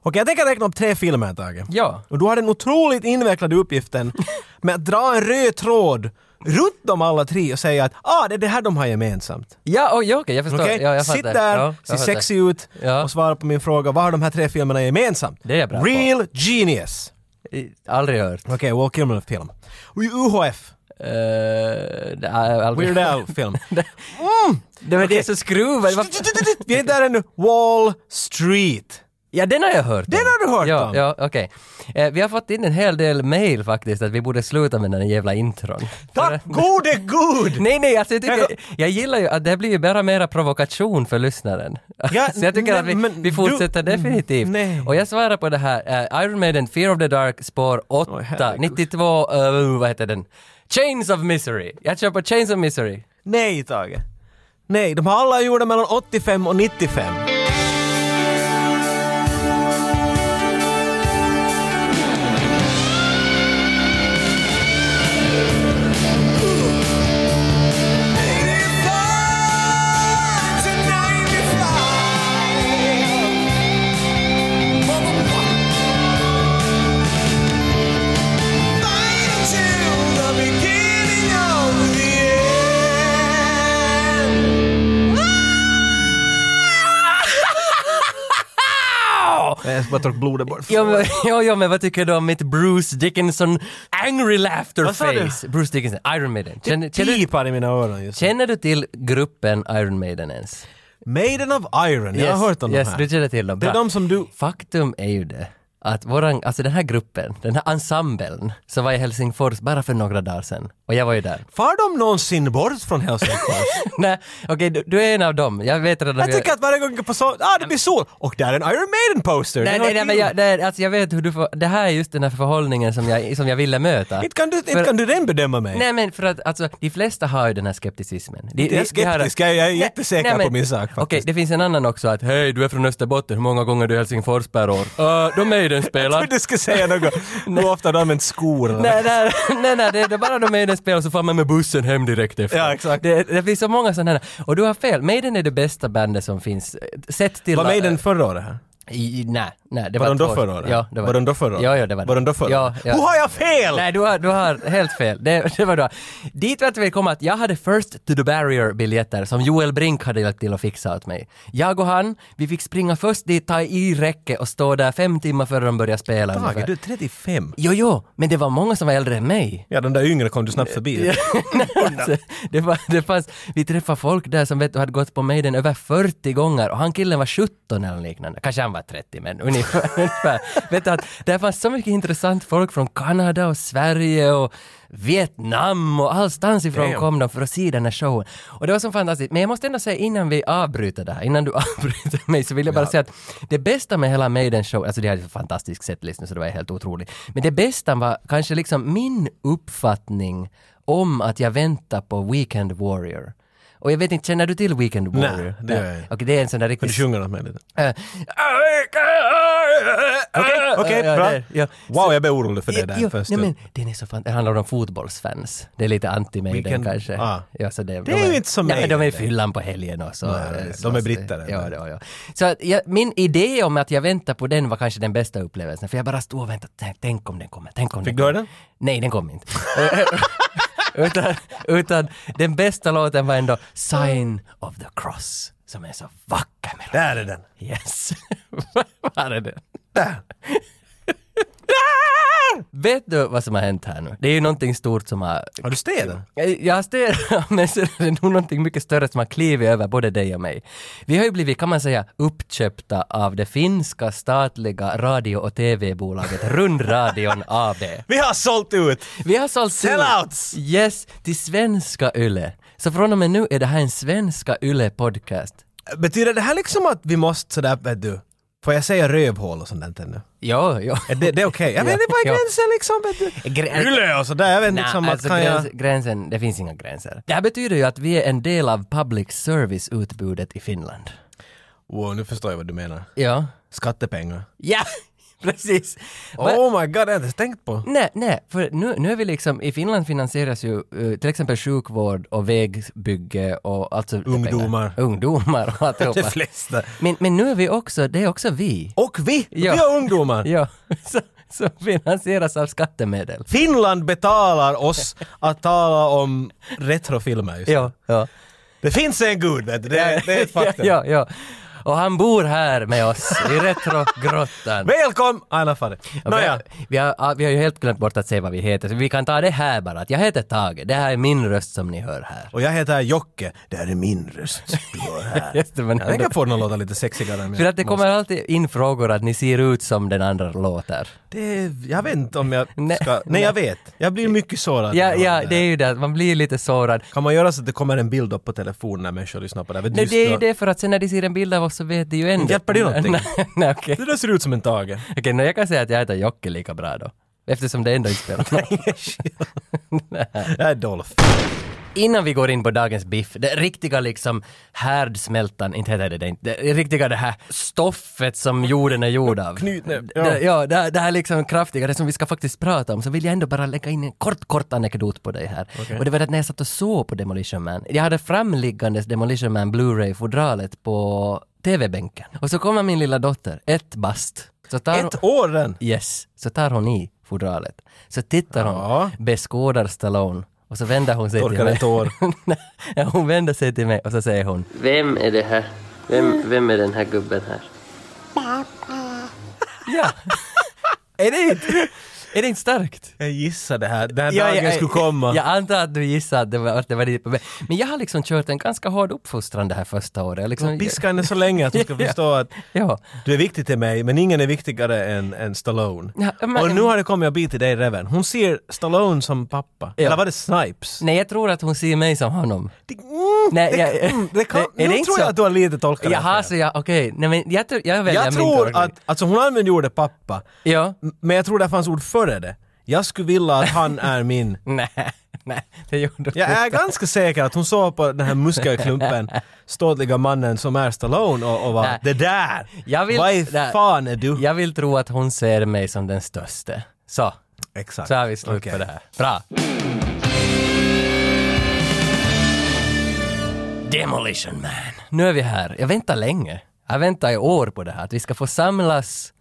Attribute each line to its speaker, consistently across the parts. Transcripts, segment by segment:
Speaker 1: Okej, jag tänker räkna upp tre filmer, Tage.
Speaker 2: Ja.
Speaker 1: Och du har den otroligt invecklade uppgiften med att dra en röd tråd runt dem alla tre och säga att ah, det är det här de har gemensamt.
Speaker 2: Ja, oh, ja okej, jag förstår.
Speaker 1: Okej?
Speaker 2: Ja, jag
Speaker 1: Sitt
Speaker 2: fattar.
Speaker 1: där,
Speaker 2: ja,
Speaker 1: se
Speaker 2: jag fattar.
Speaker 1: sexig ut
Speaker 2: Ja.
Speaker 1: och svara på min fråga, vad har de här tre filmerna gemensamt?
Speaker 2: Det är jag bra på.
Speaker 1: Real Genius.
Speaker 2: I- Aldrig hört.
Speaker 1: Okej, Walt Kilmer-film. UHF,
Speaker 2: Uh, nej, aldrig.
Speaker 1: Weird Al-film.
Speaker 2: Det var det som skruvade. Vad-
Speaker 1: Vi är där ännu. Wall Street.
Speaker 2: Ja, den har jag hört
Speaker 1: Den har du hört
Speaker 2: ja,
Speaker 1: om.
Speaker 2: Ja, okej. Eh, vi har fått in en hel del mail faktiskt att vi borde sluta med den här jävla intron.
Speaker 1: Tack gode gud!
Speaker 2: Nej, nej, alltså jag, tycker, jag gillar ju att det blir ju bara mera provokation för lyssnaren.
Speaker 1: Ja,
Speaker 2: så jag tycker
Speaker 1: nej,
Speaker 2: att vi,
Speaker 1: men
Speaker 2: vi
Speaker 1: du- mm,
Speaker 2: fortsätter definitivt.
Speaker 1: Nej.
Speaker 2: Och jag svarar på det här, eh, Iron Maiden, Fear of the Dark, spår 8,
Speaker 1: herregud.
Speaker 2: 92, eh, vad heter den? Chains of Misery. Jag kör på Chains of Misery.
Speaker 1: Nej, Tage. Nej, de har alla gjorda mellan 85 och 95. Jag ska bara torka blodet bort.
Speaker 2: Ja men, ja, ja, men vad tycker du om mitt Bruce Dickinson angry laughter
Speaker 1: Vad sa du?
Speaker 2: face? Bruce Dickinson, Iron Maiden. Känner, känner, du,
Speaker 1: Pipar i mina öron just nu.
Speaker 2: känner du till gruppen Iron Maiden ens?
Speaker 1: Maiden of Iron, jag har hört om
Speaker 2: yes,
Speaker 1: de här.
Speaker 2: du känner till dem.
Speaker 1: Det är
Speaker 2: Bra.
Speaker 1: de som du...
Speaker 2: Faktum är ju det att våran, alltså den här gruppen, den här ensemblen som var i Helsingfors bara för några dagar sedan och jag var ju där.
Speaker 1: Far de någonsin bort från Helsingfors?
Speaker 2: Nej, okej du, du är en av dem, jag vet redan
Speaker 1: jag tycker att varje gång jag går på sol... Ah, det blir sol! Och där är en Iron Maiden-poster!
Speaker 2: Nej,
Speaker 1: Den har
Speaker 2: nej, nej, men
Speaker 1: till-
Speaker 2: jag, nej, alltså jag vet hur du får, det här är just den här förhållningen som jag, som jag ville möta.
Speaker 1: Inte kan du, inte
Speaker 2: För-
Speaker 1: kan du den bedöma mig?
Speaker 2: Nej men för att alltså, de flesta har ju den här skepticismen. De,
Speaker 1: Jag är
Speaker 2: de- de har-
Speaker 1: skeptisk, jag är- jag är
Speaker 2: Nej,
Speaker 1: jättesäker
Speaker 2: nej, men-
Speaker 1: på min sak faktiskt.
Speaker 2: Okej, det finns en annan också att hej du är från Österbotten, hur många gånger är du i Helsingfors per år? Uh, de Maiden spelar.
Speaker 1: Jag trodde du skulle säga något. Hur ofta har du använt skor? eller-
Speaker 2: Nej, nej, nej, nej, det är bara de Maiden spelar så far man med bussen hem direkt efter.
Speaker 1: Ja, exakt.
Speaker 2: Det, det finns så många sådana här. Och du har fel, Maiden är det bästa bandet som finns. eh, Sett till... eh,
Speaker 1: Var Maiden förra året här?
Speaker 2: I, i- nej, nej. Det
Speaker 1: Var de
Speaker 2: två
Speaker 1: då
Speaker 2: år-
Speaker 1: förra året?
Speaker 2: Ja, det var,
Speaker 1: var de då förra året?
Speaker 2: Ja, ja, det var
Speaker 1: Var de då förra
Speaker 2: Ja,
Speaker 1: året?
Speaker 2: ja.
Speaker 1: Hur har jag fel?
Speaker 2: Nej, du har, du har helt fel. Det, det var då. Dit vart vi kom att jag hade First to the Barrier-biljetter som Joel Brink hade hjälpt till att fixa åt mig. Jag och han, vi fick springa först dit, ta i räcke och stå där fem timmar före de började spela. ungefär.
Speaker 1: Tage, du är 35.
Speaker 2: Jo, jo, men det var många som var äldre än mig.
Speaker 1: Ja, den där yngre kom du snabbt förbi.
Speaker 2: Alltså, det, var, det fanns, vi träffade folk där som vet, du, hade gått på Maiden över 40 gånger och han killen var 17 eller liknande. Kanske han var 30 men ungefär. ungefär. vet du, att det fanns så mycket intressant folk från Kanada och Sverige och Vietnam och allstans ifrån
Speaker 1: Damn.
Speaker 2: kom de för att se den här showen. Och det var så fantastiskt. Men jag måste ändå säga innan vi avbryter det här, innan du avbryter mig så vill jag bara säga att det bästa med hela Maiden show, alltså det här är en fantastisk setlist nu så det var helt otroligt. Men det bästa var kanske liksom min uppfattning om att jag väntar på Weekend Warrior. Och jag vet inte, känner du till Weekend Warrior?
Speaker 1: det gör jag inte.
Speaker 2: Okej, det är en sån
Speaker 1: Kan
Speaker 2: där
Speaker 1: du
Speaker 2: riktig... Äh,
Speaker 1: sjunga något med lite?
Speaker 2: Okej, Äh,
Speaker 1: Okej, okej, bra.
Speaker 2: Ja.
Speaker 1: Wow, jag blev orolig för det där
Speaker 2: Jo,
Speaker 1: först.
Speaker 2: nej, men, den är så fan, det handlar om fotbollsfans. Det är lite anti-Maiden
Speaker 1: Vilken-
Speaker 2: kanske.
Speaker 1: ah.
Speaker 2: Ja, så det,
Speaker 1: är ju inte som
Speaker 2: nej, men De är i
Speaker 1: Maiden.
Speaker 2: fyllan på helgen och så.
Speaker 1: Nej,
Speaker 2: eh,
Speaker 1: de
Speaker 2: så-
Speaker 1: är
Speaker 2: så-
Speaker 1: brittare.
Speaker 2: Ja, ja, ja. Så att jag, min idé om att jag väntar på den var kanske den bästa upplevelsen. För jag bara stod och väntade. Tänk, tänk om den kommer. Tänk om
Speaker 1: Fick du
Speaker 2: den
Speaker 1: höra
Speaker 2: kommer.
Speaker 1: den?
Speaker 2: Nej, den kom inte. utan, utan den bästa låten var ändå Sign of the Cross. Som är så vacker melodi.
Speaker 1: Där är den.
Speaker 2: Yes. Var är det? Vet du vad som har hänt här nu? Det är ju någonting stort som har...
Speaker 1: Har du städat?
Speaker 2: Jag har stirrat, men så är det nog någonting mycket större som har klivit över både dig och mig. Vi har ju blivit, kan man säga, uppköpta av det finska statliga radio och tv-bolaget Rundradion AB.
Speaker 1: Vi har sålt ut!
Speaker 2: Vi har sålt
Speaker 1: Sellouts!
Speaker 2: ut- Yes, till svenska YLE. Så från och med nu är det här en svenska YLE-podcast.
Speaker 1: Betyder det här liksom att vi måste sådär, vet du, får jag säga rövhål och sånt där nu?
Speaker 2: Ja, ja.
Speaker 1: Är det, det är okej? Jag menar, det är
Speaker 2: Ja.
Speaker 1: bara gränsen liksom, vet du.
Speaker 2: Gre-
Speaker 1: Yle och sådär, jag vet
Speaker 2: Nej,
Speaker 1: liksom att
Speaker 2: alltså
Speaker 1: kan jag...
Speaker 2: gräns, gränsen, det finns inga gränser. Det här betyder ju att vi är en del av public service-utbudet i Finland.
Speaker 1: Wow, nu förstår jag vad du menar.
Speaker 2: Ja.
Speaker 1: Skattepengar.
Speaker 2: Ja! Precis. Men-
Speaker 1: Oh my god, det har jag inte tänkt på.
Speaker 2: Nej, nej, för nu, nu är vi liksom, i Finland finansieras ju eh, till exempel sjukvård och vägbygge och alltså...
Speaker 1: Ungdomar.
Speaker 2: Ungdomar och
Speaker 1: De
Speaker 2: alltihopa.
Speaker 1: flesta.
Speaker 2: Men, men nu är vi också, det är också vi.
Speaker 1: Och vi!
Speaker 2: Ja.
Speaker 1: Vi är ungdomar!
Speaker 2: Ja, som- som finansieras av skattemedel.
Speaker 1: Finland betalar oss att tala om retrofilmer just nu.
Speaker 2: Ja, ja.
Speaker 1: Det finns en gud, vet du. Det, är- det är ett faktum.
Speaker 2: Ja, ja. Och han bor här med oss i Retrogrottan.
Speaker 1: Välkom Aina Fari.
Speaker 2: Ja,
Speaker 1: Nåja.
Speaker 2: vi, vi, har, vi har ju helt glömt bort att säga vad vi heter, så vi kan ta det här bara. Att jag heter Tage, det här är min röst som ni hör här.
Speaker 1: Och jag heter Jocke. Det här är min röst du hör här.
Speaker 2: Just det, men
Speaker 1: Jag tänker få den att låta lite sexigare. men-
Speaker 2: För att det kommer alltid in frågor att ni ser ut som den andra låter.
Speaker 1: Det, jag vet inte om jag
Speaker 2: Nej.
Speaker 1: ska... Nej, jag vet. Jag blir mycket sårad. när
Speaker 2: Ja,
Speaker 1: jag hör
Speaker 2: ja,
Speaker 1: här.
Speaker 2: det är ju det, att man blir lite sårad.
Speaker 1: Kan man göra så att det kommer en bild upp på telefonen när människor lyssnar på det här? Vet du,
Speaker 2: Nej,
Speaker 1: just
Speaker 2: det är ju
Speaker 1: då-
Speaker 2: det för att sen när de ser en bild av oss så vet de ju ändå.
Speaker 1: Hjälper det någonting?
Speaker 2: Nej, nej, okej.
Speaker 1: Det där ser ut som en Tage.
Speaker 2: Okej, nu jag kan säga att jag heter Jocke lika bra då. Eftersom det ändå inte spelar någon
Speaker 1: Det är Dolph.
Speaker 2: Innan vi går in på dagens biff, det riktiga liksom härdsmältan, inte heter det det inte, det riktiga det här stoffet som jorden är gjord av.
Speaker 1: Knytnäbb,
Speaker 2: Ja,
Speaker 1: ja.
Speaker 2: det, ja, det, här- det här liksom kraftiga, det som vi ska faktiskt prata om, så vill jag ändå bara lägga in en kort, kort anekdot på dig här. Och det var att när jag satt och såg på Demolition Man, jag hade framliggandes Demolition Man Blu-ray-fodralet på TV-bänken. Och så kommer min lilla dotter, ett bast. Så tar hon-
Speaker 1: Ett år den!
Speaker 2: Yes, så tar hon i fodralet. Så tittar hon,
Speaker 1: Ja.
Speaker 2: beskådar Stallone och så vänder hon sig
Speaker 1: Torkar en
Speaker 2: till mig.
Speaker 1: tår.
Speaker 2: Ja, hon vänder sig till mig och så säger hon Vem är det här? Vem, vem är den här gubben här? Ja! är, det inte, är det inte starkt?
Speaker 1: Jag gissar det här. Den här dagen skulle komma.
Speaker 2: Jag antar att du gissar att det var, att det var dit på väg. Men jag har liksom kört en ganska hård uppfostran det här första året. Jag Liksom,
Speaker 1: Piska henne så länge att hon ska
Speaker 2: Ja.
Speaker 1: förstå att
Speaker 2: ja.
Speaker 1: du är viktig till mig, men ingen är viktigare än, än Stallone.
Speaker 2: Ja, men-
Speaker 1: Och nu har det kommit en bit till dig, Reven. Hon ser Stallone som pappa.
Speaker 2: Ja.
Speaker 1: Eller var det Snipes?
Speaker 2: Nej, jag tror att hon ser mig som honom.
Speaker 1: Det, mm,
Speaker 2: Nej,
Speaker 1: det,
Speaker 2: jag-
Speaker 1: mm, det kan,
Speaker 2: är det
Speaker 1: nu
Speaker 2: inte
Speaker 1: tror
Speaker 2: så?
Speaker 1: jag att du har lite tolkat det
Speaker 2: Jaha,
Speaker 1: här.
Speaker 2: så jag, okej. Nej men jag, tror- jag väljer
Speaker 1: Jag
Speaker 2: min tolkning.
Speaker 1: tror att, alltså hon använde ordet pappa,
Speaker 2: Ja.
Speaker 1: m- men jag tror det fanns ord före det. Jag skulle vilja att han är min.
Speaker 2: Nej, nej, det gjorde du
Speaker 1: Jag
Speaker 2: inte.
Speaker 1: är ganska säker att hon såg på den här muskelklumpen, ståtliga mannen som är Stallone och, och var
Speaker 2: Nej.
Speaker 1: det där!
Speaker 2: Jag vill-
Speaker 1: Vad
Speaker 2: nej.
Speaker 1: fan är du?
Speaker 2: Jag vill tro att hon ser mig som den störste. Så,
Speaker 1: Exakt.
Speaker 2: så har vi slut
Speaker 1: Okej.
Speaker 2: på det här. Bra. Demolition Man. Nu är vi här. Jag väntar länge. Jag väntar i år på det här, att vi ska få samlas.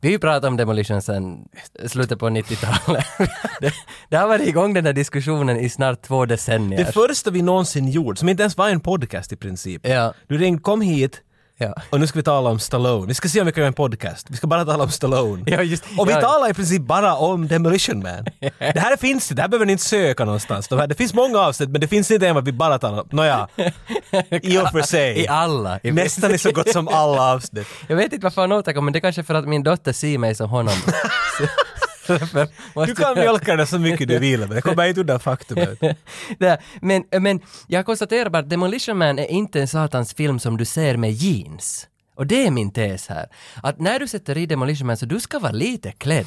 Speaker 2: Vi har ju pratat om Demolition sedan slutet på 90-talet. det, det har varit igång den här diskussionen i snart två decennier.
Speaker 1: Det första vi någonsin gjorde, som inte ens var en podcast i princip.
Speaker 2: Ja.
Speaker 1: Du ringde, kom hit
Speaker 2: ja.
Speaker 1: och nu ska vi tala om Stallone. Vi ska se om vi kan göra en podcast. Vi ska bara tala om Stallone.
Speaker 2: Ja, just-
Speaker 1: och vi
Speaker 2: ja.
Speaker 1: talar i princip bara om Demolition Man. det här finns det, det här behöver ni inte söka någonstans. De här, det finns många avsnitt men det finns inte en vad vi bara talar om. Nåja, i och för sig.
Speaker 2: I alla. I
Speaker 1: Nästan i så gott som alla avsnitt.
Speaker 2: Jag vet inte varför han återkommer, men det är kanske för att min dotter ser mig som honom. Så- därför måste
Speaker 1: Du kan
Speaker 2: jag-
Speaker 1: mjölka det så mycket du vill men det kommer inte undan faktumet.
Speaker 2: Det- men, men jag konstaterar bara att Demolition Man är inte en satans film som du ser med jeans. Och det är min tes här. Att när du sätter i Demolition Man så du ska vara lite klädd.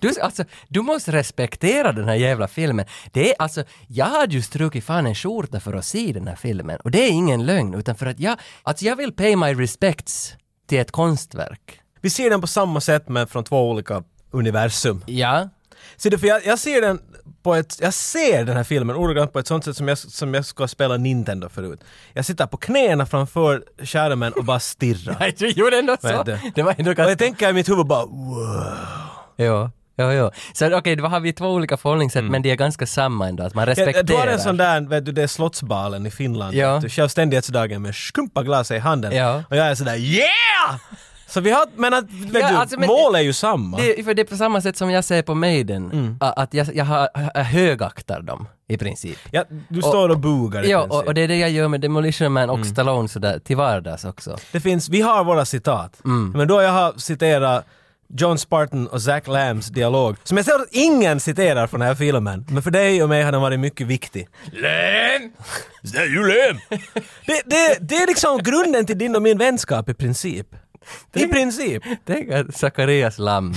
Speaker 2: Du, ska- alltså, du måste respektera den här jävla filmen. Det är alltså, jag hade ju strukit fan en skjorta för att se den här filmen. Och det är ingen lögn, utan för att jag, alltså jag vill pay my respects till ett konstverk.
Speaker 1: Vi ser den på samma sätt men från två olika universum.
Speaker 2: Ja,
Speaker 1: Så det, för jag, jag ser den på ett, jag ser den här filmen ordagrant på ett sånt sätt som jag, som jag ska spela Nintendo förut. Jag sitter på knäna framför skärmen och bara stirrar.
Speaker 2: Nej, du gjorde ändå så.
Speaker 1: Vet du.
Speaker 2: Det var ändå
Speaker 1: och
Speaker 2: ganska...
Speaker 1: jag tänker i mitt huvud bara wow.
Speaker 2: Jo, jo, jo. Så okej, då har vi två olika förhållningssätt, men det är ganska samma ändå, att man respekterar.
Speaker 1: Jag, du har en sån där, vet du, det är Slottsbalen i Finland.
Speaker 2: Ja.
Speaker 1: Du självständighetsdagen med skumpaglas i handen.
Speaker 2: Ja.
Speaker 1: Och jag är sådär yeah! Så vi har, men att, vet
Speaker 2: Ja,
Speaker 1: du,
Speaker 2: alltså, men-
Speaker 1: mål är ju samma.
Speaker 2: det, för det är på samma sätt som jag säger på Maiden, a- att jag, jag, har, jag högaktar dem i princip.
Speaker 1: ja, du står och bugar i
Speaker 2: Ja,
Speaker 1: princip.
Speaker 2: och, och det är det jag gör med Demolition Man och Stallone sådär till vardags också.
Speaker 1: Det finns, vi har våra citat. Men då jag har citerat John Spartan och Zach Lambs dialog, som jag ser att ingen citerar från den här filmen, men för dig och mig har den varit mycket viktig.
Speaker 2: Län!
Speaker 1: Is that you, Lamb? Det, det, det är liksom grunden till din och min vänskap i princip. I princip.
Speaker 2: Tänk att Zacharias Lamm.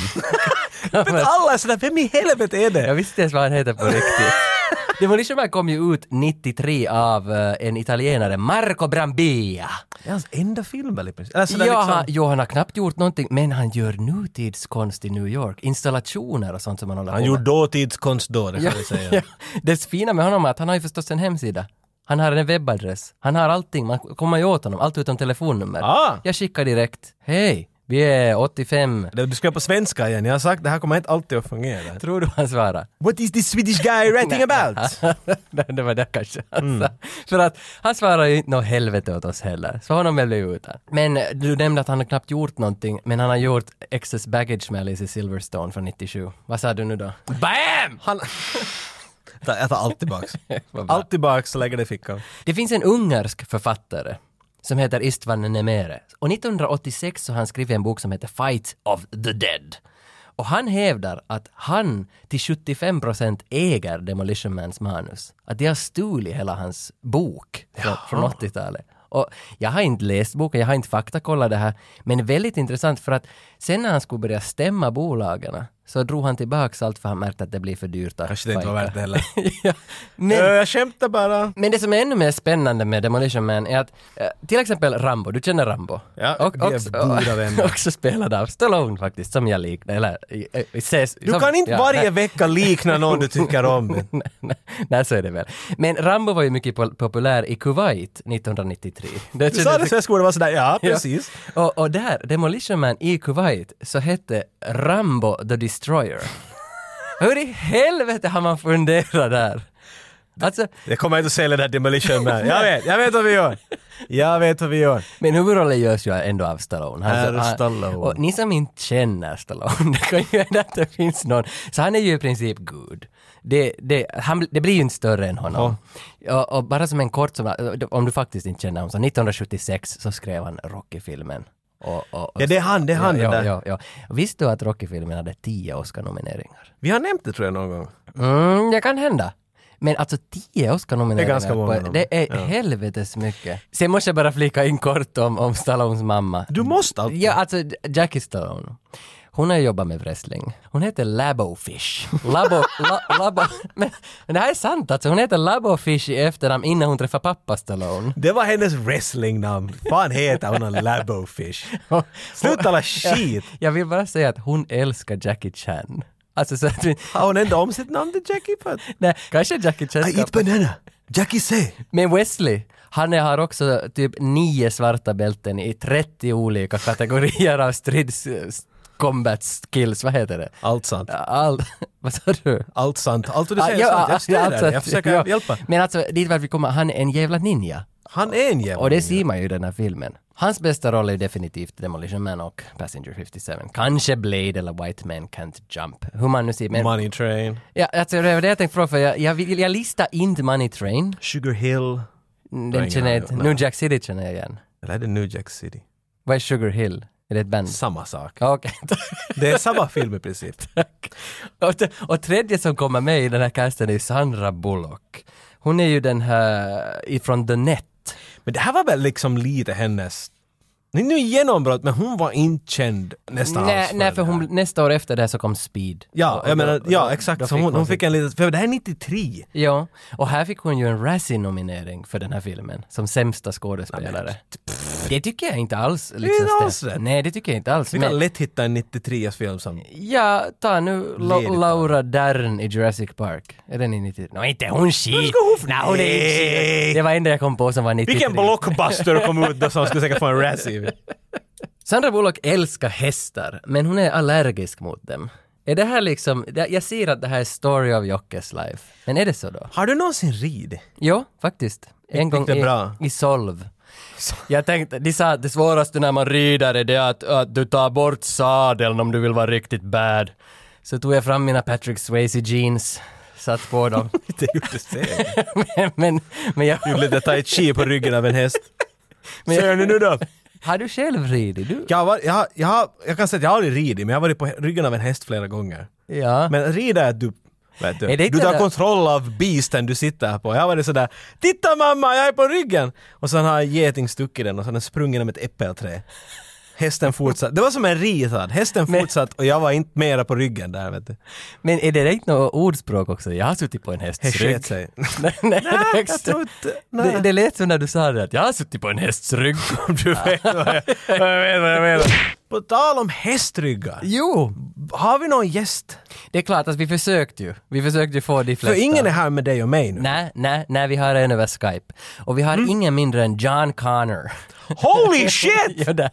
Speaker 1: Men alla är sådär, vem i helvete är
Speaker 2: jag
Speaker 1: det?
Speaker 2: visste inte ens vad han heter på riktigt. Demolition Man kom ju ut 93 av eh, en italienare, Marco Brambilla.
Speaker 1: Det är hans enda film väl i princip? Eller sådär
Speaker 2: Ja,
Speaker 1: liksom...
Speaker 2: han, jo, han har knappt gjort någonting, men han gör nutidskonst i New York. Installationer och sånt som han håller
Speaker 1: Han
Speaker 2: på
Speaker 1: gjorde
Speaker 2: med.
Speaker 1: dåtidskonst då, det kan vi säga.
Speaker 2: ja. Det fina med honom är att han har ju förstås en hemsida. Han har en webbadress. Han har allting. Man kommer ju åt honom. Allt utom telefonnummer.
Speaker 1: Ah.
Speaker 2: Jag skickar direkt. Hej, vi är 85.
Speaker 1: Det- Du ska på svenska igen, jag har sagt det här kommer inte alltid att fungera.
Speaker 2: Tror du han svarar?
Speaker 1: What is this Swedish guy writing about? Mm.
Speaker 2: Nej, det var det kanske. Alltså. För att han svarar ju inte något helvete åt oss heller. Så honom blev vi utan. Men eh, du nämnde att han har knappt gjort någonting, men han har gjort Excess Baggage med Alice i Silverstone från 97. Vad sa du nu då? BAM!
Speaker 1: Han... Ta- Jag tar allt tillbaks.
Speaker 2: Vad bra.
Speaker 1: Allt tillbaks och lägger det i fickan.
Speaker 2: Det finns en ungersk författare som heter Istvan Nemere. Och 1986 så har han skrivit en bok som heter Fight of the Dead. Och han hävdar att han till 75% äger Demolition Mans manus. Att de har stulit hela hans bok från, från 80-talet. Och jag har inte läst boken, jag har inte faktakollat det här. Men väldigt intressant för att sen när han skulle börja stämma bolagen så drog han tillbaks allt för han märkte att det blir för dyrt att
Speaker 1: Kanske det inte var
Speaker 2: fighta.
Speaker 1: värt det heller. Eh,
Speaker 2: ja.
Speaker 1: Ö,
Speaker 2: Men
Speaker 1: Jag skämtar bara.
Speaker 2: men det som är ännu mer spännande med Demolition Man är att eh, till exempel Rambo, du känner Rambo?
Speaker 1: Ja, vi är
Speaker 2: också-
Speaker 1: goda vänner.
Speaker 2: också spelad av Stallone faktiskt, som jag liknar, eller eh, eh, ses,
Speaker 1: Du
Speaker 2: som,
Speaker 1: kan inte
Speaker 2: ja,
Speaker 1: varje
Speaker 2: nej,
Speaker 1: vecka likna någon du tycker om.
Speaker 2: nej, nej, nej, så är det väl. Men Rambo var ju mycket pol- populär i Kuwait 1993. Det
Speaker 1: Du sa det
Speaker 2: kändes-
Speaker 1: så jag skulle vara sådär, ja
Speaker 2: Ja.
Speaker 1: precis.
Speaker 2: Och, och där, Demolition Man i Kuwait, så hette Rambo the Destroyer. Hur i helvete har man funderat där? Alltså,
Speaker 1: Jag kommer inte att sälja det här Demolition Man. Jag vet, jag vet vad vi gör. Jag vet vad vi gör.
Speaker 2: Men huvudrollen görs ju ändå av Stallone.
Speaker 1: Är
Speaker 2: så-
Speaker 1: Stallone.
Speaker 2: Och ni som inte känner Stallone, det kan ju hända att det finns någon. Så han är ju i princip Gud. Det, det, han, det blir ju inte större än honom. Och, och bara som en kort, som, om du faktiskt inte känner honom, så 1976 så skrev han Rocky-filmen. Och, och, och,
Speaker 1: Ja det är han, det är han den
Speaker 2: ja,
Speaker 1: där.
Speaker 2: ja, ja. Visste du att Rocky-filmen hade tio Oscar-nomineringar?
Speaker 1: Vi har nämnt det tror jag någon gång.
Speaker 2: Mm, det kan hända. Men alltså tio Oscar-nomineringar,
Speaker 1: Det är ganska
Speaker 2: på-
Speaker 1: många.
Speaker 2: det är helvetes mycket. Sen måste jag bara flika in kort om, om Stallones mamma.
Speaker 1: Du måste alltid.
Speaker 2: Ja, alltså Jackie Stallone. Hon har jobbat med wrestling. Hon heter Labofish. Labo, la, labo. Men, men det här är sant alltså. Hon heter Labofish i efternamn innan hon träffar pappa Stallone.
Speaker 1: Det var hennes wrestlingnamn. Fan heter hon en Labofish? Sluta alla skit!
Speaker 2: Jag vill bara säga att hon älskar Jackie Chan. Alltså så att vi,
Speaker 1: Har hon ändå om sitt namn till Jackie för att...
Speaker 2: nej, kanske Jackie Chan
Speaker 1: I
Speaker 2: ska...
Speaker 1: eat banana! Jackie say!
Speaker 2: Men Wesley, han är- har också typ nio svarta bälten i 30 olika kategorier av strids... combat skills, vad heter det?
Speaker 1: Allt sant.
Speaker 2: All, vad sa du?
Speaker 1: Allt sant. Allt vad du
Speaker 2: Ah,
Speaker 1: säger
Speaker 2: ja,
Speaker 1: är sant.
Speaker 2: ah,
Speaker 1: Jag stöder
Speaker 2: alltså
Speaker 1: dig. Jag
Speaker 2: att-
Speaker 1: försöker
Speaker 2: ja.
Speaker 1: hjälpa.
Speaker 2: Men alltså, dit vart vi kommer, han är en jävla ninja.
Speaker 1: Han är en jävla...
Speaker 2: Och det ser man ju i den här filmen. Hans bästa roll är ju definitivt Demolition Man och Passenger 57. Kanske Blade eller White Man Can't Jump. Hur man nu ser men...
Speaker 1: Money Train,
Speaker 2: Ja, alltså, det var det jag tänkte fråga, för jag, jag, vill- jag listar inte Money Train.
Speaker 1: Sugar Hill.
Speaker 2: Den
Speaker 1: ingen
Speaker 2: känner jag
Speaker 1: aning
Speaker 2: inte.
Speaker 1: om.
Speaker 2: New Jack City känner jag igen.
Speaker 1: Eller är det New Jack City?
Speaker 2: Vad är Sugar Hill? Är det ett band?
Speaker 1: Samma sak.
Speaker 2: Ja, Okej,
Speaker 1: Det är samma film i princip.
Speaker 2: tack. Och, t- och tredje som kommer med i den här casten är ju Sandra Bullock. Hon är ju den här ifrån The Net.
Speaker 1: Men det här var väl liksom lite hennes... Nu nu genombrott, men hon var inte känd nästan alls.
Speaker 2: Nej, nej,
Speaker 1: den
Speaker 2: för hon,
Speaker 1: här.
Speaker 2: nästa år efter det här så kom Speed.
Speaker 1: Ja,
Speaker 2: Och- och
Speaker 1: jag menar,
Speaker 2: då-
Speaker 1: ja
Speaker 2: då-
Speaker 1: exakt.
Speaker 2: då
Speaker 1: så hon, hon
Speaker 2: sin-
Speaker 1: fick en liten... För det här är 93.
Speaker 2: Ja, och här fick hon ju en Razzie-nominering för den här filmen, som sämsta skådespelare. det tycker jag inte alls. Liksom,
Speaker 1: inte
Speaker 2: stämmer.
Speaker 1: alls rätt.
Speaker 2: Nej, det tycker jag inte alls.
Speaker 1: Vi
Speaker 2: men-
Speaker 1: kan lätt hitta en 93-film som...
Speaker 2: Ja, ta nu La-
Speaker 1: Ledigt.
Speaker 2: Laura Dern i Jurassic Park. Är den i 90? Nej, inte hon skit!
Speaker 1: ska hon-
Speaker 2: Nej, hon är inte
Speaker 1: Nej.
Speaker 2: skit. Det var enda jag kom på som var 93.
Speaker 1: Vilken blockbuster kom ut då som skulle säkert få en Razzie?
Speaker 2: Sandra Bullock älskar hästar, men hon är allergisk mot dem. Är det här liksom, det- jag ser att det här är story of Jockes life. Men är det så då?
Speaker 1: Har du någonsin ridit?
Speaker 2: Jo, faktiskt. En gång
Speaker 1: det
Speaker 2: i,
Speaker 1: bra?
Speaker 2: i Solv. Jag tänkte, de sa att det svåraste när man rider är det att, att du tar bort sadeln om du vill vara riktigt bad. Så tog jag fram mina Patrick Swayze jeans, satt på dem.
Speaker 1: Det gjorde det.
Speaker 2: men, men, men jag...
Speaker 1: Gjorde lite tai chi på ryggen av en häst. Ser ni nu då?
Speaker 2: Har du själv ridit? Du?
Speaker 1: Jag, har varit- jag, har- jag, har- jag kan säga att jag har aldrig ridit, men jag har varit på hä- ryggen av en häst flera gånger.
Speaker 2: Ja.
Speaker 1: Men rida är att du... Vet du,
Speaker 2: Är det
Speaker 1: du
Speaker 2: inte
Speaker 1: tar
Speaker 2: det-
Speaker 1: kontroll av beasten du sitter på. Jag har varit sådär ”Titta mamma, jag är på ryggen!” och sen har en geting stuckit den och sen har den sprungit genom ett äppelträd. Hästen fortsatt. Det var som en ritad. Hästen
Speaker 2: Men-
Speaker 1: fortsatt och jag var inte mera på ryggen där vet du.
Speaker 2: Men är det inte något ordspråk också? Jag har suttit på en
Speaker 1: Det
Speaker 2: hästs rygg.
Speaker 1: sket sig.
Speaker 2: nej, nej, det är
Speaker 1: jag
Speaker 2: extra-
Speaker 1: tror inte... Nej.
Speaker 2: det, det lät som när du sa det att jag har suttit på en hästs rygg.
Speaker 1: Du vet vad jag, vad jag vet vad jag menar. På tal om hästryggar.
Speaker 2: jo!
Speaker 1: Har vi någon gäst?
Speaker 2: Det är klart att vi försökte ju. Vi försökte ju få de
Speaker 1: För
Speaker 2: flesta.
Speaker 1: ingen är här med dig och mig nu.
Speaker 2: Nej, nej, nej, vi har en över Skype. Och vi har
Speaker 1: Mm.
Speaker 2: ingen mindre än John Connor.
Speaker 1: Holy shit!
Speaker 2: ja, där.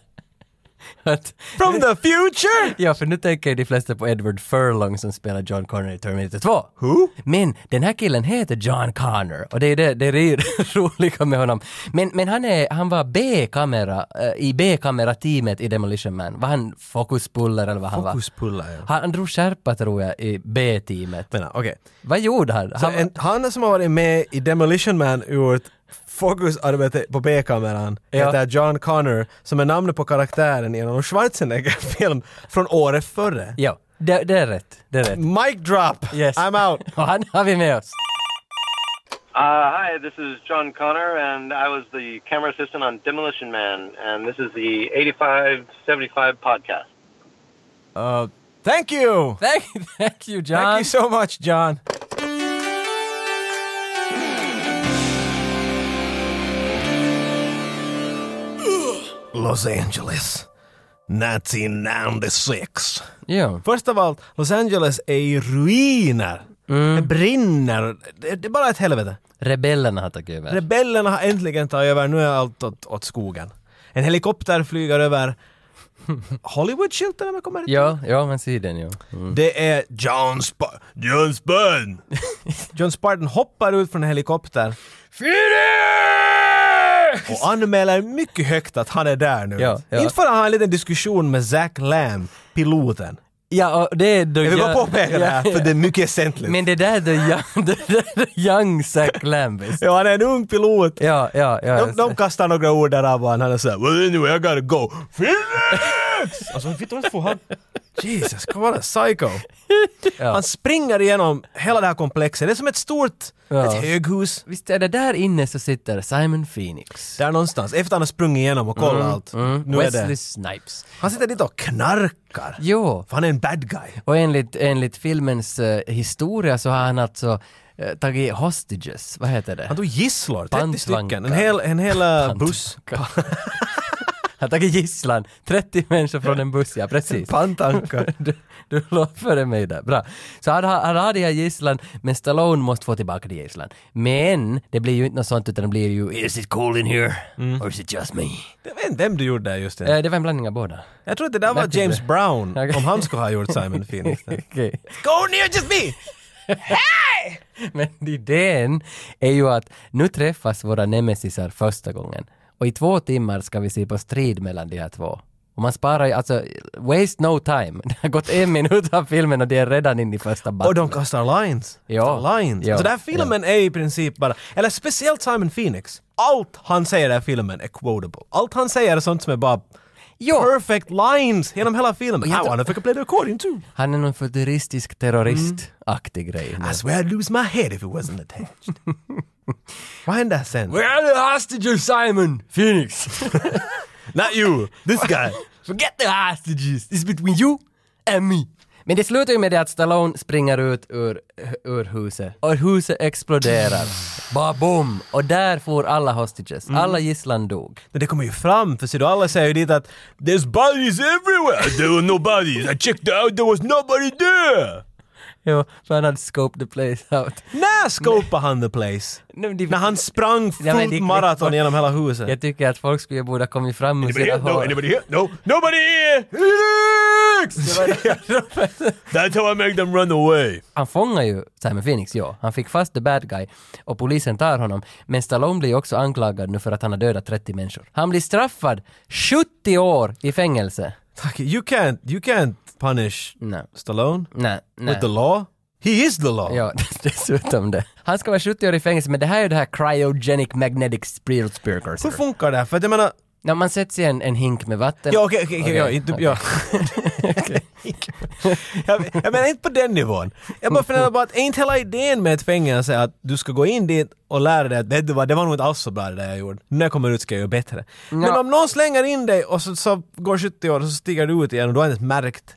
Speaker 2: Att-
Speaker 1: From the future!
Speaker 2: ja, för nu tänker ju de flesta på Edward Furlong som spelar John Connor i Terminator 2.
Speaker 1: Who?
Speaker 2: Men den här killen heter John Connor och det är det, det, är det roliga med honom. Men, men han, är, han var B-kamera, eh, i B-kamerateamet i Demolition Man. Var han fokuspuller eller vad han var?
Speaker 1: Fokuspullar jag.
Speaker 2: Han, han drog skärpa tror jag i B-teamet.
Speaker 1: Men, okej.
Speaker 2: Vad gjorde han?
Speaker 1: Så
Speaker 2: han var-
Speaker 1: en, han som har varit med i Demolition Man gjort fokusarbete på B-kameran
Speaker 2: Ja.
Speaker 1: heter John Connor som är namnet på karaktären i en Arnold Schwarzenegger-film från året före.
Speaker 2: Ja, det, det är rätt. Det är rätt.
Speaker 1: Mic drop!
Speaker 2: Yes.
Speaker 1: I'm out!
Speaker 2: Och han har vi med oss.
Speaker 3: Uh, hi, this is John Connor, and I was the camera assistant on Demolition Man, and this is the 8575 podcast.
Speaker 1: Thank you!
Speaker 2: Thank, thank you John.
Speaker 1: Thank you so much John! Los Angeles 1996
Speaker 2: Ja.
Speaker 1: Först av allt, Los Angeles är i ruiner.
Speaker 2: Mm.
Speaker 1: Det brinner. Det, det är bara ett helvete.
Speaker 2: Rebellerna har tagit över.
Speaker 1: Rebellerna har äntligen tagit över. Nu är allt åt, åt skogen. En helikopter flyger över Hollywood-skylten om jag kommer rätt.
Speaker 2: ja, ja, man ser den ju. Mm.
Speaker 1: Det är John Spartan. John Spartan! John Spartan hoppar ut från en helikopter och anmäler mycket högt att han är där nu.
Speaker 2: Ja, ja.
Speaker 1: Inte för att han har en liten diskussion med Zach Lamb, piloten.
Speaker 2: Ja, och det är då
Speaker 1: Jag vill bara
Speaker 2: jag-
Speaker 1: påpeka det här,
Speaker 2: Ja,
Speaker 1: för det är mycket väsentligt.
Speaker 2: Men det där är the young, det där är the young Zack Lambis.
Speaker 1: Ja, han är en ung pilot.
Speaker 2: Ja, ja, ja.
Speaker 1: De, de kastar några ord där av honom. Han är såhär “Well anyway, I gotta go”. Felix! Alltså vet du vad han... Jesus, vad en psycho.
Speaker 2: Ja.
Speaker 1: Han springer igenom hela det här komplexet. Det är som ett stort,
Speaker 2: Ja.
Speaker 1: ett höghus.
Speaker 2: Visst är det där inne så sitter Simon Phoenix.
Speaker 1: Där någonstans, efter han har sprungit igenom och kollat allt. Mm, Nu
Speaker 2: Mm. Wesley
Speaker 1: är det.
Speaker 2: Snipes.
Speaker 1: Han sitter dit och knarkar.
Speaker 2: Jo,
Speaker 1: För han är en bad guy.
Speaker 2: och enligt, enligt filmens eh, historia så har han alltså eh, tagit hostages, vad heter det?
Speaker 1: Han tog gisslor, 30 stycken. En
Speaker 2: Pantvankar.
Speaker 1: hel, en hel eh, buss.
Speaker 2: Han har tagit gisslan, 30 människor från en buss, ja precis.
Speaker 1: Pantankar.
Speaker 2: Du, du låg före mig där, bra. Så han, har- han har de här gisslan, men Stallone måste få tillbaka de gisslan. Men det blir ju inte något sånt utan det blir ju “Is it cold in here?
Speaker 1: Mm.
Speaker 2: Or is it just me?”
Speaker 1: Jag vet inte vem du gjorde där just det.
Speaker 2: Eh, Det var en blandning av båda.
Speaker 1: Jag tror att det där var James Brown,
Speaker 2: Okej.
Speaker 1: om han skulle ha gjort Simon Phoenix.
Speaker 2: Okej.
Speaker 1: Go near just me!
Speaker 2: Men idén är ju att nu träffas våra nemesisar första gången och i två timmar ska vi se på strid mellan de här två. Och man sparar ju, alltså, waste no time. Det har gått en minut av filmen och de är redan inne i första
Speaker 1: Och
Speaker 2: battlet.
Speaker 1: de kastar lines.
Speaker 2: Ja.
Speaker 1: Lines.
Speaker 2: Ja.
Speaker 1: Så den här filmen är i princip bara, eller speciellt Simon Phoenix, allt han säger i den här filmen är quotable. Allt han säger är sånt som är bara
Speaker 2: Ja.
Speaker 1: perfect lines genom hela filmen. I
Speaker 2: jag tror-
Speaker 1: wanna fucking play the accordion too.
Speaker 2: Han är någon futuristisk terrorist-aktig grej.
Speaker 1: I swear I'd lose my head if it wasn't attached. Vad händer sen?
Speaker 2: Where are the hostages Simon? Phoenix!
Speaker 1: Not you, this guy.
Speaker 2: Forget the hostages! It's between you and me! Men det slutar ju med det att Stallone springer ut ur, ur huset. Och huset exploderar. Bara bom! Och där får alla hostages. Alla gisslan dog.
Speaker 1: Men det kommer ju fram, för ser du, alla säger ju dit att “There's bodies everywhere, there were no bodies, I checked out, there was nobody there”.
Speaker 2: Jo, för han hade scoped the place out.
Speaker 1: När skopar han the place?
Speaker 2: Nej, men det-
Speaker 1: När han sprang fullt
Speaker 2: Ja, men det-
Speaker 1: maraton genom hela huset?
Speaker 2: Jag tycker att folk skulle borde ha kommit fram ur
Speaker 3: Anybody
Speaker 2: sina
Speaker 3: here? No,
Speaker 2: hår.
Speaker 3: anybody here? No, nobody here! That's how I make them run away.
Speaker 2: Han fångar ju Simon Phoenix, ja. Han fick fast the bad guy och polisen tar honom. Men Stallone blir ju också anklagad nu för att han har dödat 30 människor. Han blir straffad 70 år i fängelse.
Speaker 1: Tack, you can't, you can't punish
Speaker 2: Nej.
Speaker 1: Stallone
Speaker 2: Nej, Mm. nej.
Speaker 1: with the law. He is the law.
Speaker 2: Ja, dessutom det. Han ska vara 70 år i fängelse, men det här är ju det här cryogenic magnetic spirit
Speaker 1: Hur
Speaker 2: precursor.
Speaker 1: funkar det? här? För att jag menar,
Speaker 2: När man sätts i en, en hink med vatten.
Speaker 1: Ja, okej, okej, okej, ja, inte, ja. jag, jag menar inte på den nivån. Jag bara funderar på att är inte hela idén med ett fängelse att du ska gå in dit och lära dig att vet du vad, det var nog inte alls så bra det där jag gjorde. När jag kommer ut ska jag göra bättre. Men om någon slänger in dig och så, så går 70 år och så stiger du ut igen och du har inte ens märkt.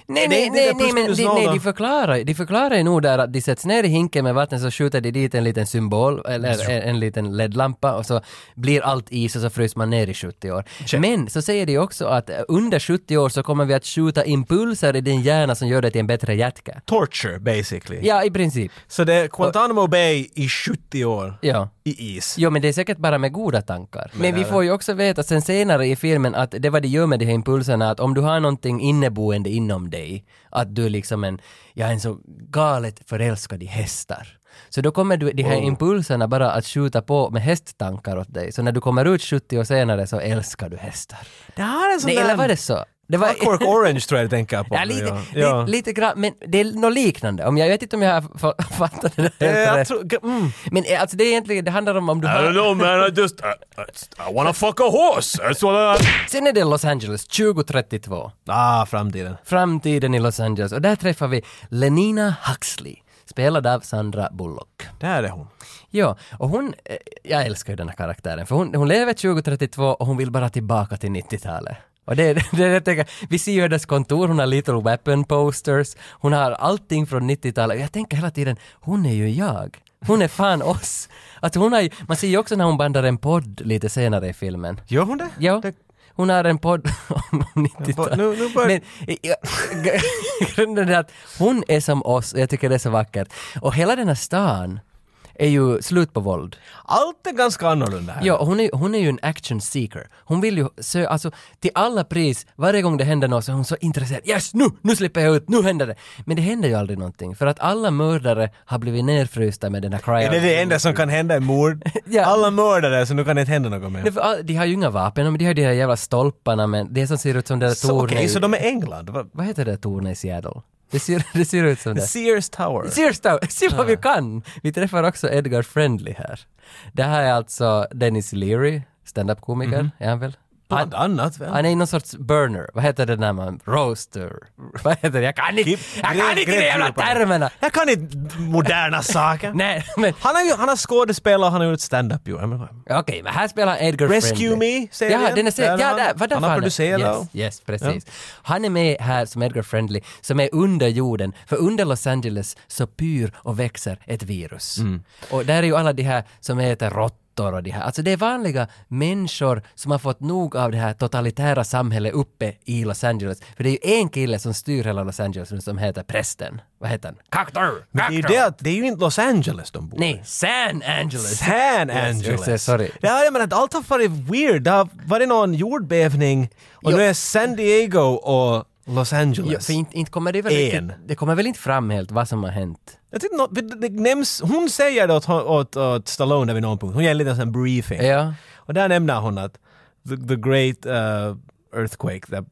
Speaker 2: Nej,
Speaker 1: Det är
Speaker 2: nej,
Speaker 1: inte
Speaker 2: nej,
Speaker 1: det
Speaker 2: nej,
Speaker 1: plus
Speaker 2: men
Speaker 1: minus
Speaker 2: de,
Speaker 1: noll
Speaker 2: nej,
Speaker 1: då.
Speaker 2: de förklarar de förklarar ju nog där att de sätts ner i hinken med vatten så skjuter de dit en liten symbol eller en, en liten ledlampa och så blir allt is och så fryser man ner i 70 år. Men så säger de också att eh, under 70 år så kommer vi att skjuta impulser i din hjärna som gör dig till en bättre hjärtka.
Speaker 1: Torture basically.
Speaker 2: Ja, i princip.
Speaker 1: Så det är Guantanamo Bay i 70 år
Speaker 2: Ja.
Speaker 1: i is.
Speaker 2: Jo men det är säkert bara med goda tankar. Men, vi får ju också veta sen senare i filmen att det vad de gör med de här impulserna att om du har någonting inneboende inom dig, att du är liksom en, jag är en så galet förälskad i hästar. Så då kommer du, de
Speaker 1: Oh.
Speaker 2: här impulserna bara att skjuta på med hästtankar åt dig. Så när du kommer ut 70 år senare så älskar du hästar.
Speaker 1: Det här är en sån
Speaker 2: Nej,
Speaker 1: där...
Speaker 2: eller var det så? Det var,
Speaker 1: Clockwork Orange tror jag det tänker jag på.
Speaker 2: Ja,
Speaker 1: nu,
Speaker 2: lite,
Speaker 1: ja.
Speaker 2: lite, lite grann, men det är något liknande. Om jag, jag vet inte om jag har fa- fattat det
Speaker 1: Eh,
Speaker 2: där helt
Speaker 1: jag
Speaker 2: rätt.
Speaker 1: tror... Mm.
Speaker 2: Men eh, alltså det är egentligen, det handlar om om du
Speaker 4: I don't
Speaker 2: har...
Speaker 4: know, man. I just I, I, I want to fuck a horse. That's what I.
Speaker 2: Sen är det Los Angeles 2032.
Speaker 1: Ah, framtiden.
Speaker 2: Framtiden i Los Angeles. Och där träffar vi Lenina Huxley, spelad av Sandra Bullock.
Speaker 1: Där är hon.
Speaker 2: Ja, och hon, eh, jag älskar ju den här karaktären, för hon, hon lever 2032 och hon vill bara tillbaka till 90-talet. Och det, är- det är det jag tänker, vi ser ju hennes kontor, hon har Little Weapon posters, hon har allting från 90-talet. Jag tänker hela tiden, hon är ju jag. Hon är fan oss. Att hon har ju, man ser ju också när hon bandar en podd lite senare i filmen.
Speaker 1: Gör hon det?
Speaker 2: Ja.
Speaker 1: Det-
Speaker 2: Hon har en podd om 90-talet.
Speaker 1: Nu- nu börjar-
Speaker 2: Men eh, ja, gr- grunden är att hon är som oss och jag tycker det är så vackert. Och hela den här stan är ju slut på våld.
Speaker 1: Allt är ganska annorlunda här.
Speaker 2: Ja, och hon är, hon är ju en action seeker. Hon vill ju sö, alltså till alla pris, varje gång det händer något så är hon så intresserad. Yes, nu, nu slipper jag ut, nu händer det. Men det händer ju aldrig någonting, för att alla mördare har blivit nerfrysta med den här cryo.
Speaker 1: Är det det enda som kan hända i mord?
Speaker 2: Ja.
Speaker 1: Alla mördare, så nu kan det inte hända något mer.
Speaker 2: Nej,
Speaker 1: Så,
Speaker 2: för all- De har ju inga vapen, men de har ju de här jävla stolparna men det som ser ut som det där
Speaker 1: Okej,
Speaker 2: tornet i-
Speaker 1: så de är England? Vad-
Speaker 2: Vad heter det tornet i Seattle? Det ser, det ser ut som det.
Speaker 1: Sears Tower.
Speaker 2: Sears Tower, se vad vi kan! Vi träffar också Edgar Friendly här. Det här är alltså Dennis Leary, standup-komiker, är han väl?
Speaker 1: Bland annat väl?
Speaker 2: Han är någon sorts burner, vad heter det när man, roaster? Vad heter det? Jag kan inte, jag kan inte de jävla termerna!
Speaker 1: Jag kan inte moderna saker.
Speaker 2: Nej, men
Speaker 1: Han har, ju- han har skådespelat och han har gjort stand-up ju. Jag menar,
Speaker 2: Okej, men här spelar Edgar
Speaker 1: Rescue
Speaker 2: Friendly.
Speaker 1: Me, säger
Speaker 2: ja,
Speaker 1: den.
Speaker 2: den är
Speaker 1: Där
Speaker 2: säkert,
Speaker 1: har
Speaker 2: ja,
Speaker 1: han-
Speaker 2: där, vad där
Speaker 1: han har
Speaker 2: fan är-
Speaker 1: producerat
Speaker 2: Yes,
Speaker 1: och-
Speaker 2: yes precis. Han är med här som Edgar Friendly, som är under jorden, för under Los Angeles så pyr och växer ett virus.
Speaker 1: Mm.
Speaker 2: Och där är ju alla de här som heter råttor och de här, alltså det är vanliga människor som har fått nog av det här totalitära samhället uppe i Los Angeles. För det är ju en kille som styr hela Los Angeles nu som heter prästen. Vad heter han? Kaktor!
Speaker 1: Men det är ju det att det är ju inte Los Angeles de bor i.
Speaker 2: Nej, San Angeles!
Speaker 1: San
Speaker 2: just
Speaker 1: Angeles.
Speaker 2: det, sorry.
Speaker 1: Det här, jag menar, att allt har varit weird. Det har varit någon jordbävning och
Speaker 2: Jo.
Speaker 1: nu är San Diego och Los
Speaker 2: Ja,
Speaker 1: Angeles.
Speaker 2: för inte, inte kommer det väl
Speaker 1: En.
Speaker 2: riktigt, det kommer väl inte fram helt vad som har hänt?
Speaker 1: Jag tyckte något, det nämns, hon säger det åt, åt, åt Stallone vid någon punkt, hon ger en liten sån briefing.
Speaker 2: Ja.
Speaker 1: Och där nämner hon att the, the great uh, earthquake that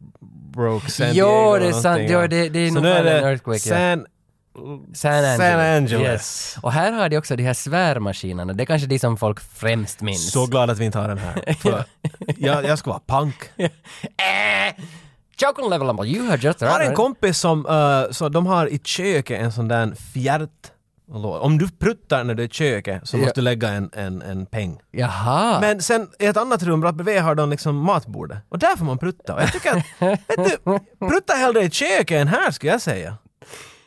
Speaker 1: broke San
Speaker 2: Jo,
Speaker 1: Diego.
Speaker 2: det är
Speaker 1: eller
Speaker 2: sant.
Speaker 1: någonting.
Speaker 2: Jo, det- det är
Speaker 1: Så
Speaker 2: nog
Speaker 1: nu
Speaker 2: fan
Speaker 1: det
Speaker 2: en earthquake, ja.
Speaker 1: San,
Speaker 2: San Angeles.
Speaker 1: San Angeles.
Speaker 2: Yes. Och här har de också de här svärmaskinerna, det är kanske de som folk främst minns.
Speaker 1: Så glad att vi inte har den här. För jag, jag ska vara punk.
Speaker 2: Äh! Chocolate level number, you have just
Speaker 1: Jag har en
Speaker 2: right.
Speaker 1: kompis som, eh, så de har i köket en sån där fjärt... Om du pruttar när du är i köket så
Speaker 2: Ja.
Speaker 1: måste du lägga en, en, en peng.
Speaker 2: Jaha.
Speaker 1: Men sen i ett annat rum rakt bredvid har de liksom matbordet. Och där får man prutta. Och jag tycker att, vet du, prutta hellre i köket än här skulle jag säga.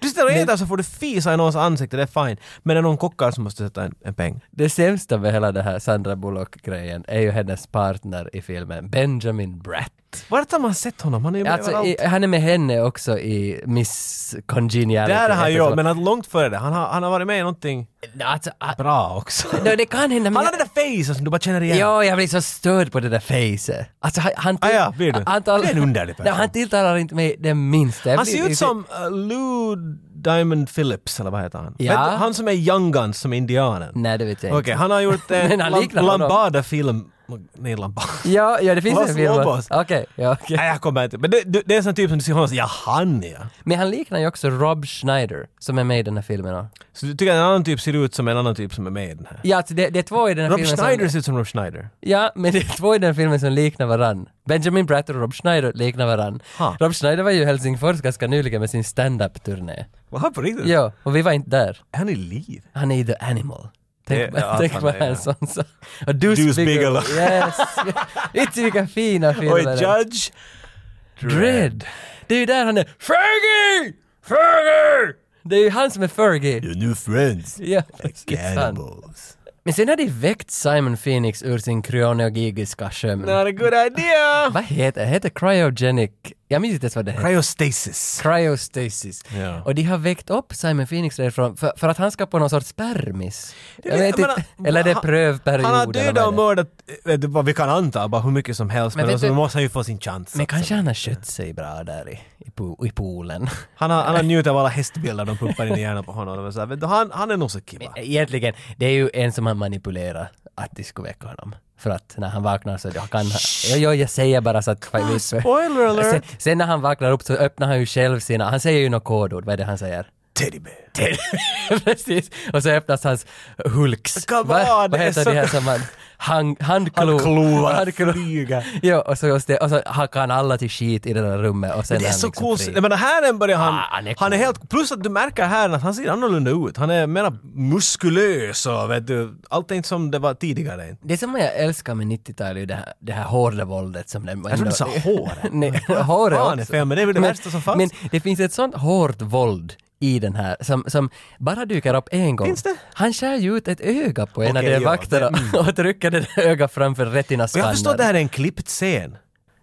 Speaker 1: Du sitter och äter så får du fisa i någons ansikte, det är fine. Men när någon kockar så måste du sätta en, en peng.
Speaker 2: Det sämsta med hela det här Sandra Bullock-grejen är ju hennes partner i filmen, Benjamin Bratt.
Speaker 1: Vart har man sett honom? Han är ju med
Speaker 2: Alltså,
Speaker 1: överallt.
Speaker 2: i, han är med henne också i Miss Congeniality.
Speaker 1: Där har han
Speaker 2: heter
Speaker 1: ju,
Speaker 2: så.
Speaker 1: men att långt före det. Han har, han har varit med i någonting
Speaker 2: Alltså, ah,
Speaker 1: bra också.
Speaker 2: no, det kan hända. men-
Speaker 1: Han har det där facet som du bara känner igen.
Speaker 2: Ja, jag blir så störd på det där fejset. Alltså han, han, till-
Speaker 1: Ah, ja, blir du?
Speaker 2: han, tal-
Speaker 1: Du är en underlig person.
Speaker 2: Nej, han tilltalar inte mig det minsta. Jag
Speaker 1: Han
Speaker 2: blir-
Speaker 1: ser ut som eh, Lou Diamond Phillips, eller vad heter han?
Speaker 2: Ja.
Speaker 1: Vet du, Han som är Young Guns, som är indianen.
Speaker 2: Nej, det vet jag
Speaker 1: Okej,
Speaker 2: inte.
Speaker 1: han har gjort
Speaker 2: Men
Speaker 1: en
Speaker 2: han
Speaker 1: Lam-
Speaker 2: liknar honom.
Speaker 1: Lambada-film Needlampa.
Speaker 2: Ja, ja det finns
Speaker 1: Los
Speaker 2: en film.
Speaker 1: Lobos.
Speaker 2: Okej, ja okej.
Speaker 1: Nej, jag kommer inte. Men det, det det är en sån typ som du ser honom och säger, ja han ja.
Speaker 2: Men han liknar ju också Rob Schneider som är med i den här filmen. och-
Speaker 1: Så du tycker att en annan typ ser ut som en annan typ som är med i den här?
Speaker 2: Ja, alltså det, det är två i den här
Speaker 1: Rob
Speaker 2: filmen
Speaker 1: Schneider
Speaker 2: som...
Speaker 1: ser ut som Rob Schneider.
Speaker 2: Ja, men det är två i den filmen som liknar varann. Benjamin Bratt och Rob Schneider liknar varann.
Speaker 1: Ha.
Speaker 2: Rob Schneider var ju i Helsingfors ganska nyligen med sin stand-up-turné.
Speaker 1: Vad på riktigt?
Speaker 2: Ja, och vi var inte där.
Speaker 1: Är han i liv?
Speaker 2: Han är ju the animal. Tänk,
Speaker 1: Det- ja,
Speaker 2: tänk
Speaker 1: fan,
Speaker 2: vad
Speaker 1: ja.
Speaker 2: han som sa. Och Deuce,
Speaker 1: Deuce Bigelow.
Speaker 2: Yes! Inte vilka fina filmer.
Speaker 1: Och
Speaker 2: det
Speaker 1: i
Speaker 2: är.
Speaker 1: Judge?
Speaker 2: Dredd. Det är ju där han är Fergie! Fergie! Det är ju han som är Fergie.
Speaker 1: Your new friends.
Speaker 2: Ja, det är sant. Men sen har de väckt Simon Phoenix ur sin kryoneogigiska sömn.
Speaker 1: Not a good idea!
Speaker 2: Vad heter det? Heter cryogenic? Jag minns inte ens vad det heter.
Speaker 1: Cryostasis.
Speaker 2: Cryostasis.
Speaker 1: Ja.
Speaker 2: Och de har väckt upp Simon Phoenix därifrån för, för att han ska på någon sorts spermis. Jag vet
Speaker 1: men
Speaker 2: inte.
Speaker 1: han-
Speaker 2: Eller är det
Speaker 1: han-
Speaker 2: prövperiod.
Speaker 1: Han har
Speaker 2: eller vad
Speaker 1: dödat och
Speaker 2: det är.
Speaker 1: mördat, eh, vet du, vad vi kan anta, bara hur mycket som helst.
Speaker 2: Men
Speaker 1: Men,
Speaker 2: vet
Speaker 1: alltså,
Speaker 2: du-
Speaker 1: då måste han ju få sin chans. alltså.
Speaker 2: Men kanske
Speaker 1: eh.
Speaker 2: han har skött sig bra där i, i, po- i poolen.
Speaker 1: Han har, han har njutit av alla hästbilder de pumpar in i hjärnan på honom. Det var så här, vet du, han, han är nog så kiva.
Speaker 2: Egentligen, det är ju en som har manipulerat att de skulle väcka honom. För att när han vaknar så kan han... Jo, jo, jag säger bara så att...
Speaker 1: spoiler alert.
Speaker 2: Sen, sen när han vaknar upp så öppnar han ju själv sina... Han säger ju något kodord, vad är det han säger?
Speaker 1: Teddybear.
Speaker 2: Precis. Och så öppnas hans hulks.
Speaker 1: Come
Speaker 2: Va-
Speaker 1: on,
Speaker 2: vad
Speaker 1: det är
Speaker 2: heter
Speaker 1: så-
Speaker 2: de här som man... Hand, handklo.
Speaker 1: Handklovar
Speaker 2: Handklo.
Speaker 1: flyga.
Speaker 2: Jo, och så, just det, och så hackar han alla till skit i det där rummet och sen
Speaker 1: Det är
Speaker 2: han
Speaker 1: så
Speaker 2: liksom
Speaker 1: coolt.
Speaker 2: fri.
Speaker 1: Jag menar, här än börjar han...
Speaker 2: Ah, han
Speaker 1: han,
Speaker 2: är
Speaker 1: är
Speaker 2: cool.
Speaker 1: helt... Plus att du märker här att han ser annorlunda ut. Han är mera muskulös och vet du, allt är inte som det var tidigare.
Speaker 2: Det som jag älskar med 90-talet är ju det här, det här hårda våldet som den...
Speaker 1: Jag trodde du sa håret.
Speaker 2: Nej, håret
Speaker 1: fan är
Speaker 2: också.
Speaker 1: fel, men det är väl det värsta som fanns.
Speaker 2: Men det finns ett sånt hårt våld i den här som, som bara dyker upp en gång.
Speaker 1: Finns det?
Speaker 2: Han skär ju ut ett öga på en
Speaker 1: Okej,
Speaker 2: av de
Speaker 1: ja, Mm.
Speaker 2: vakterna och trycker det där ögat framför
Speaker 1: Och jag
Speaker 2: retinascannern.
Speaker 1: förstår att det här är en klippt scen.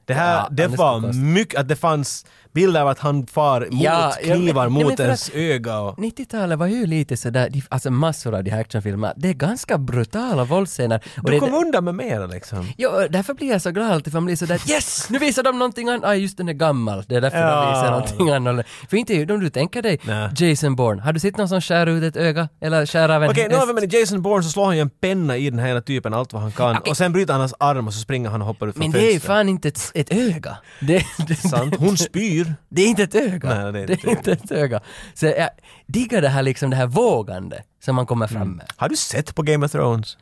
Speaker 1: Det här,
Speaker 2: Ja,
Speaker 1: det
Speaker 2: han är
Speaker 1: var
Speaker 2: skokast.
Speaker 1: mycket, att det fanns bilder av att han far mot
Speaker 2: Ja, ja, men-
Speaker 1: knivar
Speaker 2: nej, men
Speaker 1: mot
Speaker 2: för
Speaker 1: ens
Speaker 2: att-
Speaker 1: öga och...
Speaker 2: 90-talet var ju lite sådär, de- alltså massor av de här actionfilmerna, det är ganska brutala våldsscener. Och
Speaker 1: Du
Speaker 2: det-
Speaker 1: kom undan med mera liksom.
Speaker 2: Ja, därför blir jag så glad alltid, för man blir sådär yes! Nu visar de någonting annat, ah, just den är gammal, det är därför de
Speaker 1: Ja.
Speaker 2: visar någonting annat. För inte är ju de du tänker dig,
Speaker 1: Nej.
Speaker 2: Jason Bourne, har du sett någon som skär ut ett öga eller skär av en
Speaker 1: Okej, nu har vi
Speaker 2: häst?
Speaker 1: med Jason Bourne så slår han ju en penna i den här hela typen allt vad han kan
Speaker 2: Okej.
Speaker 1: och sen bryter han hans arm och så springer han och hoppar ut från
Speaker 2: Men det är ju
Speaker 1: fönstret.
Speaker 2: fan inte ett, ett öga. Det, det,
Speaker 1: Sant. Hon spyr.
Speaker 2: det är inte ett öga.
Speaker 1: Nej,
Speaker 2: det är inte, ett öga. Så jag diggar det här liksom, det här vågande som man kommer fram med.
Speaker 1: Har du sett på Game of Thrones?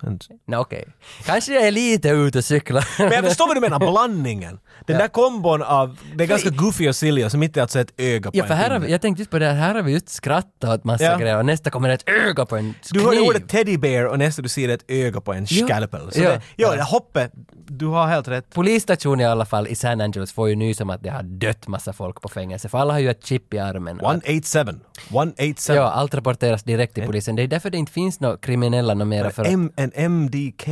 Speaker 2: Nej okej. Kanske jag är lite ute och cyklar.
Speaker 1: Men jag förstår vad du menar, blandningen. Den där kombon av, det är ganska goofy och silly och som inte är alltså ett öga på
Speaker 2: Ja, för
Speaker 1: en
Speaker 2: här har
Speaker 1: pinne.
Speaker 2: vi, jag tänkte just på det här, här har vi just skrattat åt massa
Speaker 1: Ja.
Speaker 2: grejer och nästa kommer ett öga på en
Speaker 1: Du hörde
Speaker 2: kniv.
Speaker 1: ordet teddybear och nästa du ser ett öga på en scalpel. Så
Speaker 2: Ja.
Speaker 1: det, ja,
Speaker 2: Ja.
Speaker 1: det hoppet, du har helt rätt.
Speaker 2: Polisstationen i alla fall i San Angeles får ju nys om att det har dött massa folk på fängelse, för alla har ju ett chip i armen.
Speaker 1: 187. 187.
Speaker 2: Ja, allt rapporteras direkt till polisen. Det är därför det inte finns några kriminella några mera för att...
Speaker 1: M and MDK.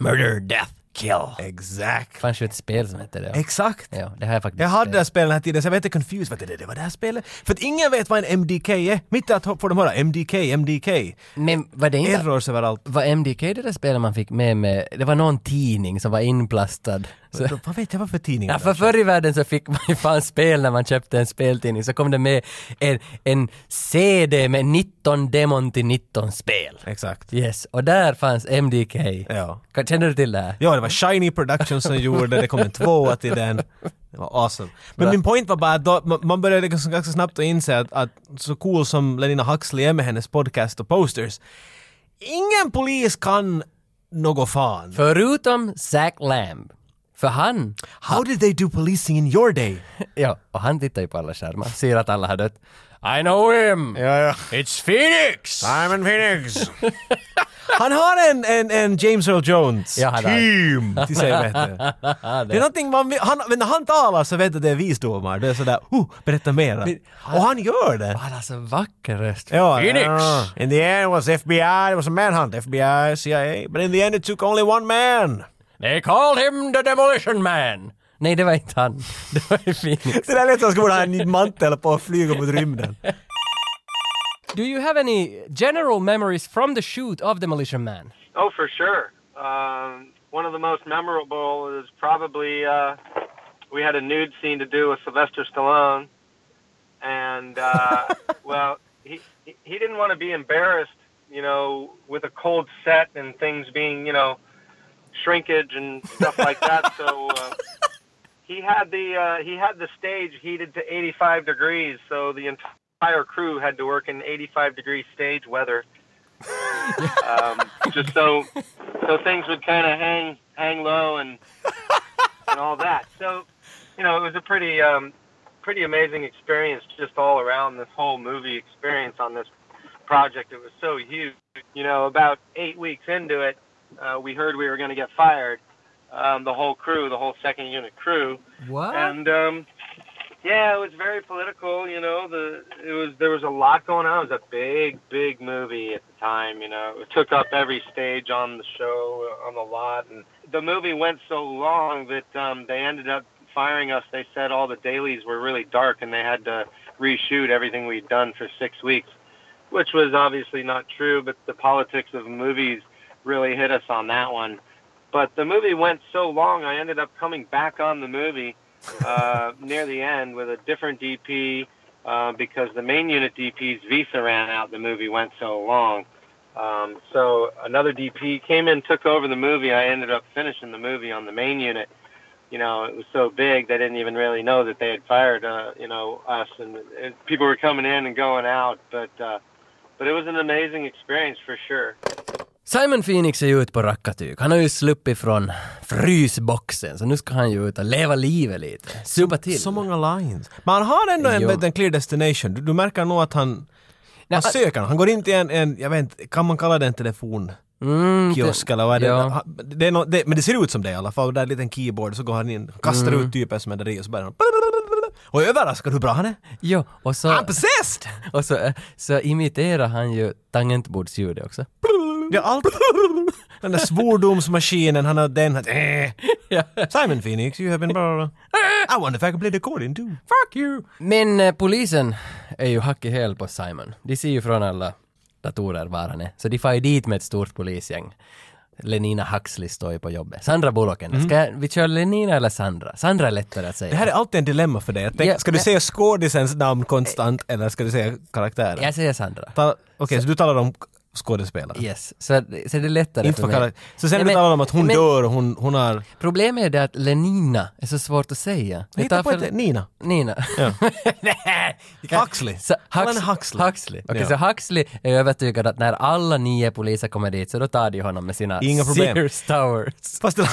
Speaker 2: Murder, death, kill.
Speaker 1: Exakt.
Speaker 2: fanns ju ett spel som hette det.
Speaker 1: Exakt.
Speaker 2: Ja, det här är faktiskt...
Speaker 1: Jag hade det
Speaker 2: spelat.
Speaker 1: här spelet den här tiden så jag var inte confused. Vad är det, det var det här spelet? För att ingen vet vad en MDK är. Mitt i allt får de höra MDK, MDK.
Speaker 2: Men var det inte...
Speaker 1: Errors överallt.
Speaker 2: Var MDK det där spelet man fick med med... Det var någon tidning som var inplastad. Så...
Speaker 1: Så, Vad vet jag vad för tidning
Speaker 2: Ja,
Speaker 1: det
Speaker 2: för
Speaker 1: är?
Speaker 2: förr i världen så fick man ju fan spel när man köpte en speltidning, så kom det med en, en CD med 19 demon till 19 spel.
Speaker 1: Exakt.
Speaker 2: Yes, och där fanns MDK.
Speaker 1: Ja.
Speaker 2: Kan- Känner du till det här?
Speaker 1: Ja, det var Shiny Productions som gjorde det, det kom en tvåa till den. Det var awesome. Men min point var bara att då, man, man började liksom ganska, ganska snabbt att inse att, att så cool som Lenina Huxley är med hennes podcast och posters, ingen polis kan något fan.
Speaker 2: Förutom Zack Lamb. För han,
Speaker 1: How did they do policing in your day?
Speaker 2: ja, och han tittar ju på alla skärmar, ser att alla har dött. I know him!
Speaker 4: It's Phoenix! Simon Phoenix!
Speaker 1: Han har en, en, en James Earl Jones
Speaker 2: Ja, han har.
Speaker 4: Team!
Speaker 1: till sig, vet du. Det är någonting man vill- han, men när han talar så vet du att det är visdomar. Det är sådär, oh, berätta mera. Och han gör det.
Speaker 2: Han har så alltså, vacker röst.
Speaker 1: Ja,
Speaker 4: Phoenix.
Speaker 1: ja. In the end it was FBI, it was a manhunt, FBI, CIA. But in the end it took only one man.
Speaker 2: They called him the demolition man! Nej, det var inte han. Det var ju Phoenix.
Speaker 1: Det där lät som att han skulle ha en mantel på och flyga mot rymden.
Speaker 2: Do you have any general memories from the shoot of Demolition Man?
Speaker 3: Oh, for sure. Um, one of the most memorable is probably uh, we had a nude scene to do with Sylvester Stallone, and uh, well, he he he didn't want to be embarrassed, you know, with a cold set and things being, you know, shrinkage and stuff like that. So uh, he had the uh, he had the stage heated to 85 degrees, so the entire crew had to work in 85 degree stage weather. um, just so so things would kind of hang hang low and and all that. So you know, it was a pretty um, pretty amazing experience just all around this whole movie experience on this project. It was so huge. You know, about eight weeks into it, uh, we heard we were going to get fired. Um, the whole crew, the whole second unit crew,
Speaker 2: What?
Speaker 3: and um, yeah, it was very political. You know, the it was there was a lot going on. It was a big, big movie at the time. You know, it took up every stage on the show, uh, on the lot, and the movie went so long that um, they ended up firing us. They said all the dailies were really dark, and they had to reshoot everything we'd done for six weeks, which was obviously not true. But the politics of movies really hit us on that one. But the movie went so long, I ended up coming back on the movie uh, near the end with a different DP uh, because the main unit DP's visa ran out. The movie went so long. Um, so another DP came in, took over the movie. I ended up finishing the movie on the main unit. You know, it was so big they didn't even really know that they had fired, uh, you know, us, and, and people were coming in and going out. But uh, but it was an amazing experience for sure.
Speaker 2: Simon Phoenix är ju ute på rackartyg. Han har ju sluppit från frysboxen, så nu ska han ju ut och leva livet lite. Supa till.
Speaker 1: Så många lines. Men han har ändå en,
Speaker 2: Jo.
Speaker 1: vet, en clear destination. Du, du märker nog att han... Han
Speaker 2: Nej,
Speaker 1: söker, han går in till en, en, jag vet inte, kan man kalla det en telefon?
Speaker 2: mm,
Speaker 1: Kiosk eller vad är det?
Speaker 2: ja.
Speaker 1: Ha- det, är nå- det Men det ser ut som det i alla fall, där är en liten keyboard, så går han in, kastar ut typen som är där i och så börjar han... Och är överraskad hur bra han är!
Speaker 2: Jo, och så,
Speaker 1: I'm possessed!
Speaker 2: och så, eh, så imiterar han ju tangentbordsljudet också.
Speaker 1: Det är allt... Den där svordomsmaskinen, han har den... Han, eh.
Speaker 2: Ja.
Speaker 1: Simon Phoenix, you have been blah, blah, blah. I wonder if I can play the accordion too.
Speaker 2: Fuck you! Men eh, polisen är ju hack i häl på Simon. De ser ju från alla datorer var han är. Så de far ju dit med ett stort polisgäng. Lenina Huxley står ju på jobbet. Sandra Bullock
Speaker 1: Mm.
Speaker 2: ändå. Ska jag- vi köra Lenina eller Sandra? Sandra är lättare att
Speaker 1: Det
Speaker 2: säga.
Speaker 1: här är alltid en dilemma för dig. Jag tänker,
Speaker 2: Ja,
Speaker 1: ska du
Speaker 2: men-
Speaker 1: säga skådisens namn konstant eller ska du säga karaktären?
Speaker 2: Jag säger Sandra.
Speaker 1: Ta- Okej, så du talar om skådespelare?
Speaker 2: Yes, så, så det är lättare
Speaker 1: Inte för
Speaker 2: mig.
Speaker 1: karaktär. Så sen
Speaker 2: Nej,
Speaker 1: när du
Speaker 2: men-
Speaker 1: talar om att hon
Speaker 2: men
Speaker 1: dör och hon, hon har...
Speaker 2: Problemet är det att Lenina är så svårt att säga. Det
Speaker 1: Hitta
Speaker 2: tar
Speaker 1: på
Speaker 2: för-
Speaker 1: ett... Nina.
Speaker 2: Nina.
Speaker 1: Ja.
Speaker 2: Nej, det kan-
Speaker 1: Huxley.
Speaker 2: Så,
Speaker 1: Kalla
Speaker 2: Hux,
Speaker 1: henne
Speaker 2: Huxley.
Speaker 1: Huxley.
Speaker 2: Okej,
Speaker 1: Ja.
Speaker 2: så Huxley är övertygad att när alla nio poliser kommer dit så då tar de honom med sina
Speaker 1: Inga problem.
Speaker 2: Sears Towers.
Speaker 1: Fast det,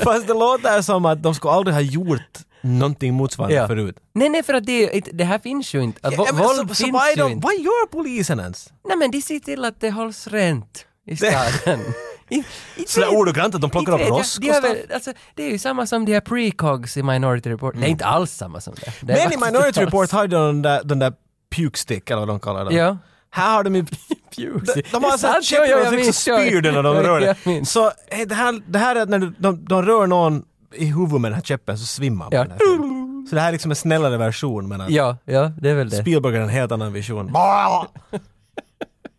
Speaker 1: fast det låter som att de skulle aldrig ha gjort någonting motsvarande
Speaker 2: Ja.
Speaker 1: förut.
Speaker 2: Nej, nej, för att det, är ju inte- det här finns ju inte. Att
Speaker 1: Ja,
Speaker 2: vo-
Speaker 1: men
Speaker 2: våld
Speaker 1: så, så
Speaker 2: finns
Speaker 1: vad, är
Speaker 2: ju
Speaker 1: de,
Speaker 2: inte.
Speaker 1: vad gör polisen ens?
Speaker 2: Nej, men de ser till att det hålls rent i staden. I- i-
Speaker 1: Sådär ordagrant att de plockar
Speaker 2: Inte
Speaker 1: upp
Speaker 2: vet
Speaker 1: en
Speaker 2: jag.
Speaker 1: osk
Speaker 2: De
Speaker 1: och
Speaker 2: har väl-
Speaker 1: stuff?
Speaker 2: alltså, Det är ju samma som de här precogs i Minority Report. Det är inte alls samma som det. det
Speaker 1: Mm. Men
Speaker 2: är
Speaker 1: i
Speaker 2: faktiskt
Speaker 1: Minority
Speaker 2: inte alls.
Speaker 1: Report har ju de den där, den där puke stick eller vad de kallar den.
Speaker 2: Ja.
Speaker 1: Här har de ju...
Speaker 2: Pukes.
Speaker 1: De, de
Speaker 2: Det
Speaker 1: har
Speaker 2: är
Speaker 1: sån här
Speaker 2: sant, jo, jo, jag
Speaker 1: käppar som
Speaker 2: minns, jo.
Speaker 1: spyr den när de
Speaker 2: Ja,
Speaker 1: rör
Speaker 2: jag
Speaker 1: den.
Speaker 2: minns.
Speaker 1: Så eh, det här, det här är att när du, de, de rör någon i huvudet med den här käppen så svimmar man.
Speaker 2: Ja.
Speaker 1: på den här filmen. Så det här är liksom en snällare version men att
Speaker 2: Ja, ja, det är väl det.
Speaker 1: Spielberg har en helt annan vision.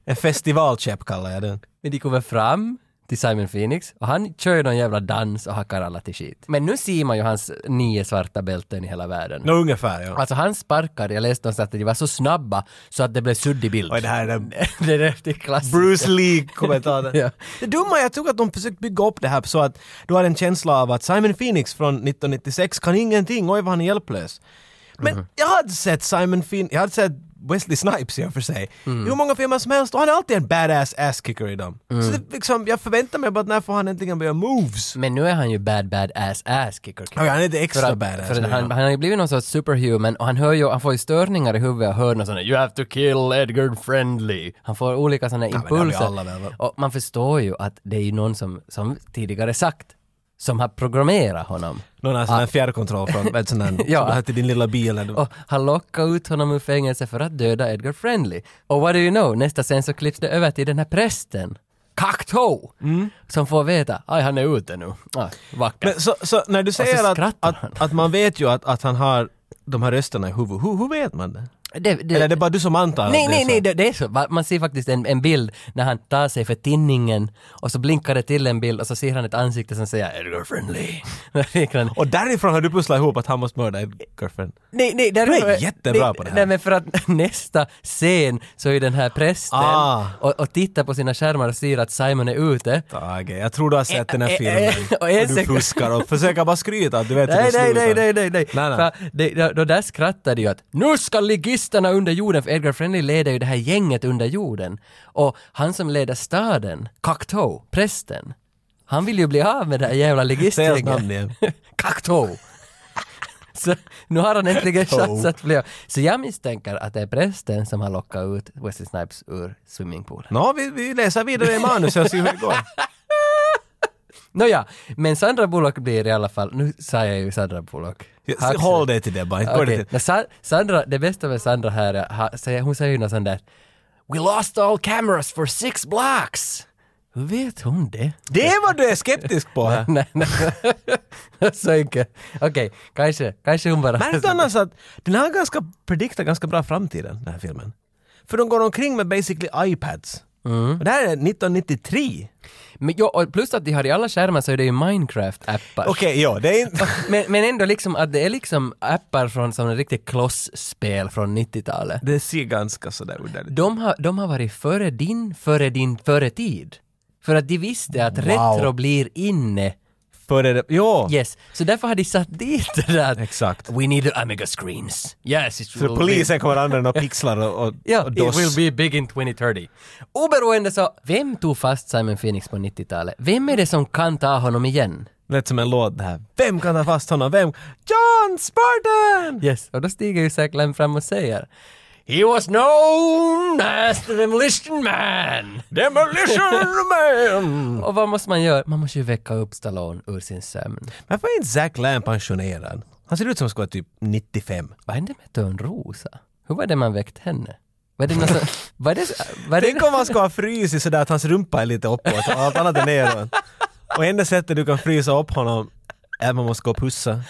Speaker 1: en festivalkäpp kallar jag den.
Speaker 2: Men de kommer fram till Simon Phoenix och han kör ju någon jävla dans och hackar alla till skit. Men nu ser man ju hans nio svarta bälten i hela världen.
Speaker 1: Nå ungefär ja.
Speaker 2: Alltså han sparkade, jag läste någonstans att de var så snabba så att det blev suddig bild.
Speaker 1: Oj, det här är den
Speaker 2: det är det är klassiskt.
Speaker 1: Bruce Lee-kommentaren.
Speaker 2: Ja.
Speaker 1: Det dumma jag tror att de försökt bygga upp det här så att du har en känsla av att Simon Phoenix från 1996 kan ingenting, oj vad han är hjälplös. Men
Speaker 2: Mhm.
Speaker 1: jag hade sett Simon Phoenix, jag hade sett Wesley Snipes i och för sig.
Speaker 2: Mm.
Speaker 1: I hur många filmer som helst och han är alltid en badass ass-kicker i dem.
Speaker 2: Mm.
Speaker 1: Så det, liksom, jag förväntar mig bara att när får han äntligen börja moves?
Speaker 2: Men nu är han ju bad bad ass ass kicker. kicker.
Speaker 1: Okej, han är inte extra
Speaker 2: för att,
Speaker 1: badass
Speaker 2: För att
Speaker 1: nu,
Speaker 2: han,
Speaker 1: ja.
Speaker 2: han har ju blivit någon sorts superhuman och han, hör ju, han får ju störningar i huvudet och hör någon sån här “You have to kill Edgar Friendly”. Han får olika såna
Speaker 1: men det har vi
Speaker 2: impulser.
Speaker 1: alla väl, va?
Speaker 2: och man förstår ju att det är ju någon som, som tidigare sagt, som har programmerat honom.
Speaker 1: Någon har sån här fjärrkontroll från, vet sån här,
Speaker 2: Ja.
Speaker 1: ja. här till din lilla bil. eller-
Speaker 2: Och han lockar ut honom ur fängelse för att döda Edgar Friendly. Och what do you know, nästa scen så klipps det över till den här prästen. Kakto! Som får veta, aj han är ute nu. Ah, vackert.
Speaker 1: Mm. Men så, så när du säger att,
Speaker 2: skrattar han.
Speaker 1: att, att man vet ju att, att han har de här rösterna i huvudet, hur, hur vet man det?
Speaker 2: Det, det,
Speaker 1: Eller är det bara du som antar
Speaker 2: Nej,
Speaker 1: att det
Speaker 2: nej,
Speaker 1: är
Speaker 2: nej,
Speaker 1: så?
Speaker 2: det, det är så. Va- Man ser faktiskt en, en bild när han tar sig för tinningen och så blinkar det till en bild och så ser han ett ansikte som säger “Edgar Friendly”. Han,
Speaker 1: Och därifrån har du pusslat ihop att han måste mörda Edgarfen.
Speaker 2: nej, nej, där,
Speaker 1: Du är jättebra på det här.
Speaker 2: Nej, men för att nästa scen så är den här prästen
Speaker 1: Ah.
Speaker 2: och, och tittar på sina skärmar och ser att Simon är ute.
Speaker 1: Tage, jag tror du har sett den här
Speaker 2: Eh, eh,
Speaker 1: filmen.
Speaker 2: eh, och
Speaker 1: Och
Speaker 2: en
Speaker 1: du
Speaker 2: sekund-
Speaker 1: fuskar och försöker bara skryta att du vet hur
Speaker 2: Nej,
Speaker 1: det
Speaker 2: nej,
Speaker 1: slutar.
Speaker 2: nej, nej, nej, nej.
Speaker 1: Nej, nej.
Speaker 2: För det, då, då där skrattade ju att nu ska ligisterna under jorden, för Edgar Friendly leder ju det här gänget under jorden. Och han som leder staden, Cocteau, prästen, han vill ju bli av med det här jävla
Speaker 1: Säg hans namn
Speaker 2: ligistgänget.
Speaker 1: igen.
Speaker 2: Cocteau! Så nu har han äntligen chans att bli av. Så jag misstänker att det är prästen som har lockat ut Wesley Snipes ur swimmingpoolen.
Speaker 1: Nå, vi, vi läser vidare i manuset och ser hur det går.
Speaker 2: Nåja, men Sandra Bullock blir i alla fall, nu sa jag ju Sandra Bullock. Huxley.
Speaker 1: Håll dig till det bara. inte gå
Speaker 2: Okej,
Speaker 1: till-
Speaker 2: men Sa- Sandra, det bästa med Sandra här är, ha, säger, hon säger ju något sånt där “We lost all cameras for six blocks”. Hur vet hon det?
Speaker 1: Det är vad du är skeptisk på här.
Speaker 2: nej, nej. Så enkelt. Okej, kanske, kanske hon bara...
Speaker 1: Märkte annars att den här ganska prediktar ganska bra framtiden, den här filmen. För de går omkring med basically iPads. Och det här är 1993.
Speaker 2: Men, ja, och plus att de har i alla skärmar så är det ju Minecraft-appar.
Speaker 1: Okej, ja, det är inte...
Speaker 2: Men, men ändå liksom att det är liksom appar från som en riktigt kloss-spel från 90-talet.
Speaker 1: Det ser ganska sådär udda ut.
Speaker 2: De har, de har varit före din, före din, före tid. För att de visste att retro blir inne
Speaker 1: Före det... Ja!
Speaker 2: Yes, så därför har de satt dit det där.
Speaker 1: Exakt.
Speaker 2: We need Amiga screens. Yes, it
Speaker 1: Så polisen kommer använda några pixlar och, och,
Speaker 2: Ja,
Speaker 1: och
Speaker 2: it
Speaker 1: DOS.
Speaker 2: will be big in 2030. Oberoende så, vem tog fast Simon Phoenix på 90-talet? Vem är det som kan ta honom igen?
Speaker 1: Lät som en låt det här. Vem kan ta fast honom? Vem? John Spartan!
Speaker 2: Yes. Och då stiger ju Zack Lamb fram och säger He was known as the demolition man!
Speaker 1: Demolition man!
Speaker 2: Och vad måste man göra? Man måste ju väcka upp Stallone ur sin sömn.
Speaker 1: Varför är inte Zack Lamb pensionerad? Han ser ut som han skulle vara typ 95.
Speaker 2: Vad hände med Törnrosa? Hur var det man väckte henne? Var det någon som... Var det... Var det
Speaker 1: Tänk om han ska ha frysit sådär att hans rumpa är lite uppåt och allt annat är neråt. Och enda sättet du kan frysa upp honom är att man måste gå och pussa.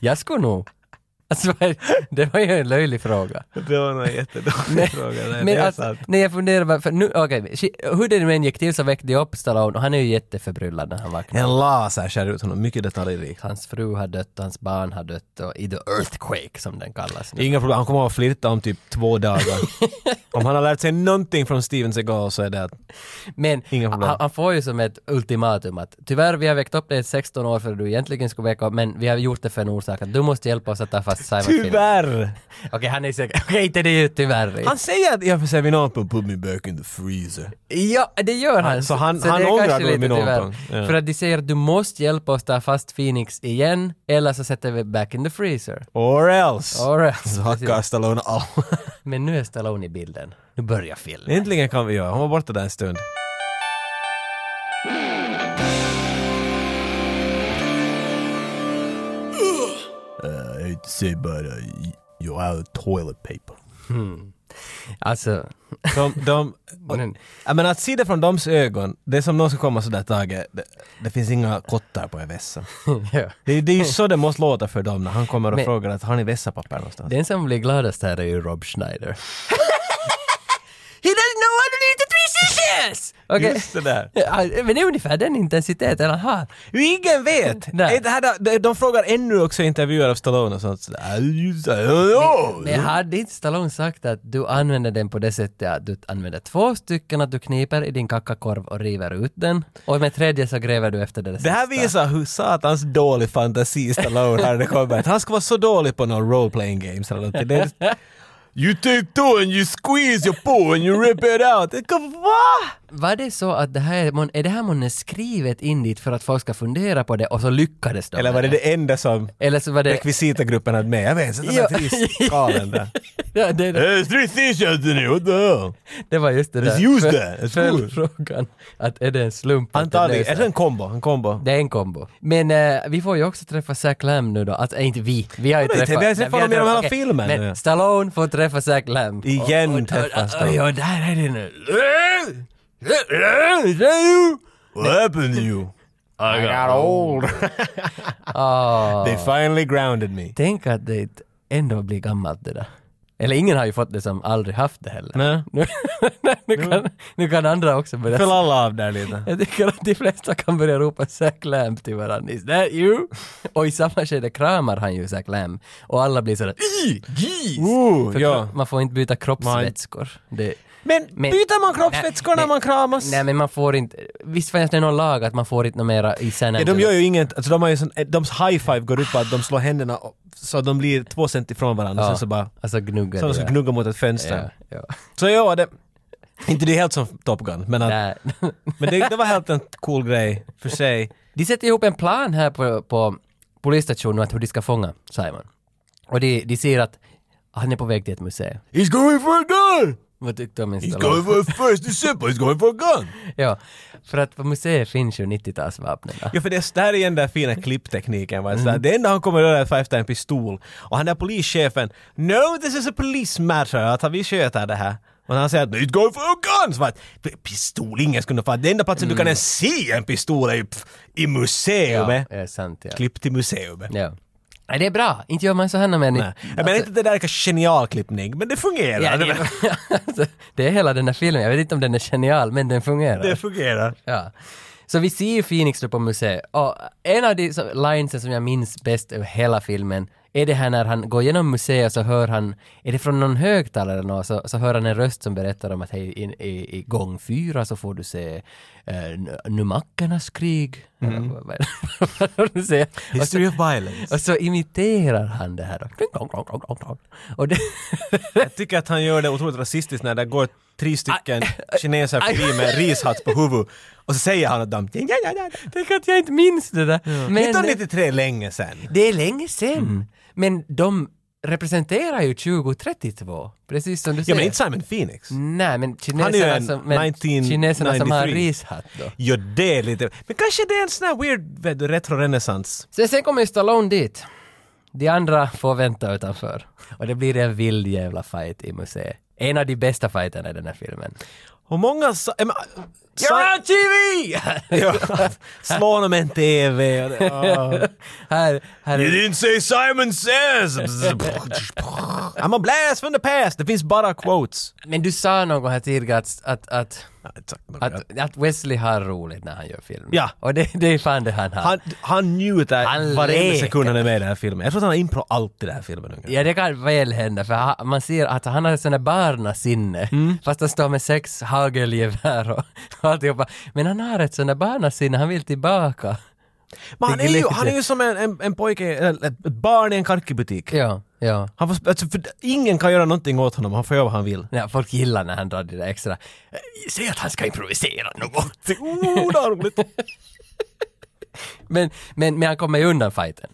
Speaker 2: Jag skulle nog... Alltså, det var ju en löjlig fråga.
Speaker 1: Det var nog en jättedålig fråga. Nej, det
Speaker 2: Men
Speaker 1: är
Speaker 2: alltså,
Speaker 1: sant.
Speaker 2: när jag funderar bara- för nu, okej, shi- hur det nu än gick till så väckte jag upp Stallone och han är ju jätteförbryllad när han vaknar.
Speaker 1: En laser skär ut honom, mycket detaljrikt.
Speaker 2: Hans fru har dött, och hans barn har dött och i the earthquake som den kallas nu.
Speaker 1: Inga problem, han kommer att flirta om typ två dagar. om han har lärt sig någonting från Steven Seagal så är det att
Speaker 2: Men
Speaker 1: Inga problem.
Speaker 2: han, han får ju som ett ultimatum att tyvärr vi har väckt upp dig 16 år före du egentligen skulle väcka upp men vi har gjort det för en orsak att du måste hjälpa oss att ta fast Simon Phoenix.
Speaker 1: tyvärr!
Speaker 2: Okej, han är säker. Okej, inte det är ju tyvärr.
Speaker 1: Han säger att jag får säga vid någon punkt, put me back in the freezer.
Speaker 2: Ja, det gör han.
Speaker 1: Så han- han
Speaker 2: det är
Speaker 1: ångrar
Speaker 2: kanske
Speaker 1: då
Speaker 2: lite
Speaker 1: vid någon
Speaker 2: tyvärr.
Speaker 1: punkt. Ja.
Speaker 2: För att de säger att du måste hjälpa oss ta fast Phoenix igen, eller så sätter vi back in the freezer.
Speaker 1: Or else!
Speaker 2: All right.
Speaker 1: Så hackar Stallone oh. alla.
Speaker 2: Men nu är Stallone i bilden. Nu börjar filmen.
Speaker 1: Äntligen kan vi göra, han var borta där en stund.
Speaker 4: I hate to say, but uh, y- you're out of toilet paper.
Speaker 2: Alltså,
Speaker 1: De, de,
Speaker 2: Men-
Speaker 1: ja, men att se det från dems ögon, det är som någon ska komma sådär Tage, det, det finns inga kottar på er vässa.
Speaker 2: ja.
Speaker 1: Det, det är ju så det måste låta för dem när han kommer och
Speaker 2: Men-
Speaker 1: frågar att har ni vässapapper någonstans?
Speaker 2: den som blir gladast här är ju Rob Schneider. He doesn't know how to leave the three sisters! Okej.
Speaker 1: Just det där.
Speaker 2: Ja, Men det är ungefär den intensiteten han har.
Speaker 1: Ingen vet!
Speaker 2: Nej.
Speaker 1: Är det här, de, de frågar ännu också i intervjuer av Stallone och sånt sådär. "I just- I don't know."
Speaker 2: Men hade inte Stallone sagt att du använder den på det sättet att du använder två stycken, att du kniper i din kackakorv och river ut den och med tredje så gräver du efter det,
Speaker 1: Det här
Speaker 2: sista.
Speaker 1: visar hur satans dålig fantasi Stallone har när det kommer. Att Han ska vara så dålig på någon role-playing games eller någonting. Det är- You take two and you squeeze your paw and you rip it out. Det kan- Va?
Speaker 2: Var det så att det här, mon- är det här månne skrivet in dit för att folk ska fundera på det och så lyckades de?
Speaker 1: Eller var det
Speaker 2: med
Speaker 1: det enda som
Speaker 2: Eller så var det...
Speaker 1: rekvisitagruppen hade med? Jag vet inte, den där
Speaker 2: Ja.
Speaker 1: tristgalen där. Eh,
Speaker 2: Ja, det,
Speaker 4: There's three things out there. What the hell?
Speaker 2: det var just det där.
Speaker 4: Let's use that. It's
Speaker 2: Följ frågan att är det en slump att det blev
Speaker 1: Antagligen.
Speaker 2: så
Speaker 1: Är
Speaker 2: här?
Speaker 1: det en kombo? En kombo?
Speaker 2: Det är en kombo. Men eh, vi får ju också träffa Zack Lamb nu då. Alltså eh, inte vi. Vi har ju
Speaker 1: Vadå inte?
Speaker 2: träffat...
Speaker 1: Vi har ju
Speaker 2: Nej,
Speaker 1: träffat honom genom
Speaker 2: träffat-
Speaker 1: hela
Speaker 2: okej,
Speaker 1: filmen.
Speaker 2: Men
Speaker 1: Ja.
Speaker 2: Stallone får träffa Zack Lamb.
Speaker 1: Igen
Speaker 2: Och- och-
Speaker 1: träffas
Speaker 2: och- och-
Speaker 1: de.
Speaker 2: Ja, där är det nu.
Speaker 4: What happened to you? I got old.
Speaker 2: Ah,
Speaker 1: They finally grounded me.
Speaker 2: Tänk att det ändå blir gammalt det där. Eller ingen har ju fått det som aldrig haft det heller.
Speaker 1: Nej.
Speaker 2: Nu, nu, kan, nu kan andra också börja...
Speaker 1: Föll alla av där lite.
Speaker 2: Jag tycker att de flesta kan börja ropa Zack Lamb till varandra. Is that you? Och i samma skede kramar han ju Zack Lamb. Och alla blir sådär "Ih, Jeez!
Speaker 1: Ooh,
Speaker 2: För
Speaker 1: ja.
Speaker 2: kro- Man får inte byta kroppsvätskor. Det,
Speaker 1: Men,
Speaker 2: Men-
Speaker 1: byter man kroppsvätskor
Speaker 2: Nej,
Speaker 1: när
Speaker 2: nej.
Speaker 1: man kramas?
Speaker 2: nej men man får inte... Visst fanns det någon lag att man får inte något mera i San
Speaker 1: Ja,
Speaker 2: Angeles?
Speaker 1: de gör ju inget, alltså de har ju sån, eh, de high five går ut på att de slår händerna och- så de blir två cent ifrån varandra
Speaker 2: Ja.
Speaker 1: sen så bara,
Speaker 2: Alltså gnuggar
Speaker 1: så de ska
Speaker 2: det.
Speaker 1: gnugga mot ett fönster.
Speaker 2: Ja, ja.
Speaker 1: Så ja, det, inte det är helt som Top Gun, men, att,
Speaker 2: Nej.
Speaker 1: men det, det var helt en cool grej för sig.
Speaker 2: De sätter ihop en plan här på, på polisstationen att hur de ska fånga Simon. Och de, de ser att han är på väg till ett museum.
Speaker 4: He's going for a gun!
Speaker 2: Vad tyckte du om
Speaker 4: He's going
Speaker 2: installationen?
Speaker 4: for a first December, he's going for a gun!
Speaker 2: Ja, för att på museet finns ju 90-talsvapnen.
Speaker 1: Ja, för det är där igen den där fina klipptekniken. Va? Mm. Det enda han kommer röra är att efter en pistol. Och han där polischefen, no this is a police matter, att han, vi sköter det här. Och han säger att “It's going for a gun!” så bara, Pistol, ingen skulle få. Den enda platsen du kan ens se en pistol är ju pff, i
Speaker 2: Ja,
Speaker 1: museet.
Speaker 2: det är sant ja.
Speaker 1: Klipp till museet.
Speaker 2: ja. Nej, det är bra. Inte gör man så här när man...
Speaker 1: Nej. Jag menar inte att det där är kanske genial klippning, men det fungerar.
Speaker 2: Ja,
Speaker 1: Alltså- det,
Speaker 2: det, alltså, det är hela den här filmen. Jag vet inte om den är genial, men den fungerar.
Speaker 1: det fungerar.
Speaker 2: Ja. Så vi ser Phoenix då på museet och en av de som- linesen som jag minns bäst över hela filmen är det här när han går genom museet så hör han, är det från någon högtalare eller något, så, så hör han en röst som berättar om att hej, i, i, i gång fyra så får du se eh, n- numakkernas krig. Eller vad- vad- vad får du se? Och så-
Speaker 1: Mm. History of violence.
Speaker 2: Och så imiterar han det här då. Kling, klong, klong, klong, klong, klong. Och det,
Speaker 1: Jag tycker att han gör det otroligt rasistiskt när det går tre stycken kineser
Speaker 2: aj.
Speaker 1: förbi med rishatt på huvudet och så säger han att de...
Speaker 2: tänk att jag inte minns det där. Men-
Speaker 1: 1993 länge sen.
Speaker 2: Det är länge sen. Mm. Men de representerar ju 2032, precis som du
Speaker 1: Ja
Speaker 2: säger.
Speaker 1: men inte Simon Phoenix.
Speaker 4: Mm.
Speaker 2: Nej, men
Speaker 1: Han är ju
Speaker 2: kineserna,
Speaker 1: en
Speaker 2: som, men kineserna som har
Speaker 1: 1993.
Speaker 2: rishatt då.
Speaker 1: Jo det är lite... Men kanske det är en sån här weird vet du, retro-renässans.
Speaker 2: Sen, sen kommer ju Stallone dit. De andra får vänta utanför. Och det blir en vild jävla fight i museet. En av de bästa fighterna i den här filmen.
Speaker 1: Och många sa... Äh, men,
Speaker 2: You're on TV!
Speaker 1: ja, slå honom en TV. Och det, ah.
Speaker 2: här, här
Speaker 4: You
Speaker 2: är...
Speaker 4: didn't say Simon says!
Speaker 1: I'm a blast from the past. Det finns bara quotes.
Speaker 2: Men du sa någon gång här tidigare att, att, att,
Speaker 1: Ja, exakt.
Speaker 2: att, att Wesley har roligt när han gör film.
Speaker 1: Ja.
Speaker 2: Och det, det är fan det han har.
Speaker 1: Han, han
Speaker 2: Han
Speaker 1: njuter varenda
Speaker 2: leker.
Speaker 1: sekund han är med i den här filmen. Jag tror att han har impro allt i den här filmen. ungefär.
Speaker 2: Ja det kan väl hända för ha- man ser att han har sådana barnasinne
Speaker 1: Mm.
Speaker 2: fast han står med sex hagelgevär och, och alltihopa. Men han har ett sådant där barnasinne, han vill tillbaka.
Speaker 1: Men han
Speaker 2: Det är
Speaker 1: är ju,
Speaker 2: lite-
Speaker 1: han är ju som en, en, en pojke, eller ett barn i en karkibutik.
Speaker 2: Ja, ja.
Speaker 1: Han får, alltså, för ingen kan göra någonting åt honom, han får göra vad han vill.
Speaker 2: Nej, folk gillar när han drar det där extra. "Eh, Säg att han ska improvisera något.
Speaker 1: Oh, det var roligt!
Speaker 2: Men, men, men han kommer ju undan fighten.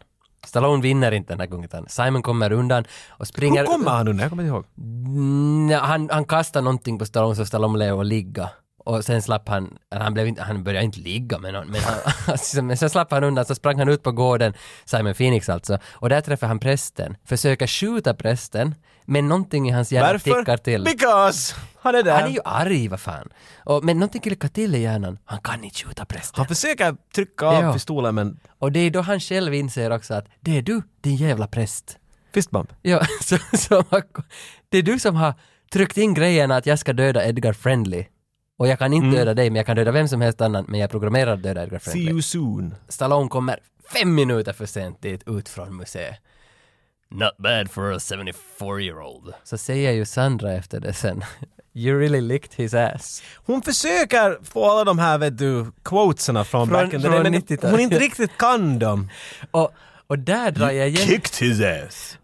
Speaker 2: Stallone vinner inte den här gången utan Simon kommer undan och springer...
Speaker 1: Hur kommer han undan? Jag kommer inte ihåg.
Speaker 2: Mm, han, han kastade någonting på Stallone så Stallone blev att ligga. Och sen slapp han, eller han, blev inte, han började inte ligga med någon, men, han, alltså, men sen slapp han undan, så sprang han ut på gården, Simon Phoenix alltså, och där träffar han prästen, försöker skjuta prästen, men någonting i hans hjärna tickar till.
Speaker 1: Because! Han är där.
Speaker 2: Han är ju arg, vad fan. Och, men någonting klickar till i hjärnan, han kan inte skjuta prästen.
Speaker 1: Han försöker trycka av
Speaker 2: Ja.
Speaker 1: pistolen men...
Speaker 2: Och det är då han själv inser också att det är du, din jävla präst.
Speaker 1: Fistbump.
Speaker 2: Ja, så, så, det är du som har tryckt in grejen att jag ska döda Edgar Friendly. Och jag kan inte döda dig, men jag kan döda vem som helst annan, men jag är programmerad att döda Edgar
Speaker 1: See
Speaker 2: Friendly.
Speaker 1: you soon.
Speaker 2: Stallone kommer fem minuter för sent dit ut från museet. Not bad for a 74 year old. Så säger ju Sandra efter det sen. You really licked his ass.
Speaker 1: Hon försöker få alla de här vet du, quotesarna från,
Speaker 2: Från-
Speaker 1: back in the
Speaker 2: från
Speaker 1: day, men
Speaker 2: 90-talet.
Speaker 1: hon inte riktigt kan dem.
Speaker 2: Och, och där drar jag igen,
Speaker 4: Kicked his ass.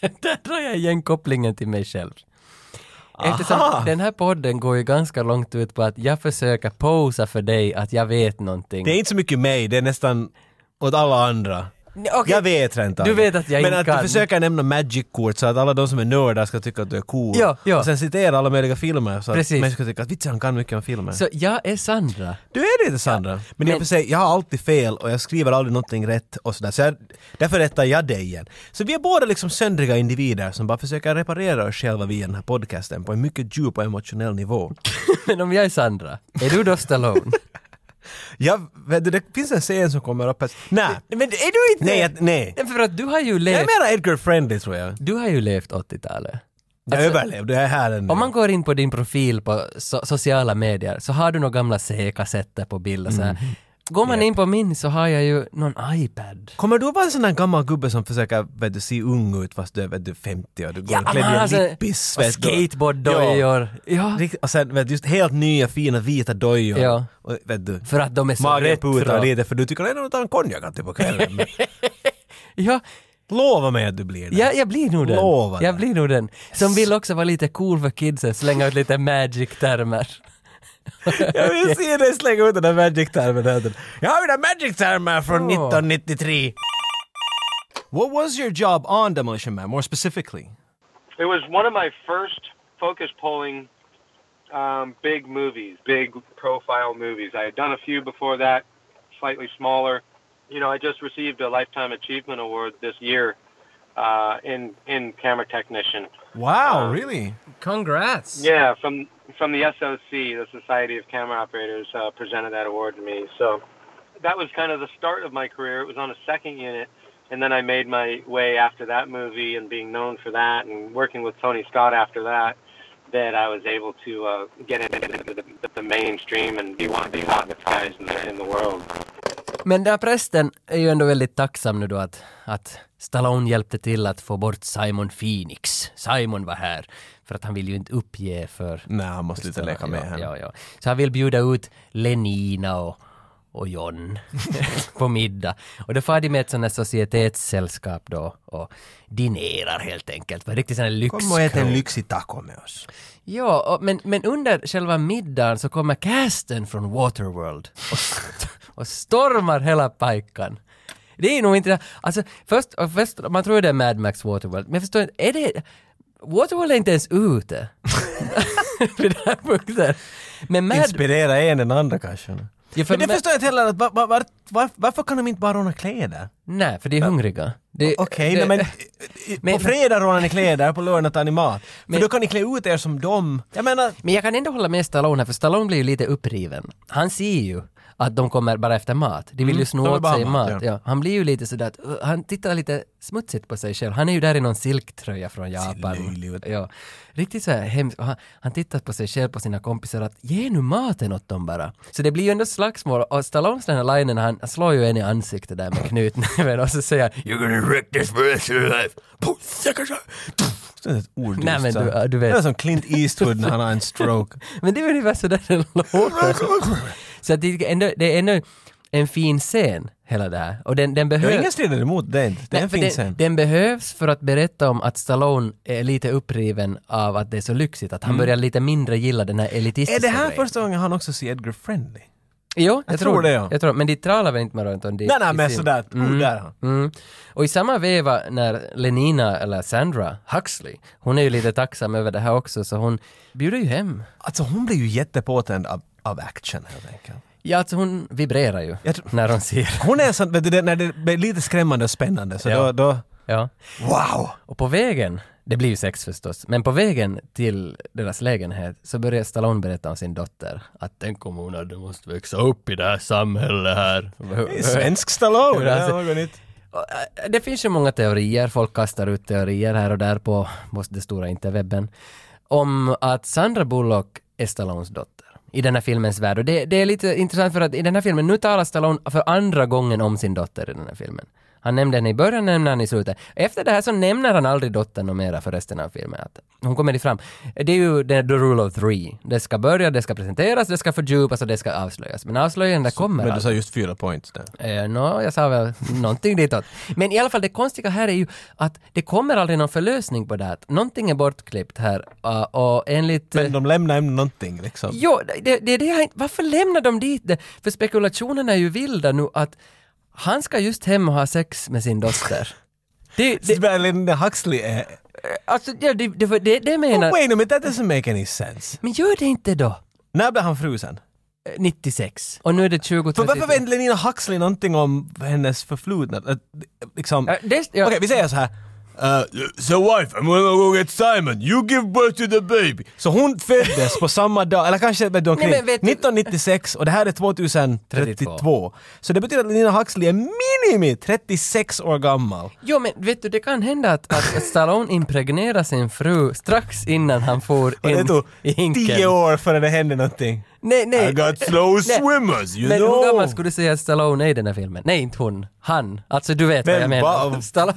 Speaker 2: där drar jag igen kopplingen till mig själv. Eftersom
Speaker 1: Aha.
Speaker 2: den här podden går ju ganska långt ut på att jag försöker posa för dig att jag vet någonting.
Speaker 1: Det är inte så mycket mig, det är nästan åt alla andra.
Speaker 2: Nej, okej.
Speaker 1: Jag vet rent
Speaker 2: Du vet att jag
Speaker 1: Men
Speaker 2: inte
Speaker 1: att
Speaker 2: kan.
Speaker 1: du försöker nämna Magic-kort så att alla de som är nördar ska tycka att du är cool.
Speaker 2: Ja, ja.
Speaker 1: Och sen citera alla möjliga filmer så att
Speaker 2: Precis.
Speaker 1: människor ska tycka att vitsen han kan mycket om filmer.
Speaker 2: Så jag är Sandra.
Speaker 1: Du är lite Sandra. Men, jag får säga, jag har alltid fel och jag skriver aldrig någonting rätt och sådär. Så jag, därför rättar jag dig igen. Så vi är båda liksom söndriga individer som bara försöker reparera oss själva via den här podcasten på en mycket djup och emotionell nivå.
Speaker 2: Men om jag är Sandra, är du då Stallone?
Speaker 1: Jag, vet du, det finns en scen som kommer upp att... Nej!
Speaker 2: Men är du inte...
Speaker 1: Nej, jag, nej.
Speaker 2: För att du har ju
Speaker 1: Jag
Speaker 2: levt...
Speaker 1: är mera Edgar Friendly tror jag.
Speaker 2: Du har ju levt 80-talet.
Speaker 1: Jag
Speaker 2: Alltså-
Speaker 1: överlevde, jag är här ännu.
Speaker 2: Om man går in på din profil på so- sociala medier så har du några gamla C-kassetter på bild och så här. Går man in på min så har jag ju någon iPad.
Speaker 1: Kommer du att vara en sån där gammal gubbe som försöker vet du, se ung ut fast du är vet du, 50 och du går klädd i en
Speaker 2: alltså,
Speaker 1: lippis?
Speaker 2: och
Speaker 1: vet du. Ja.
Speaker 2: skateboarddojor. Ja.
Speaker 1: Rikt- Och sen vet du, just helt nya fina vita dojor.
Speaker 2: Ja.
Speaker 1: Och, vet du,
Speaker 2: För att de är så
Speaker 1: magen
Speaker 2: retro.
Speaker 1: putar lite för du tycker ändå att du tar en konjak alltid på kvällen. Men
Speaker 2: Ja,
Speaker 1: Lova mig att du blir det.
Speaker 2: ja, jag blir nog den.
Speaker 1: Lova
Speaker 2: jag
Speaker 1: det.
Speaker 2: blir nog den. Som vill också vara lite cool för kidsen, slänga ut lite magic-termer.
Speaker 1: Jag vill se dig slänga ut den där magic-termen. här. Jag har ju den magic-termen från
Speaker 2: Åh.
Speaker 1: 1993. What was your job on Demolition Man, more specifically?
Speaker 3: It was one of my first focus polling um, big movies, big profile movies. I had done a few before that, slightly smaller. You know, I just received a Lifetime Achievement Award this year uh, in in camera technician.
Speaker 1: Wow, really?
Speaker 2: Congrats!
Speaker 3: Yeah, from from the SOC, the Society of Camera Operators, uh, presented that award to me. So that was kind of the start of my career. It was on a second unit, and then I made my way after that movie and being known for that, and working with Tony Scott after that. That I was able to uh, get into the, the, the mainstream and be one of the hottest in the, in the world.
Speaker 2: Men den här prästen är ju ändå väldigt tacksam nu då att, att Stallone hjälpte till att få bort Simon Phoenix. Simon var här. För att han vill ju inte uppge för...
Speaker 1: Nej, han måste sluta leka med
Speaker 2: ja,
Speaker 1: henne.
Speaker 2: Ja, ja. Så han vill bjuda ut Lenina och, och John på middag. Och då far de med ett sånt här societetssällskap då och dinerar helt enkelt. På en riktig sån här lyx...
Speaker 1: Kom och ät en lyxig taco med oss.
Speaker 2: Ja, och, men, men under själva middagen så kommer casten från Waterworld och, st- och stormar hela pajkan. Det är nog inte... Alltså, först, och först, man tror ju det är Mad Max Waterworld, men jag förstår inte, är det... Waterworld är inte ens ute. Vid den här punkten. Men Mad...
Speaker 1: Inspirera en den andra kanske.
Speaker 2: Ja, för
Speaker 1: Men det
Speaker 2: Ma-
Speaker 1: förstår jag inte heller, att va- va- var, var, varför kan de inte bara råna kläder?
Speaker 2: Nej, för de är hungriga. Det-
Speaker 1: Okej,
Speaker 2: det-
Speaker 1: nej men,
Speaker 2: men-
Speaker 1: på fredag rånar ni kläder, på lördag tar ni mat. För
Speaker 2: Men-
Speaker 1: då kan ni klä ut er som dem. Jag menar,
Speaker 2: Men jag kan ändå hålla med Stallone här, för Stallone blir ju lite uppriven. Han ser ju att de kommer bara efter mat. De vill ju
Speaker 1: Mm. de
Speaker 2: sno
Speaker 1: vill
Speaker 2: åt
Speaker 1: bara
Speaker 2: sig
Speaker 1: ha
Speaker 2: mat.
Speaker 1: mat,
Speaker 2: ja. Han blir ju lite sådär att, uh, han tittar lite smutsigt på sig själv. Han är ju där i någon silktröja från Japan.
Speaker 1: löjlig ut.
Speaker 2: Ja. Riktigt så här hemskt. Och Han, han tittar på sig själv, på sina kompisar att ge nu maten åt dem bara. Så det blir ju ändå slagsmål och Stallones den här linen, han slår ju en i ansiktet där med knutnäven och så säger han “You're gonna wreck this for the rest of your life”. Puh, säkert så.
Speaker 1: det är ett ord
Speaker 2: Nej, men
Speaker 1: så.
Speaker 2: du- ja, du vet.
Speaker 1: Det är som Clint Eastwood när han har en stroke.
Speaker 2: Men det är ungefär sådär det låter. Så att det, är ändå, det är ändå en fin scen, hela det här. Och den, den
Speaker 1: Jag
Speaker 2: behövs...
Speaker 1: har ingen strider emot det, inte. det är en
Speaker 2: för
Speaker 1: fin scen.
Speaker 2: den, den behövs för att berätta om att Stallone är lite uppriven av att det är så lyxigt, att han börjar lite mindre gilla den här
Speaker 1: Mm.
Speaker 2: elitistiska
Speaker 1: Är det här
Speaker 2: grejen.
Speaker 1: första gången han också ser Edgar Friendly?
Speaker 2: Jo, jag,
Speaker 1: tror det, ja.
Speaker 2: Jag tror, men de tralar väl inte mer runt om det
Speaker 1: Nej, nej,
Speaker 2: i
Speaker 1: men
Speaker 2: sin-
Speaker 1: sådär, oh, där är han.
Speaker 2: Mm. Och i samma veva när Lenina, eller Sandra Huxley, hon är ju lite tacksam över det här också, så hon bjuder ju hem.
Speaker 1: Alltså hon blir ju jättepåtänd av, av action helt enkelt.
Speaker 2: Ja, alltså hon vibrerar ju
Speaker 1: Jag tror-
Speaker 2: när hon ser.
Speaker 1: Hon är en sån, vet du, det- när det blir lite skrämmande och spännande så då,
Speaker 2: Ja.
Speaker 1: då,
Speaker 2: Ja.
Speaker 1: wow!
Speaker 2: Och på vägen, det blir ju sex förstås, men på vägen till deras lägenhet så börjar Stallone berätta om sin dotter. Att tänk om hon hade måste växa upp i det här samhället här.
Speaker 1: Det är Svensk Stallone!
Speaker 2: Hur han ser-
Speaker 1: det är alltså- något nytt.
Speaker 2: Och, äh, Det finns ju många teorier, folk kastar ut teorier här och där på på det stora interwebben. Om att Sandra Bullock är Stallones dotter i den här filmens värld. Och det, det är lite intressant för att i den här filmen, nu talar Stallone för andra gången om sin dotter i den här filmen. Han nämnde henne i början, nämnde han i slutet. Efter det här så nämner han aldrig dottern och mera för resten av filmen. Att hon kommer fram. Det är ju the, the rule of three. Det ska börja, det ska presenteras, det ska fördjupas och det ska avslöjas. Men avslöjanden kommer
Speaker 1: Men
Speaker 2: aldrig.
Speaker 1: du sa just fyra points där.
Speaker 2: Eh, Nå, jag sa väl någonting ditåt. Men i alla fall det konstiga här är ju att det kommer aldrig någon förlösning på det här. Någonting är bortklippt här eh, och enligt... eh,
Speaker 1: Men de lämnar ändå någonting liksom.
Speaker 2: Jo, det, det, det, jag inte- varför lämnar de dit det? För spekulationerna är ju vilda nu att han ska just hem och ha sex med sin dotter. Det, det,
Speaker 1: Det, Linda Huxley är...
Speaker 2: alltså, ja, det, det, det, det menar...
Speaker 1: Wait a minute, that doesn't make any sense.
Speaker 2: Men gör det inte då!
Speaker 1: När blev han frusen?
Speaker 2: Eh, 96. Och nu är det 20...
Speaker 1: För varför vet Lenina Huxley någonting om hennes förflutna? Att, Liksom...
Speaker 2: Ja, det- ja.
Speaker 1: Okej, vi säger så här.
Speaker 4: Uh, so wife, I'm gonna go get Simon. You give birth to the baby.
Speaker 1: Så hon föddes på samma dag, eller kanske vet du, omkring,
Speaker 2: Nej, men vet du-
Speaker 1: 1996 och det här är 2032. Så det betyder att Lina Huxley är minimi 36 år gammal.
Speaker 2: Jo men vet du, det kan hända att, att Stallone impregnerar sin fru strax innan han får
Speaker 1: Och det
Speaker 2: en
Speaker 1: tog
Speaker 2: i hinken.
Speaker 1: 10 år före det hände någonting.
Speaker 2: Nej, nej.
Speaker 4: I got slow
Speaker 2: Nej.
Speaker 4: swimmers, you
Speaker 2: Men
Speaker 4: know.
Speaker 2: hur gammal skulle du säga att Stallone är i den här filmen? Nej, inte hon. Han. Alltså du vet vad
Speaker 1: Men
Speaker 2: jag menar.
Speaker 1: vad- Mm.
Speaker 2: Stall-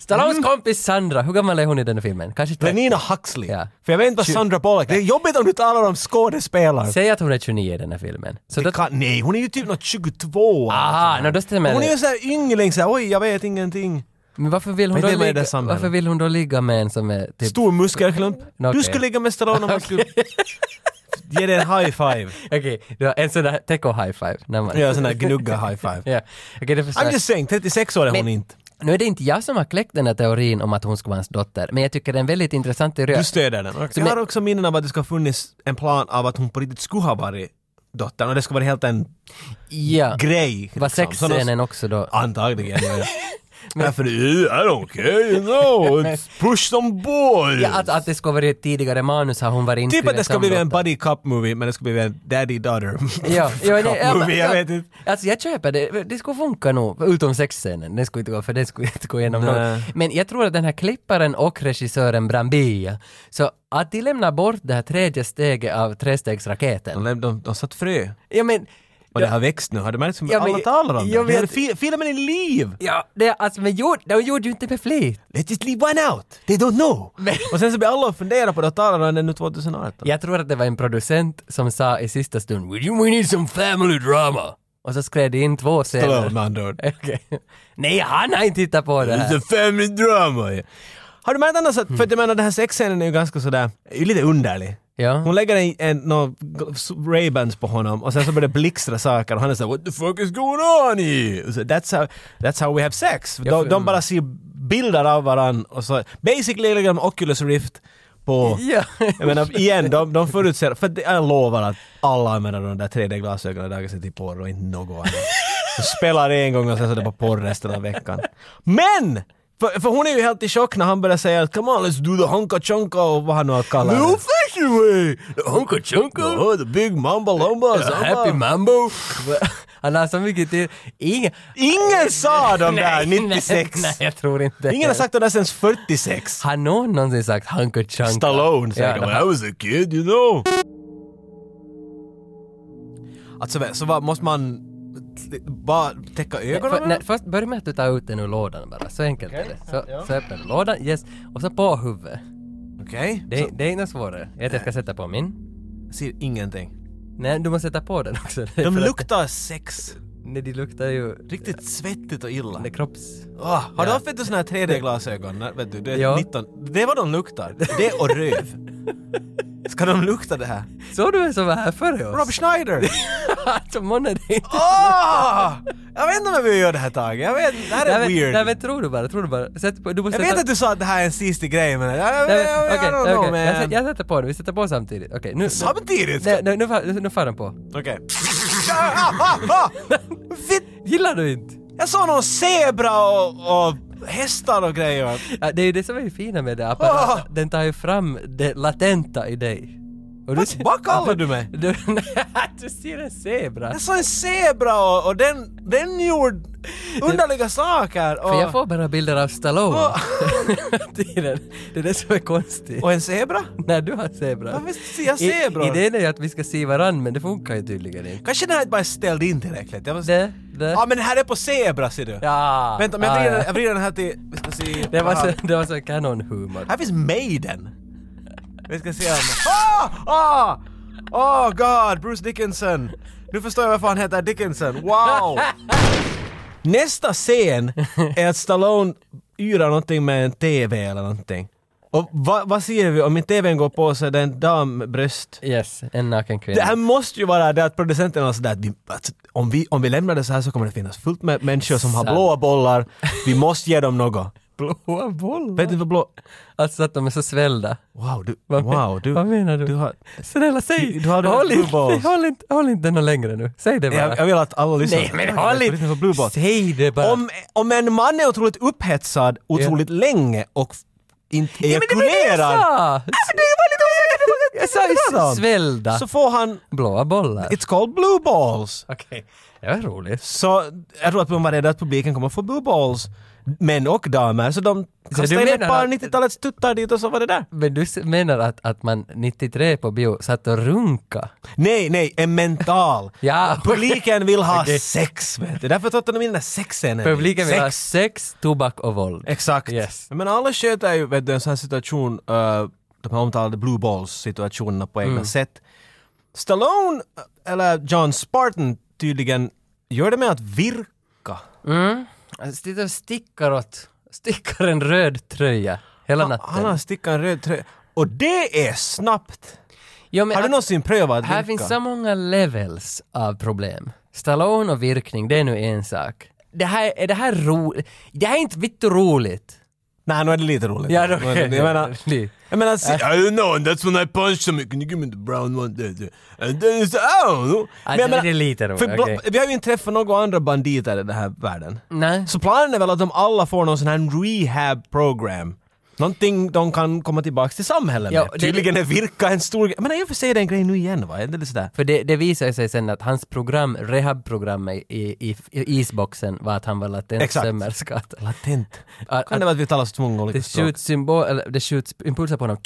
Speaker 2: Stallones kompis Sandra, hur gammal är hon i den här filmen? Kanske 30?
Speaker 1: Lenina Huxley.
Speaker 2: Ja.
Speaker 1: För jag vet inte vad Sandra Bullock Det är jobbigt om du talar om skådespelare.
Speaker 2: Säg att hon är 29 i den här filmen. Så då...
Speaker 1: Kan, nej, hon är ju typ något 22.
Speaker 2: Aha, no, då stämmer
Speaker 1: hon är ju
Speaker 2: det.
Speaker 1: såhär yngling såhär, oj jag vet ingenting.
Speaker 2: Men varför vill, hon
Speaker 1: Men
Speaker 2: då
Speaker 1: det är väl
Speaker 2: ligga,
Speaker 1: det samhället.
Speaker 2: varför vill hon då ligga med en som är typ...
Speaker 1: Stor muskelklump.
Speaker 2: Okej.
Speaker 1: Du skulle ligga med Stallone om han skulle... Ge dig en high five.
Speaker 2: Okej, du har en sån där teko high five. När man...
Speaker 1: Ja, en sån där gnugga high five.
Speaker 2: Ja. Okej, det förstår
Speaker 1: I'm
Speaker 2: jag.
Speaker 1: just saying, 36 år är hon
Speaker 2: Men-
Speaker 1: inte.
Speaker 2: Nu är det inte jag som har kläckt den här teorin om att hon ska vara hans dotter, men jag tycker det är en väldigt intressant teori.
Speaker 1: Du stöder den. Jag
Speaker 2: men-
Speaker 1: har också minnen av att det ska ha funnits en plan av att hon på riktigt skulle ha varit dottern och det ska vara helt en
Speaker 2: ja.
Speaker 1: grej.
Speaker 2: Var
Speaker 1: liksom. Sådana-
Speaker 2: sexscenen också då?
Speaker 1: Antagligen, ja. ja.
Speaker 4: Därför, "Eh, I don't care, you know. It's push some boys.
Speaker 2: Ja, att, att det ska vara ett tidigare manus har hon varit
Speaker 1: Typ
Speaker 2: inskriven
Speaker 1: att det ska
Speaker 2: som
Speaker 1: bli en
Speaker 2: dotter.
Speaker 1: buddy cop movie men det ska bli en daddy daughter
Speaker 2: Ja, ja, nej, ja,
Speaker 1: cop movie, jag
Speaker 2: ja.
Speaker 1: vet inte.
Speaker 2: Alltså jag köper det, det skulle funka nog, utom sexscenen, den skulle inte gå, för den skulle inte gå igenom
Speaker 1: Nej.
Speaker 2: någon. Men jag tror att den här klipparen och regissören Brambilla, så att de lämnar bort det här tredje steget av trestegsraketen.
Speaker 1: De, de, de satt frö.
Speaker 2: Ja men,
Speaker 1: Och det har växt nu, har du märkt hur
Speaker 2: Ja, men-
Speaker 1: alla talar om
Speaker 2: jag
Speaker 1: det? det?
Speaker 2: vet-
Speaker 1: Fi, filmen är liv!
Speaker 2: ja, det, alltså men gjorde, de gjorde ju inte med flit.
Speaker 1: Let's just leave one out! They don't know!
Speaker 2: Men-
Speaker 1: Och sen så blir alla och funderar på det och talar om det nu 2018.
Speaker 2: Alltså. Jag tror att det var en producent som sa i sista stund "We- “We need some family drama” och så skrev det in två
Speaker 1: Stallone
Speaker 2: scener.
Speaker 1: med andra ord.
Speaker 2: Okej. Nej, han har inte tittat på det
Speaker 4: It's
Speaker 2: här.
Speaker 4: a family drama. yeah.
Speaker 1: Har du märkt annars att, för att jag menar den här sexscenen är ju ganska sådär, är ju lite underlig.
Speaker 2: Ja.
Speaker 1: Hon lägger en, en no, Ray-Bans på honom och sen så börjar det blixtra saker och han är såhär
Speaker 4: What the fuck is going on here?
Speaker 1: Så that's how, that's how we have sex. De,
Speaker 2: för-
Speaker 1: de bara ser bilder av varann och så basically lägger de Oculus Rift på...
Speaker 2: Ja.
Speaker 1: Jag menar igen, de, de förutser, för det- jag lovar att alla använder de där 3D-glasögonen dagar sig till porr och inte något annat. De spelar en gång och sen så är det på porr resten av veckan. Men! För, för hon är ju helt i chock när han börjar säga att “Come on, let's do the honka chonka” och vad han nu har kallat
Speaker 4: The
Speaker 1: det.
Speaker 4: old fashioned way. The honka
Speaker 2: Uncle Chunko!
Speaker 4: Oh, the big mamba lumba.
Speaker 2: Happy Mambo! Han har så mycket till... Ingen...
Speaker 1: Ingen sa de där
Speaker 2: Nej,
Speaker 1: 96!
Speaker 2: Nej, nej, jag tror inte
Speaker 1: Ingen har sagt det där sen 46.
Speaker 2: Har någon någonsin sagt Hunka Chunka?
Speaker 1: Stallone säkert.
Speaker 2: Ja.
Speaker 4: When I was a kid, you know.
Speaker 1: Alltså så vad, måste man t- bara täcka ögonen
Speaker 2: För,
Speaker 1: med
Speaker 2: nej,
Speaker 1: dem?
Speaker 2: först börja med att du tar ut den ur lådan bara, så enkelt är det. Så, så öppnar du lådan, yes, och så på huvudet.
Speaker 1: Okej,
Speaker 2: Det, det är inte svårare. Jag vet, jag ska sätta på min.
Speaker 1: jag ser ingenting.
Speaker 2: Nej, du måste sätta på den också.
Speaker 1: De
Speaker 2: För att-
Speaker 1: luktar sex.
Speaker 2: Nej, de luktar ju...
Speaker 1: Riktigt svettigt och illa.
Speaker 2: Det är kropps...
Speaker 1: Ah, har du haft vet du, såna här 3D-glasögon? Nej, Vet du, det, är
Speaker 2: Ja.
Speaker 1: 19. det är vad de luktar. Det och röv. Ska de lukta det här?
Speaker 2: Såg du vem som var här före oss?
Speaker 1: Rob Schneider!
Speaker 2: alltså, månne, det är inte...
Speaker 1: Ah! Jag vet inte om jag vill göra det här taget. Jag vet, det här är
Speaker 2: Nej, men-
Speaker 1: weird.
Speaker 2: Nej men tror du bara, tror du bara. Sätt på, du måste
Speaker 1: jag vet
Speaker 2: sätta...
Speaker 1: att du sa att det här är en sista grej men... Jag, jag,
Speaker 2: Nej,
Speaker 1: jag,
Speaker 2: men-
Speaker 1: jag,
Speaker 2: okej,
Speaker 1: I don't know
Speaker 2: okej. Jag
Speaker 1: man.
Speaker 2: sä- Jag sätter på den, vi sätter på samtidigt. Okej, nu...
Speaker 1: Samtidigt?
Speaker 2: Nej, nej, nu, far- nu, nu far den på.
Speaker 1: Okej. Ah, ah, ah! Fitt-
Speaker 2: Gillar du inte?
Speaker 1: Jag såg någon zebra och, och hästar och grejer.
Speaker 2: Ja, det är ju det som är det fina med det
Speaker 1: Ah!
Speaker 2: apparaten. Den tar ju fram det latenta i dig. Och
Speaker 1: Vad- vad kallar du mig?
Speaker 2: Du, du ser en zebra.
Speaker 1: Jag såg en zebra och, och den, den gjorde underliga saker.
Speaker 2: För jag
Speaker 1: Och,
Speaker 2: får bara bilder av Stallone. Tiden. det är det som är konstigt.
Speaker 1: och en zebra?
Speaker 2: När du har zebra.
Speaker 1: Varför ser jag
Speaker 2: I-
Speaker 1: zebror?
Speaker 2: Idén är ju att vi ska se varandra men det funkar ju tydligen inte.
Speaker 1: Kanske den här bara ställde in tillräckligt. Jag måste...
Speaker 2: Det, det.
Speaker 1: Ja ah, men det här är på zebra ser du.
Speaker 2: Ja.
Speaker 1: Vänta men jag
Speaker 2: Ah,
Speaker 1: vrider,
Speaker 2: ja.
Speaker 1: jag vrider den här till... Vi ska se.
Speaker 2: Det var
Speaker 1: Aha.
Speaker 2: så, det var så kanonhumor.
Speaker 1: Här finns Maiden. Vi ska se om... Ah! Ah! Oh god, Bruce Dickinson! Nu förstår jag varför han heter Dickinson. Wow! Nästa scen är att Stallone yrar någonting med en TV eller någonting. Och vad vad ser vi? Om inte TVn går på så är det en dambröst.
Speaker 2: Yes, en naken
Speaker 1: Det
Speaker 2: kvinna.
Speaker 1: här måste ju vara det att producenten har sådär att vi, att om, vi, om vi lämnar det så här så kommer det finnas fullt med människor som har
Speaker 2: Sant.
Speaker 1: blåa bollar. Vi måste ge dem något.
Speaker 2: Blåa bollar?
Speaker 1: Vet du vad blå...
Speaker 2: Alltså att de är så svällda.
Speaker 1: Wow, du...
Speaker 2: Vad men-
Speaker 1: wow, du...
Speaker 2: vad menar du?
Speaker 1: du har,
Speaker 2: Snälla säg!
Speaker 1: Du- du hade
Speaker 2: håll,
Speaker 1: blue
Speaker 2: inte,
Speaker 1: balls.
Speaker 2: håll, inte, håll inte den längre nu. Säg det bara.
Speaker 1: jag, jag vill att alla lyssnar.
Speaker 2: Nej men håll
Speaker 1: Lyssna på Blue
Speaker 2: inte!
Speaker 1: Balls.
Speaker 2: Säg det bara.
Speaker 1: Om, om en man är otroligt upphetsad otroligt länge och f- inte
Speaker 2: Ja, men det var det jag
Speaker 1: ejakulerar
Speaker 2: sa! Jag
Speaker 1: pratar
Speaker 2: sa
Speaker 1: om.
Speaker 2: svällda.
Speaker 1: så får han...
Speaker 2: Blåa bollar.
Speaker 1: It's called blue balls.
Speaker 2: Okej. Det var roligt.
Speaker 1: Så jag tror att man var rädd att publiken kommer få blue balls. Män och damer. Så de kastade in ett
Speaker 2: menar
Speaker 1: par
Speaker 2: att-
Speaker 1: 90-talets tuttar dit och så var det där.
Speaker 2: Men du s- menar att, att man 93 på bio satt och runka?
Speaker 1: Nej, nej, en mental.
Speaker 2: Ja, okej.
Speaker 1: Publiken vill ha
Speaker 2: Okej.
Speaker 1: sex, vet du. Därför tog de in den där sexscenen.
Speaker 2: Publiken vill
Speaker 1: sex.
Speaker 2: ha sex, Eh, tobak och våld.
Speaker 1: Exakt.
Speaker 2: Yes.
Speaker 1: Men alla sköter ju vet du, en sån här situation, eh, de här omtalade blue balls situationerna på
Speaker 2: Mm.
Speaker 1: egna sätt. Stallone, eh, eller John Spartan tydligen, gör det med att virka.
Speaker 2: Han sitter och alltså, stickar åt, stickar en röd tröja hela
Speaker 1: Han
Speaker 2: natten.
Speaker 1: har stickat en röd tröja. Och det är snabbt!
Speaker 2: Jo, men
Speaker 1: har du
Speaker 2: att-
Speaker 1: någonsin prövat att
Speaker 2: Här
Speaker 1: virka?
Speaker 2: finns så många levels av problem. Stallone och virkning, det är nu en sak. Det här, är det här roligt? Det här är inte vitt roligt.
Speaker 1: Nej, nu är det lite roligt.
Speaker 2: Ja, då-
Speaker 1: Nu är det- jag menar...
Speaker 2: Li-
Speaker 1: Jag menar, se,
Speaker 2: Äh.
Speaker 4: I don't know, and that's when I punched him. Can you give me the brown one? There, there. And then it's, I don't know.
Speaker 2: Ah,
Speaker 1: oh! jag
Speaker 2: det-
Speaker 1: menar-
Speaker 2: det är lite roligt,
Speaker 1: för bla-
Speaker 2: okej.
Speaker 1: Vi har ju inte träffat några andra banditer i den här världen.
Speaker 2: Nej.
Speaker 1: Så planen är väl att de alla får någon sån här rehab program. Någonting de kan komma tillbaka till samhället med.
Speaker 2: Ja, det-
Speaker 1: Tydligen är virka en stor grej. Men i och för sig är det en grej nu igen va? Är det lite sådär?
Speaker 2: För det, det visar sig sen att hans program, rehabprogram i, i, i isboxen var att han var latent
Speaker 1: Exakt.
Speaker 2: sömmerska. Att-
Speaker 1: Latent.
Speaker 2: Att,
Speaker 1: Kan det
Speaker 2: att
Speaker 1: vara att vi talar så två gånger olika
Speaker 2: det
Speaker 1: språk?
Speaker 2: skjuts symbol, eller det skjuts impulser på honom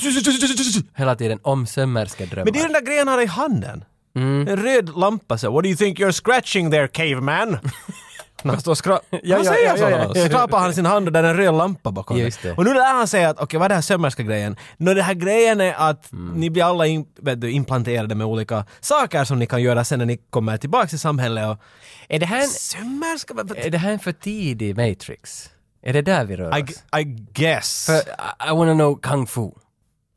Speaker 2: hela tiden om sömmerskedrömmar.
Speaker 1: Men det är ju den där grejen han har i handen.
Speaker 2: Mm.
Speaker 1: En röd lampa så. What do you think you're scratching there caveman? När han står och skra-
Speaker 2: ja,
Speaker 1: Han säger
Speaker 2: ja,
Speaker 1: så.
Speaker 2: ja,
Speaker 1: då.
Speaker 2: ja, ja.
Speaker 1: Skrapar han sin hand och där är en röd lampa bakom
Speaker 2: Just det.
Speaker 1: det. Och nu lär han säga att okej, vad är det här sömmerska grejen? Nå, det här grejen är att
Speaker 2: Mm.
Speaker 1: ni blir alla in, vet du, implanterade med olika saker som ni kan göra sen när ni kommer tillbaka till samhället och...
Speaker 2: är, det här en,
Speaker 1: Sömmerska? vad-
Speaker 2: är det här en för tidig Matrix? Är det där vi rör oss?
Speaker 1: I, I guess.
Speaker 2: För I, I wanna know kung fu.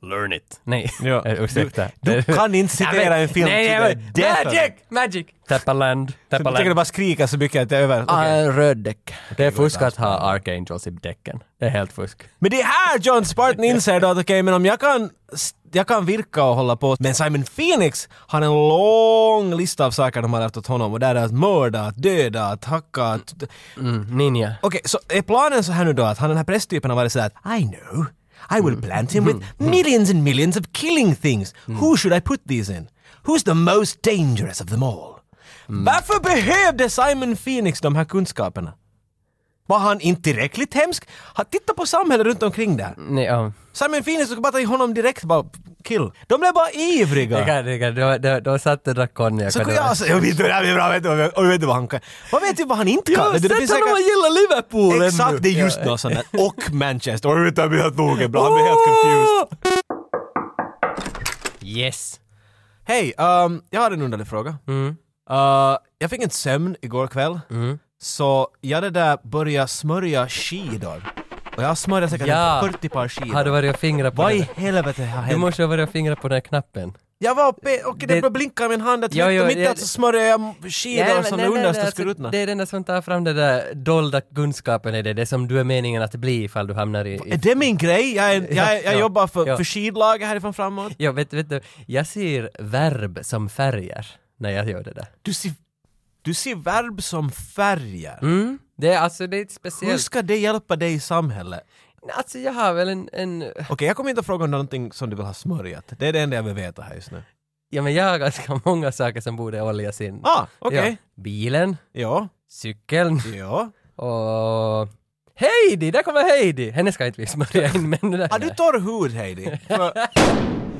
Speaker 2: Learn it. Nej,
Speaker 1: Ja.
Speaker 2: Eh, ursäkta.
Speaker 1: Du kan inte
Speaker 2: Nej,
Speaker 1: citera
Speaker 2: men-
Speaker 1: en film
Speaker 2: nej,
Speaker 1: till
Speaker 2: nej,
Speaker 1: det.
Speaker 2: men-
Speaker 1: Därför-
Speaker 2: Magic! Magic! Tappa land,
Speaker 1: Jag
Speaker 2: tappa
Speaker 1: tänker du
Speaker 2: land.
Speaker 1: bara skrika så mycket att det är över. Okej.
Speaker 2: Ah, en röd däck. Det är fusk att ha Archangels i däcken. Det är helt fusk.
Speaker 1: Men det är här John Spartan inser då att okej, men om jag kan, jag kan virka och hålla på. Men Simon Phoenix har en lång lista av saker de har lärt åt honom och där är att mörda, att döda, att hacka, att...
Speaker 2: Mm, ninja.
Speaker 1: Okej, så är planen så här nu då att han den här prästtypen har varit så här att I know, I will plant him with millions and millions of killing things. Who should I put these in? Who's the most dangerous of them all? Varför behövde Simon Phoenix de här kunskaperna? Var han inte tillräckligt hemsk? Ha- Titta på samhället runt omkring där.
Speaker 2: Nej, ja.
Speaker 1: Simon Phoenix skulle bara ta i honom direkt bara kill. De blev bara
Speaker 2: Det
Speaker 1: ivriga.
Speaker 2: kan, det kan. Då, då, då satt det där konjak.
Speaker 1: Så kunde jag säga, jag vet inte det här blir bra, vet du, jag vet inte vad han kan. Vad vet du vad han inte kan? Det finns säkert-
Speaker 2: gillar Liverpool
Speaker 1: Exakt, det är just något sånt där. Och Manchester. Och utan vi har tåget bra, han blir helt confused.
Speaker 2: Yes.
Speaker 1: Hej, ehm, jag har en underlig fråga. Eh, jag fick en sömn igår kväll. Så jag det där började smörja skidor. Och jag smörjade säkert
Speaker 2: Ja.
Speaker 1: 40 par skidor.
Speaker 2: Har du varit och fingrat på
Speaker 1: Vad
Speaker 2: den?
Speaker 1: i
Speaker 2: där?
Speaker 1: helvete har
Speaker 2: Du
Speaker 1: hänt?
Speaker 2: måste ha varit och fingrat på den här knappen.
Speaker 1: Jag var uppe och det
Speaker 2: Det-
Speaker 1: började blinka i min hand. Jag
Speaker 2: Jo,
Speaker 1: tryckte
Speaker 2: jo,
Speaker 1: mitt i
Speaker 2: jag-
Speaker 1: att så smörjade jag skidor
Speaker 2: Nej, men-
Speaker 1: som
Speaker 2: nej,
Speaker 1: det
Speaker 2: nej, nej,
Speaker 1: understa
Speaker 2: alltså,
Speaker 1: skulle ruttna.
Speaker 2: Det är den där som tar fram den där dolda kunskapen i det, det som du är meningen att bli ifall du hamnar i...
Speaker 1: Är
Speaker 2: i
Speaker 1: det min grej? Jag, är, jag, jag
Speaker 2: Ja,
Speaker 1: jobbar för,
Speaker 2: ja.
Speaker 1: för skidlaget härifrån framåt.
Speaker 2: ja, vet, vet du, jag ser verb som färger när jag gör det där.
Speaker 1: Du ser, du ser verb som färger.
Speaker 2: Mm. Det är alltså, det är ett
Speaker 1: Hur
Speaker 2: speciellt...
Speaker 1: ska det hjälpa dig i samhället?
Speaker 2: Alltså jag har väl en, en...
Speaker 1: Okej, jag kommer inte att fråga om någonting som du vill ha smörjat. Det är det enda jag vill veta här just nu.
Speaker 2: Ja men jag har ganska många saker som borde oljas in.
Speaker 1: Ah, okej.
Speaker 2: Ja, bilen,
Speaker 1: Ja.
Speaker 2: cykeln
Speaker 1: ja. ja.
Speaker 2: och... Heidi! Där kommer Heidi! Henne ska inte vi smörja in men... det där-
Speaker 1: Har du torr hud, Heidi? För,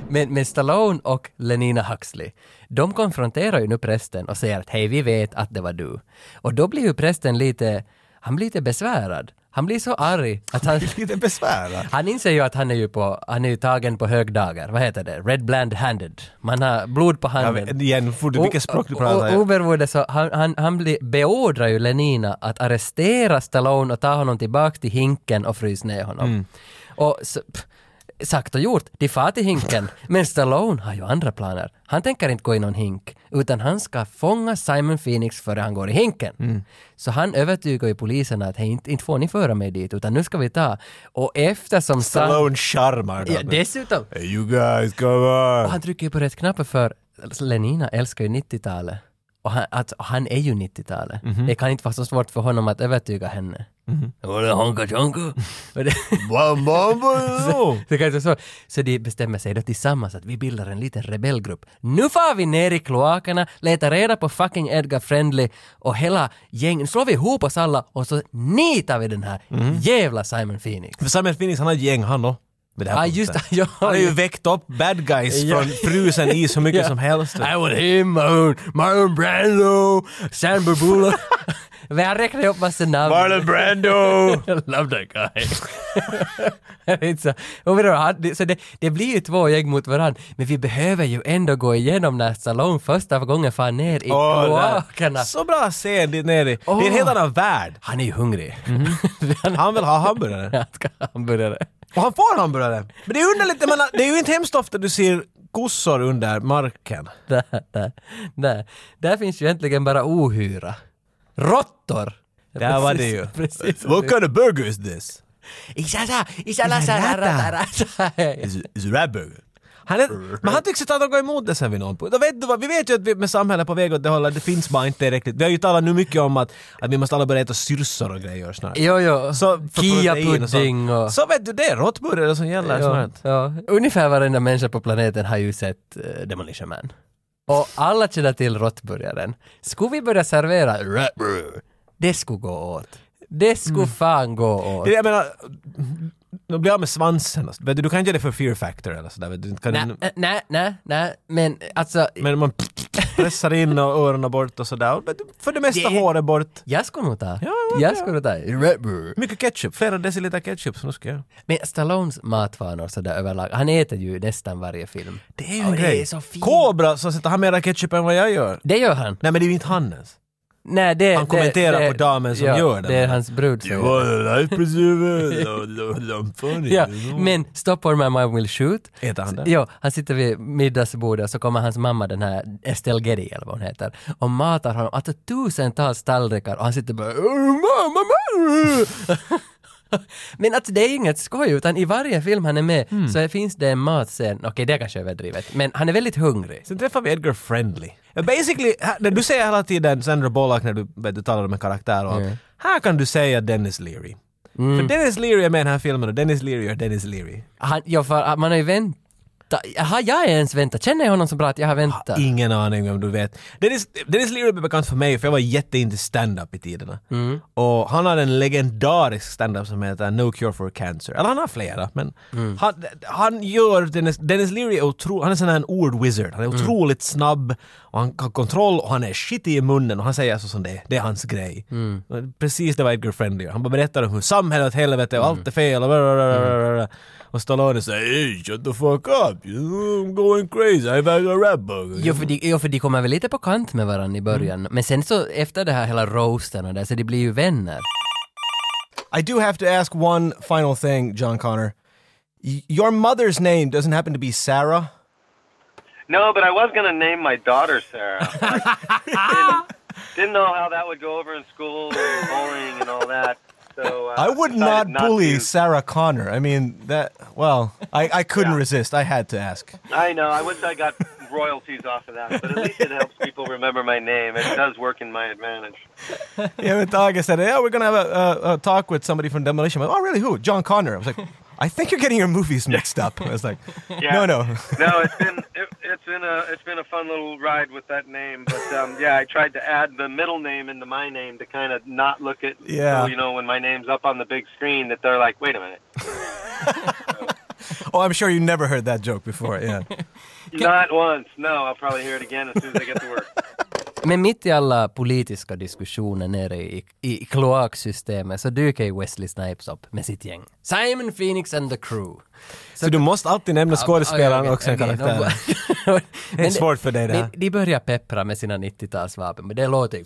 Speaker 2: Men, men Stallone och Lenina Huxley, de konfronterar ju nu prästen och säger att hej, vi vet att det var du. Och då blir ju prästen lite, han blir lite besvärad. Han blir så arg att han...
Speaker 1: lite besvärad.
Speaker 2: Han inser ju att han är ju på, han är ju tagen på högdagar, vad heter det, red bland handed. Man har blod på
Speaker 1: Ja,
Speaker 2: handen.
Speaker 1: men igen, får du, vilket språk du pratar?
Speaker 2: O- o-
Speaker 1: ja.
Speaker 2: Oberoende så, han, han, han blir, beordrar ju Lenina att
Speaker 1: Mm.
Speaker 2: arrestera Stallone och ta honom tillbaka till hinken och frysa ner honom. Och så, pff, sagt och gjort, de far till hinken. Men Stallone har ju andra planer. Han tänker inte gå i någon hink, utan han ska fånga Simon Phoenix före han går i hinken.
Speaker 1: Mm.
Speaker 2: Så han övertygar ju polisen att hej, inte, inte får ni föra mig dit, utan nu ska vi ta. Och eftersom... Sa-
Speaker 1: Stallone charmar
Speaker 2: Ja,
Speaker 1: dem.
Speaker 2: dessutom.
Speaker 4: Hey, you guys, come on!
Speaker 2: Och han trycker ju på rätt knappar för Lenina älskar ju 90-talet. Och han, alltså, han är ju 90-talet.
Speaker 1: Mhm.
Speaker 2: Det kan inte vara så svårt för honom att övertyga henne. Och det är honka tjonka. Och det-
Speaker 4: Bam, bam, bam.
Speaker 2: det kan inte vara så. så de bestämmer sig då tillsammans att vi bildar en liten rebellgrupp. Nu far vi ner i kloakerna, letar reda på fucking Edgar Friendly och hela gängen slår vi ihop oss alla och så nitar vi den här
Speaker 1: Mhm.
Speaker 2: jävla Simon Phoenix.
Speaker 1: För Simon Phoenix, han har ett gäng han då. Vid det här
Speaker 2: Ah,
Speaker 1: punkten.
Speaker 2: just det. Ja,
Speaker 1: Han har ju
Speaker 2: ja.
Speaker 1: väckt upp bad guys
Speaker 2: Ja.
Speaker 1: från frusen is hur mycket
Speaker 2: Ja.
Speaker 1: som helst.
Speaker 2: I want him, my own, my own Brando, Sam Barbulo. Men han räknade upp massa namn.
Speaker 4: Marlon Brando!
Speaker 2: I love that guy. It's a- och vi då hade- så det, det blir ju två gäng mot varandra, men vi behöver ju ändå gå igenom när Stallone första gången far ner i
Speaker 1: Åh, det där.
Speaker 2: kloakerna.
Speaker 1: Så bra scen dit nere. Det är en helt annan värld.
Speaker 2: Han är ju hungrig.
Speaker 1: Han vill ha hamburgare.
Speaker 2: Han ska ha hamburgare.
Speaker 1: Och han får hamburgare. Men det är underligt, jag menar, det är ju inte hemskt ofta du ser kossor under marken.
Speaker 2: Där, där, där. där finns ju egentligen bara ohyra. Råttor!
Speaker 1: Där var det ju.
Speaker 2: Precis.
Speaker 4: What kind of burger is this?
Speaker 2: Isasa, isala, sarara,
Speaker 4: Is it, is it rat burger?
Speaker 1: Han är, men han tycks inte att han går emot det sen vid någon punkt. Och Vet du vad, vi vet ju att vi med samhället på väg åt det hållet, det finns bara inte riktigt. Vi har ju talat nu mycket om att, att vi måste alla börja äta syrsor och grejer snart.
Speaker 2: Jo, jo.
Speaker 1: Så, för protein och
Speaker 2: Kia-pudding
Speaker 1: sånt.
Speaker 2: och...
Speaker 1: Så vet du, det är råttburgare som gäller
Speaker 2: Ja,
Speaker 1: snart.
Speaker 2: ja. Ungefär varenda människa på planeten har ju sett eh, Demolition Man. Och alla känner till råttburgaren. Skulle vi börja servera råttburgare? Det skulle gå åt. Det skulle fan gå
Speaker 1: Mm.
Speaker 2: åt.
Speaker 1: Det är det Jag menar, de blir av med svansen. och så. Vet Du, du kan inte göra det för fear factor eller sådär. vet Du Inte kan
Speaker 2: Nej, eh, nej, nej, nej, men alltså...
Speaker 1: men man pressar in och öronen bort och sådär. Men du- För det mesta
Speaker 2: Det-
Speaker 1: håret bort.
Speaker 2: Jag skulle nog ta.
Speaker 1: Ja, ja,
Speaker 2: jag
Speaker 1: ja.
Speaker 2: skulle ta. råttburgare.
Speaker 1: Mycket ketchup, flera deciliter ketchup snuskar
Speaker 2: Men Stallones matvanor sådär överlag, han äter ju nästan varje film.
Speaker 1: Det är ju
Speaker 2: Ja,
Speaker 1: en
Speaker 2: det
Speaker 1: grej.
Speaker 2: är så fint.
Speaker 1: Kobra så sätter han mera ketchup än vad jag gör.
Speaker 2: Det gör han.
Speaker 1: Nej men det är ju inte han ens.
Speaker 2: Nej, det,
Speaker 1: Han
Speaker 2: det-
Speaker 1: kommenterar
Speaker 2: det,
Speaker 1: på damen som
Speaker 2: ja,
Speaker 1: gör det.
Speaker 2: Det är hans brud som
Speaker 4: You
Speaker 2: gör det.
Speaker 4: want a life preserver? No, no, no, I'm funny.
Speaker 2: Ja,
Speaker 4: you know?
Speaker 2: men Stop or my mom will shoot.
Speaker 1: Äter han det?
Speaker 2: Ja, han sitter vid middagsbordet och så kommer hans mamma, den här Estelle Getty eller vad hon heter, och matar honom, alltså tusentals tallrikar och han sitter bara "Åh, mamma, mamma. Men alltså det är inget skoj utan i varje film han är med så finns det en matscen, okej det är kanske är överdrivet, men han är väldigt hungrig.
Speaker 1: Sen träffar vi Edgar Friendly. Ja, Basically, här- när du säger hela tiden Sandra Bullock när du, vet, du talar om en karaktär och allt. Här kan du säga Dennis Leary.
Speaker 2: Mm.
Speaker 1: För Dennis Leary är med i den här filmen och Dennis Leary är Dennis Leary.
Speaker 2: Han, ja, för man har ju väntat, har jag ens väntat? Känner jag honom så bra att jag har väntat?
Speaker 1: Ingen aning om du vet. Dennis, Dennis Leary blev bekant för mig för jag var jätteinte stand-up i tiderna. Och han har en legendarisk stand-up som heter No Cure for Cancer. Eller han har flera men han, han gör Dennis, Dennis Leary är otro, han är sån här en ord-wizard. Han är otroligt snabb och han har kontroll och han är shitty i munnen och han säger så som det är. Det är hans grej. Precis det var Edgar Friendly gör. Han bara berättar om hur samhället är åt helvete och allt är fel och blablabla. Och Stallone säger
Speaker 4: Hey, shut the fuck up! You know, I'm going crazy. I've had a rat burger.
Speaker 2: Jo för, de, jo, för de kommer väl lite på kant med varandra i början.
Speaker 1: Mm.
Speaker 2: Men sen så efter det här hela roasten och det, så de blir ju vänner.
Speaker 5: I do have to ask one final thing, John Connor. Y- your mother's name doesn't happen to be Sarah.
Speaker 3: No, but I was going to name my daughter Sarah. didn't, didn't know how that would go over in school and bullying and all that. So uh,
Speaker 5: I would not
Speaker 3: decided
Speaker 5: bully
Speaker 3: to.
Speaker 5: Sarah Connor. I mean, that, well, I, I couldn't resist. I had to ask.
Speaker 3: I know. I wish I got royalties off of that, but at least it helps people remember my name. It does work in my advantage.
Speaker 5: Yeah, with Doug, I said, yeah, we're going to have a, a, a talk with somebody from Demolition. Man. oh, really? Who? John Connor. I was like, I think you're getting your movies mixed up. I was like, no, no.
Speaker 3: no, it's been it, it's been a it's been a fun little ride with that name. But um, yeah, I tried to add the middle name into my name to kind of not look at.
Speaker 5: Yeah.
Speaker 3: So, you know, when my name's up on the big screen, that they're like, wait a minute.
Speaker 5: Oh, I'm sure you never heard that joke before. Yeah.
Speaker 3: Not once. No, I'll probably hear it again as soon as I get to work.
Speaker 2: Men mitt i alla politiska diskussioner nere i, i kloaksystemet så dyker ju Wesley Snipes upp med sitt gäng. Simon Phoenix and the crew.
Speaker 1: Så du måste alltid nämna
Speaker 2: Uh, oh,
Speaker 1: skådespelaren och sen karaktären.
Speaker 2: Det
Speaker 1: svårt för dig det här.
Speaker 2: De börjar peppra med sina 90-talsvapen men det låter ju...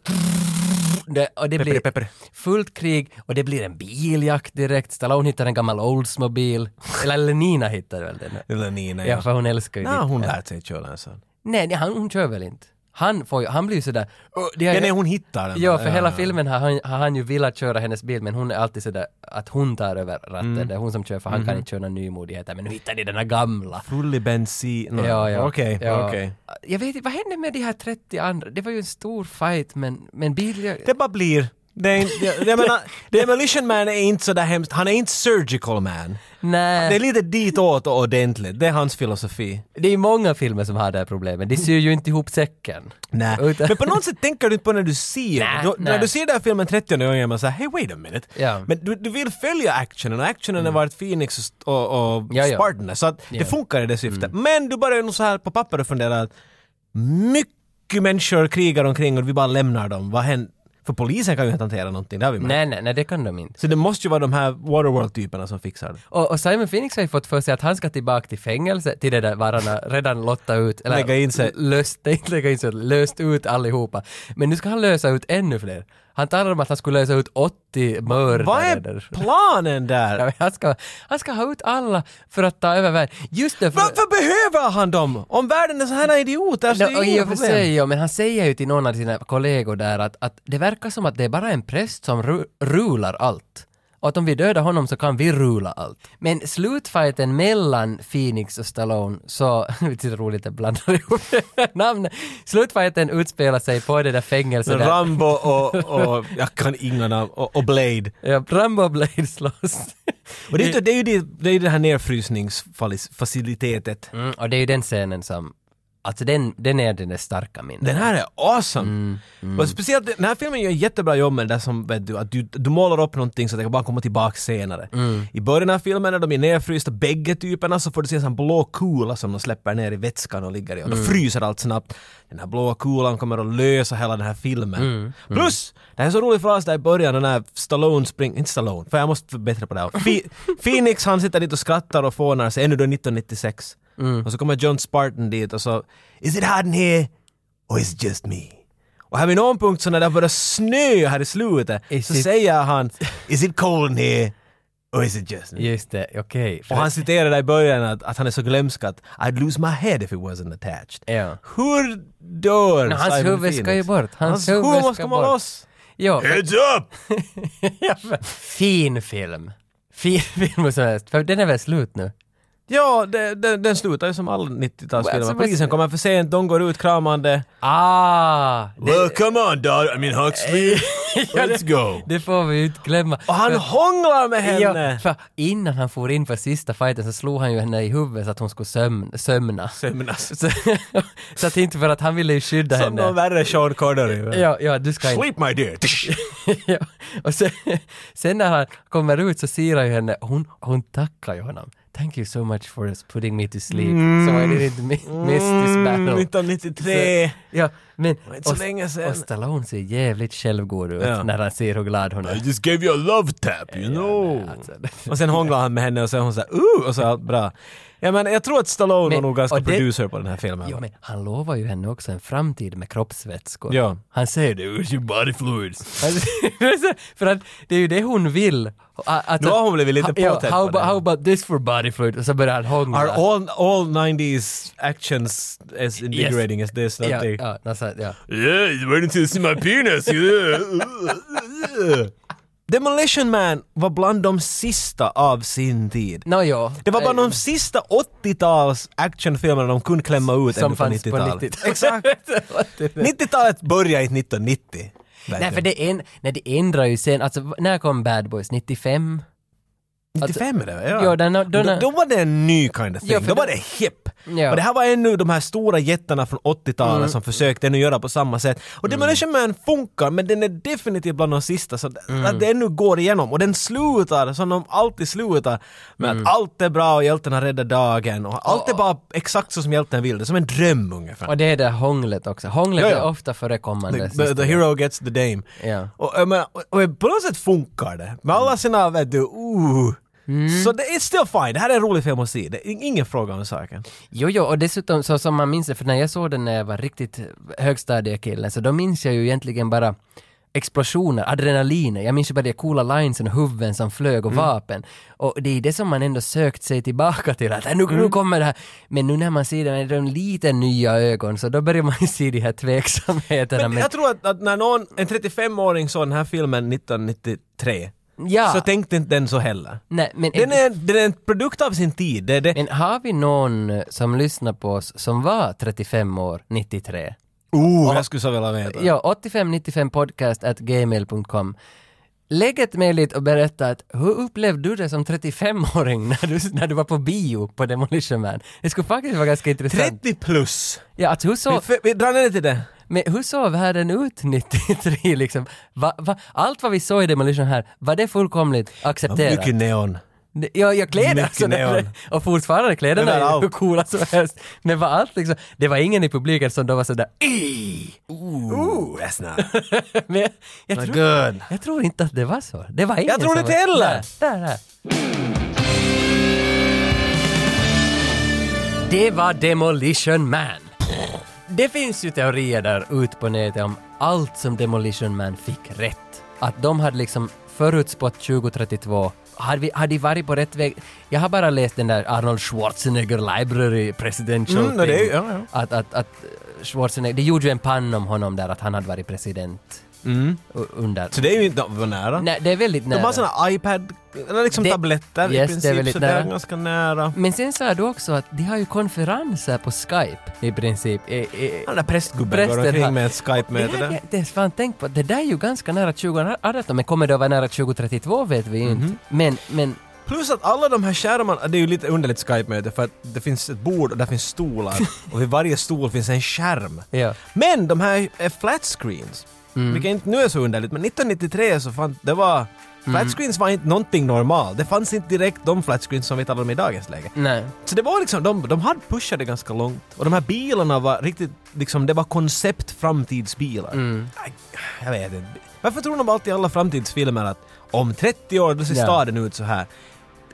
Speaker 2: Det, och det blir
Speaker 5: pepper.
Speaker 2: fullt krig och det blir en biljakt direkt. Stallone hittar en gammal Oldsmobile. Eller Lenina hittar väl den.
Speaker 1: Eller Nina.
Speaker 2: Ja, för hon älskar ju
Speaker 1: Ja,
Speaker 5: Ah,
Speaker 2: ditt-
Speaker 1: hon lät sig köra en sån.
Speaker 2: Nej, nej han, hon kör väl inte. Han, får ju, han blir ju sådär... "Åh, det har
Speaker 1: Ja,
Speaker 2: jag-
Speaker 1: nej, hon hittar den.
Speaker 2: Ja, för
Speaker 1: Ja,
Speaker 2: hela
Speaker 1: ja.
Speaker 2: filmen har han, har han ju velat köra hennes bil men hon är alltid sådär att hon tar över ratten.
Speaker 1: Mm.
Speaker 2: Det är hon som kör för han
Speaker 1: Mhm.
Speaker 2: kan inte köra några nymodigheter. Men nu hittar ni den här gamla.
Speaker 1: Full i bensin. No.
Speaker 2: Ja, ja.
Speaker 1: Okej,
Speaker 2: ja.
Speaker 1: okej.
Speaker 2: Jag vet inte, vad hände med de här 30 andra? Det var ju en stor fight men, men bil...
Speaker 1: Det bara blir. Det är inte, jag, jag menar, Demolition Man är inte så där hemskt. Han är inte surgical man.
Speaker 2: nej.
Speaker 1: Det är lite ditåt och ordentligt. Det är hans filosofi.
Speaker 2: Det är många filmer som har det här problemet. De syr ju inte ihop säcken.
Speaker 1: Nej.
Speaker 2: Utan-
Speaker 1: Men på något sätt tänker du inte på när du ser
Speaker 2: Nej,
Speaker 1: den. Då- När
Speaker 2: nej.
Speaker 1: du ser den här filmen 30 gånger är man såhär, hey wait a minute.
Speaker 2: Ja. Mm.
Speaker 1: Men du, du vill följa actionen och actionen har varit Phoenix och, st- och, och
Speaker 2: Ja, ja.
Speaker 1: Spartan. Så att
Speaker 2: Ja. Mm.
Speaker 1: det funkar i det syftet. Men du börjar nog så här på papper och funderar att mycket människor krigar omkring och vi bara lämnar dem. Vad händer? För polisen kan ju inte hantera någonting, det har vi märkt.
Speaker 2: Nej, nej, nej, det kan de inte.
Speaker 1: Så det måste ju vara de här Waterworld-typerna som fixar det.
Speaker 2: Och, och Simon Phoenix har ju fått för sig att han ska tillbaka till fängelse, till det där vararna redan lotta ut, eller
Speaker 1: Lägga in sig.
Speaker 2: löst, nej, inte lägga in sig, löst ut allihopa. Men nu ska han lösa ut ännu fler. Han talar om att han skulle lösa ut 80 mördare.
Speaker 1: Vad
Speaker 2: där.
Speaker 1: är planen
Speaker 2: Ja,
Speaker 1: där?
Speaker 2: men Han ska, han ska ha ut alla för att ta över världen. Just det, för...
Speaker 1: Varför behöver han dem? Om världen är så här idioter så
Speaker 2: No,
Speaker 1: är
Speaker 2: och
Speaker 1: det
Speaker 2: i
Speaker 1: inga
Speaker 2: och för
Speaker 1: problem.
Speaker 2: sig, ja, men han säger ju till någon av sina kollegor där att, att det verkar som att det är bara en präst som ru- rular allt. Och att om vi dödar honom så kan vi rula allt. Men slutfighten mellan Phoenix och Stallone så, det är roligt att blanda ihop namnen. Slutfighten utspelar sig på det där fängelset där.
Speaker 1: Rambo och, och jag kan inga namn, och, och Blade.
Speaker 2: ja, Rambo och Blade slåss.
Speaker 1: Och det, är ju- det är ju det, det, är ju det här nedfrysningsfacilitetet.
Speaker 2: Mm, och det är ju den scenen som, alltså den, den är den där starka minnet.
Speaker 1: Den här är awesome! Och speciellt, den här filmen gör jättebra jobb med det där som, vet du, att du, du målar upp någonting så att det kan bara komma tillbaka senare. I början av filmen när de är nedfrysta, bägge typerna, så får du se en sån blå kula som de släpper ner i vätskan och ligger i och då fryser allt snabbt. Den här blåa kulan kommer att lösa hela den här filmen. Plus! Det här är så rolig fras där i början, den här Stallone spring... Inte Stallone, för jag måste bättra på det här. Fe- Phoenix han sitter dit och skrattar och fånar sig, ännu då 1996. Och så kommer John Spartan dit och så “Is it hot in here?” or is it just me? Och här vid någon punkt så när det börjar snö här i slutet
Speaker 2: Is
Speaker 1: så
Speaker 2: it-
Speaker 1: säger han “Is it cold in here? Or is it just me?”
Speaker 2: Just det, okej.
Speaker 1: Och han citerar där i början att, att han är så glömsk att “I'd lose my head if it wasn't attached”.
Speaker 2: Ja.
Speaker 1: Hur dör
Speaker 2: No, hans
Speaker 1: Simon
Speaker 2: huvud ska ju
Speaker 1: Phoenix?
Speaker 2: bort. Hans
Speaker 1: Hans
Speaker 2: huvud
Speaker 1: huvud måste
Speaker 2: ska
Speaker 1: komma
Speaker 2: bort.
Speaker 1: loss!
Speaker 2: Ja, för-
Speaker 4: Heads up!
Speaker 2: fin film. Fin film som helst. För den är väl slut nu?
Speaker 1: Ja, det, det, den slutar ju som alla 90-talsfilmer.
Speaker 2: Alltså,
Speaker 1: Polisen kommer för sent, de går ut kramande.
Speaker 2: Ah! Det,
Speaker 4: Well, come on, daughter. I mean, Huxley. Let's go.
Speaker 2: det får vi ju inte glömma.
Speaker 1: Och han hånglar med henne!
Speaker 2: Ja, för innan han for in för sista fighten så slog han ju henne i huvudet så att hon skulle sömn, sömna.
Speaker 1: Sömnas.
Speaker 2: Så, så att inte för att han ville ju skydda
Speaker 1: Som
Speaker 2: henne.
Speaker 1: någon värre Sean Connery. va?
Speaker 2: Ja, ja, du ska inte...
Speaker 4: Sleep, my dear.
Speaker 2: ja. Och sen, sen när han kommer ut så ser han ju henne, hon, hon tackar ju honom. Thank you so much for putting me to sleep. So I didn't mi- miss this
Speaker 1: Mm,
Speaker 2: battle.
Speaker 1: 1993.
Speaker 2: Ja, men...
Speaker 1: inte så
Speaker 2: och-
Speaker 1: länge sedan.
Speaker 2: Och Stallone ser jävligt självgod ut
Speaker 1: Ja.
Speaker 2: när han ser hur glad hon
Speaker 4: I
Speaker 2: är.
Speaker 4: just gave you a love tap, you know.
Speaker 2: Alltså,
Speaker 1: Och sen hånglar han med henne och så är hon såhär uh och så är allt bra. Ja men jag tror att Stallone
Speaker 2: Men-
Speaker 1: var nog ganska
Speaker 2: och det-
Speaker 1: producer på den här filmen.
Speaker 2: jo, men han lovar ju henne också en framtid med kroppsvätskor.
Speaker 1: Ja.
Speaker 2: Han säger det, use your body fluids. Alltså, Han- För att det är ju det hon vill. Alltså,
Speaker 1: Nu har hon blivit lite
Speaker 2: ja,
Speaker 1: påtänd
Speaker 2: how,
Speaker 1: på det.
Speaker 2: about- how about this for body fluid? Och så börjar han hångla.
Speaker 1: Are all, all 90s actions as invigorating as this? don't
Speaker 2: ja,
Speaker 1: they?
Speaker 2: ja, nästan, ja.
Speaker 4: Yeah, he's waiting to see my penis. Yeah.
Speaker 1: Demolition Man var bland de sista av sin tid.
Speaker 2: Nå, ja.
Speaker 1: Det var bara
Speaker 2: Eh,
Speaker 1: de sista 80-tals actionfilmerna de kunde klämma ut
Speaker 2: Som
Speaker 1: ännu på
Speaker 2: fanns på
Speaker 1: 90-talet.
Speaker 2: 90-talet.
Speaker 1: Exakt. 90-talet började inte 1990. vet
Speaker 2: Nej,
Speaker 1: du.
Speaker 2: för det, en, nej, det ändrar ju sen. Alltså, när kom Bad Boys? 95?
Speaker 1: 95 är det va? ja.
Speaker 2: Ja, den- den-
Speaker 1: Alltså, då, då var det en ny kind of thing.
Speaker 2: Ja, för
Speaker 1: då var
Speaker 2: den-
Speaker 1: det hip.
Speaker 2: Ja. Mm.
Speaker 1: Och det här var ännu de här stora jättarna från 80-talet som försökte ännu göra på samma sätt. Och Demolition Man funkar, men den är definitivt bland de sista så att-
Speaker 2: Mm.
Speaker 1: att det ännu går igenom. Och den slutar som de alltid slutar med
Speaker 2: Mm.
Speaker 1: att allt är bra och hjälten har räddat dagen och allt är bara exakt så som hjälten vill. Det är som en dröm ungefär.
Speaker 2: Och det är det hånglet också. Hånglet
Speaker 1: Ja, ja.
Speaker 2: är ofta förekommande.
Speaker 1: The, the,
Speaker 2: sist.
Speaker 1: the hero gets the dame.
Speaker 2: Ja.
Speaker 1: Och, jag menar, och, och på något sätt funkar det. Med alla sina, vet du, uh.
Speaker 2: Mm.
Speaker 1: Så det är still fine. Det här är en rolig film att se. Det är ingen fråga om saken.
Speaker 2: Jo, jo, och dessutom så som man minns det, för när jag såg den när jag var riktigt högstadiekille, så då minns jag ju egentligen bara explosioner, adrenaliner. Jag minns ju bara de coola linesen, huvuden som flög
Speaker 1: Mm.
Speaker 2: och vapen. Och det är det som man ändå sökt sig tillbaka till, att äh, nu,
Speaker 1: Mm.
Speaker 2: nu kommer det här. Men nu när man ser det med de lite nya ögon så då börjar man ju se de här tveksamheterna.
Speaker 1: Men jag tror att, att när någon, en 35-åring såg den här filmen 1993
Speaker 2: Ja.
Speaker 1: så tänkte inte den så heller.
Speaker 2: nej, men,
Speaker 1: Den är, den är en produkt av sin tid. Det, det,
Speaker 2: men har vi någon som lyssnar på oss som var 35 år 93?
Speaker 1: oh, jag skulle så vilja veta.
Speaker 2: Ja, 8595 podcast at gmail.com. Lägg ett mejl dit och berätta att hur upplevde du det som 35-åring när du, när du var på bio på Demolition Man? Det skulle faktiskt vara ganska intressant.
Speaker 1: 30 plus!
Speaker 2: Ja, alltså hur
Speaker 1: Vi,
Speaker 2: sov,
Speaker 1: för, vi drar ner till det.
Speaker 2: men hur sov världen ut 93 liksom? Va, va, allt vad vi såg i Demolition här, var det fullkomligt accepterat?
Speaker 1: Mycket neon.
Speaker 2: Det- Ja, jag kläder
Speaker 1: Mycket
Speaker 2: alltså,
Speaker 1: neon.
Speaker 2: och fortfarande kläderna är ju
Speaker 1: Överallt.
Speaker 2: hur coola som helst. Men var allt liksom, det var ingen i publiken som då var sådär "Ih!"
Speaker 1: Ooh, that's not,
Speaker 2: Men jag, jag
Speaker 1: not
Speaker 2: tror-
Speaker 1: good.
Speaker 2: Jag tror inte att det var så. Det var ingen
Speaker 1: Jag tror
Speaker 2: som
Speaker 1: inte
Speaker 2: var-
Speaker 1: heller.
Speaker 2: Nej, Där, där. Det var Demolition Man. Det finns ju teorier där ute på nätet om allt som Demolition Man fick rätt. Att de hade liksom förutspått 2032. Hade, vi, hade de varit på rätt väg? Jag har bara läst den där Arnold Schwarzenegger Library Presidential
Speaker 5: Mm, det är
Speaker 2: thing.
Speaker 5: ju- ja, ja.
Speaker 2: Att, att, att eh, Schwarzenegger, det gjorde ju en pann om honom där att han hade varit president.
Speaker 5: Mm.
Speaker 2: U- Under.
Speaker 1: Så det är ju inte vad nära.
Speaker 2: Nej, det är väldigt nära.
Speaker 1: Ah. De har såna iPad, eller liksom
Speaker 2: Det-
Speaker 1: tabletter
Speaker 2: Yes,
Speaker 1: i
Speaker 2: det är
Speaker 1: princip,
Speaker 2: väldigt
Speaker 1: så det är
Speaker 2: nära.
Speaker 1: ganska nära.
Speaker 2: Men sen sa du också att de har ju konferenser på Skype i princip. I, i,
Speaker 1: Den där prästgubben
Speaker 2: Prästen
Speaker 1: går omkring
Speaker 2: har-
Speaker 1: med ett
Speaker 2: det
Speaker 1: Skype-möte
Speaker 2: hade jag
Speaker 1: där.
Speaker 2: inte ens fan tänkt på. Det där är ju ganska nära 2018, men kommer det att vara nära 2032 vet vi ju
Speaker 1: Mhm.
Speaker 2: inte. Men, men
Speaker 1: Plus att alla de här skärmarna, det är ju lite underligt Skype-möte för att det finns ett bord och där finns stolar och vid varje stol finns en skärm.
Speaker 2: ja.
Speaker 1: Men de här är flat screens, vilket inte nu är så underligt, men 1993 så fanns det var Flat screens var inte någonting normalt. Det fanns inte direkt de flat screens som vi talar om i dagens läge.
Speaker 2: Nej.
Speaker 1: Så det var liksom, de, de hade pushat det ganska långt. Och de här bilarna var riktigt, liksom, det var koncept framtidsbilar.
Speaker 2: Mm.
Speaker 1: Aj, Jag vet inte. Varför tror de alltid i alla framtidsfilmer att om 30 år, då ser
Speaker 2: Ja.
Speaker 1: staden ut så här.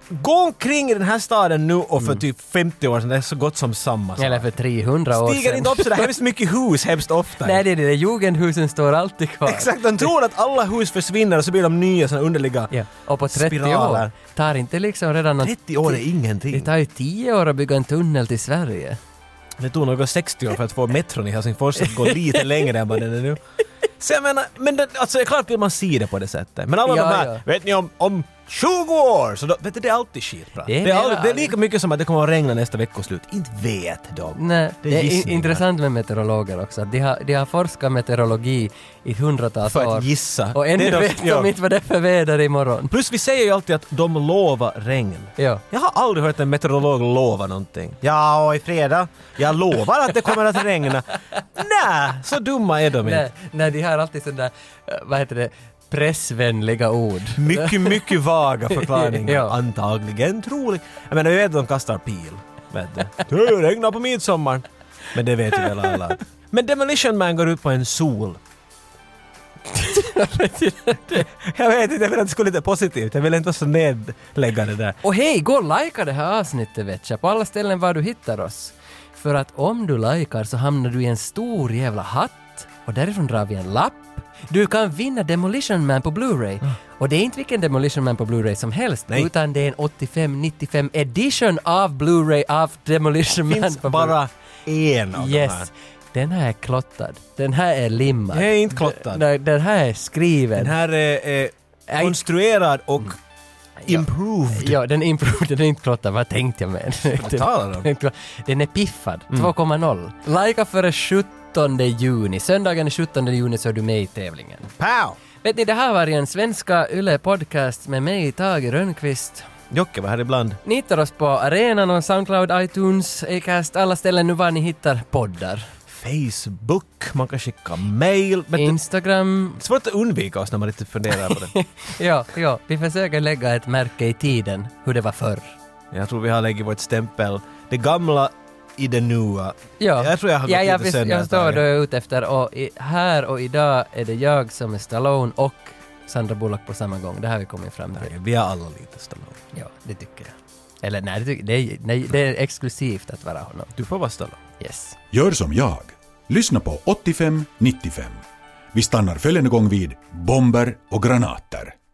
Speaker 1: Gå omkring i den här staden nu och för typ 50 år sedan, det är så gott som samma sak.
Speaker 2: Mm. Eller för 300 år
Speaker 1: Alltså, Stiger
Speaker 2: sedan.
Speaker 1: inte upp sådär hemskt mycket hus hemskt ofta.
Speaker 2: Nej, det är det. där. Jugendhusen står alltid kvar.
Speaker 1: Exakt, de tror att alla hus försvinner och så blir de nya sådana underliga...
Speaker 2: Ja. Och på 30 år
Speaker 1: Spiraler.
Speaker 2: tar inte liksom redan något...
Speaker 1: 30 år är
Speaker 2: Det
Speaker 1: ingenting.
Speaker 2: tar ju 10 år att bygga en tunnel till Sverige.
Speaker 1: Det tog några 60 år för att få metron i Helsingfors att gå lite längre än vad den är nu. Så jag menar, men det, alltså det är klart vill man se det på det sättet. Men alla
Speaker 2: Ja,
Speaker 1: de här,
Speaker 2: ja.
Speaker 1: vet ni om, om 20 år! Så då, vet du, det är alltid skitprat.
Speaker 2: Det är
Speaker 1: Det, är all-
Speaker 2: mera-
Speaker 1: det är lika mycket som att det kommer att regna nästa veckoslut. Inte vet de.
Speaker 2: Nej, det
Speaker 1: Det
Speaker 2: är,
Speaker 1: är
Speaker 2: in-
Speaker 1: gissningar.
Speaker 2: intressant med meteorologer också. De har, de har forskat meteorologi i hundratals
Speaker 1: För
Speaker 2: år.
Speaker 1: att gissa.
Speaker 2: Och
Speaker 1: Det
Speaker 2: ännu
Speaker 1: är de-
Speaker 2: vet
Speaker 1: ja.
Speaker 2: de inte vad det är för väder imorgon.
Speaker 1: Plus vi säger ju alltid att de lovar regn.
Speaker 2: Ja.
Speaker 1: Jag har aldrig hört en meteorolog lova någonting. Ja, och i fredag. Jag lovar att det kommer att regna. Nej, så dumma är de
Speaker 2: Nej,
Speaker 1: inte.
Speaker 2: nej, de har alltid sådana, vad heter det, pressvänliga ord.
Speaker 1: Mycket, mycket vaga förklaringar.
Speaker 2: Ja.
Speaker 1: Antagligen, troligt. Jag menar, vi vet att de kastar pil. Vet du. Det regnar på midsommar. Men det vet ju väl alla. Men Demolition Man går ut på en sol. jag vet inte, jag vill att det skulle lite positivt. Jag vill inte vara så nedläggande där.
Speaker 2: Och hej, gå och likea det här avsnittet vet jag, på alla ställen var du hittar oss. För att om du likar så hamnar du i en stor jävla hatt och därifrån drar vi en lapp. Du kan vinna Demolition Man på Blu-ray. Och det är inte vilken Demolition Man på Blu-ray som helst,
Speaker 1: Ah. Nej.
Speaker 2: utan det är en 85-95 edition av Blu-ray av Demolition Man.
Speaker 1: finns
Speaker 2: på
Speaker 1: bara en av
Speaker 2: Blu-ray.
Speaker 1: de här.
Speaker 2: Yes. Den här är klottad. Den här är limmad.
Speaker 1: Jag är inte klottad.
Speaker 2: Den, den här är skriven.
Speaker 1: Den här är, är konstruerad och improved.
Speaker 2: Mm. Ja, den är improved, den är inte klottad. Vad tänkte jag med?
Speaker 1: Vad talar du om?
Speaker 2: Den är piffad,
Speaker 1: Mm.
Speaker 2: 2,0. Lika före 17 juni. Söndagen den 17 juni så är du med i tävlingen.
Speaker 1: Pow!
Speaker 2: Vet ni, det här var en svenska Yle Podcast med mig, Tage Rönnqvist.
Speaker 1: Jocke var här ibland.
Speaker 2: Ni hittar oss på arenan och Soundcloud, iTunes, Acast, alla ställen nu var ni hittar poddar.
Speaker 1: Facebook, man kan skicka mail. Men det
Speaker 2: Instagram.
Speaker 1: är svårt att undvika oss när man riktigt funderar på det.
Speaker 2: Ja, ja, vi försöker lägga ett märke i tiden, hur det var förr.
Speaker 1: Jag tror vi har lagt vårt stämpel. Det gamla i det nya.
Speaker 2: Ja.
Speaker 1: Jag tror jag har gått
Speaker 2: ja, jag,
Speaker 1: lite
Speaker 2: visst,
Speaker 1: sönder
Speaker 2: jag
Speaker 1: ett
Speaker 2: förstår
Speaker 1: tag.
Speaker 2: vad du är ute efter och i, här och idag är det jag som är Stallone och Sandra Bullock på samma gång. Det här har vi kommit fram till.
Speaker 1: Vi har alla lite Stallone.
Speaker 2: Ja, det tycker jag. Eller nej det, tycker- det, är, nej, det är exklusivt att vara honom.
Speaker 1: Du får vara Stallone.
Speaker 2: Yes.
Speaker 6: Gör som jag. Lyssna på 85-95. Vi stannar följande gång vid bomber och granater.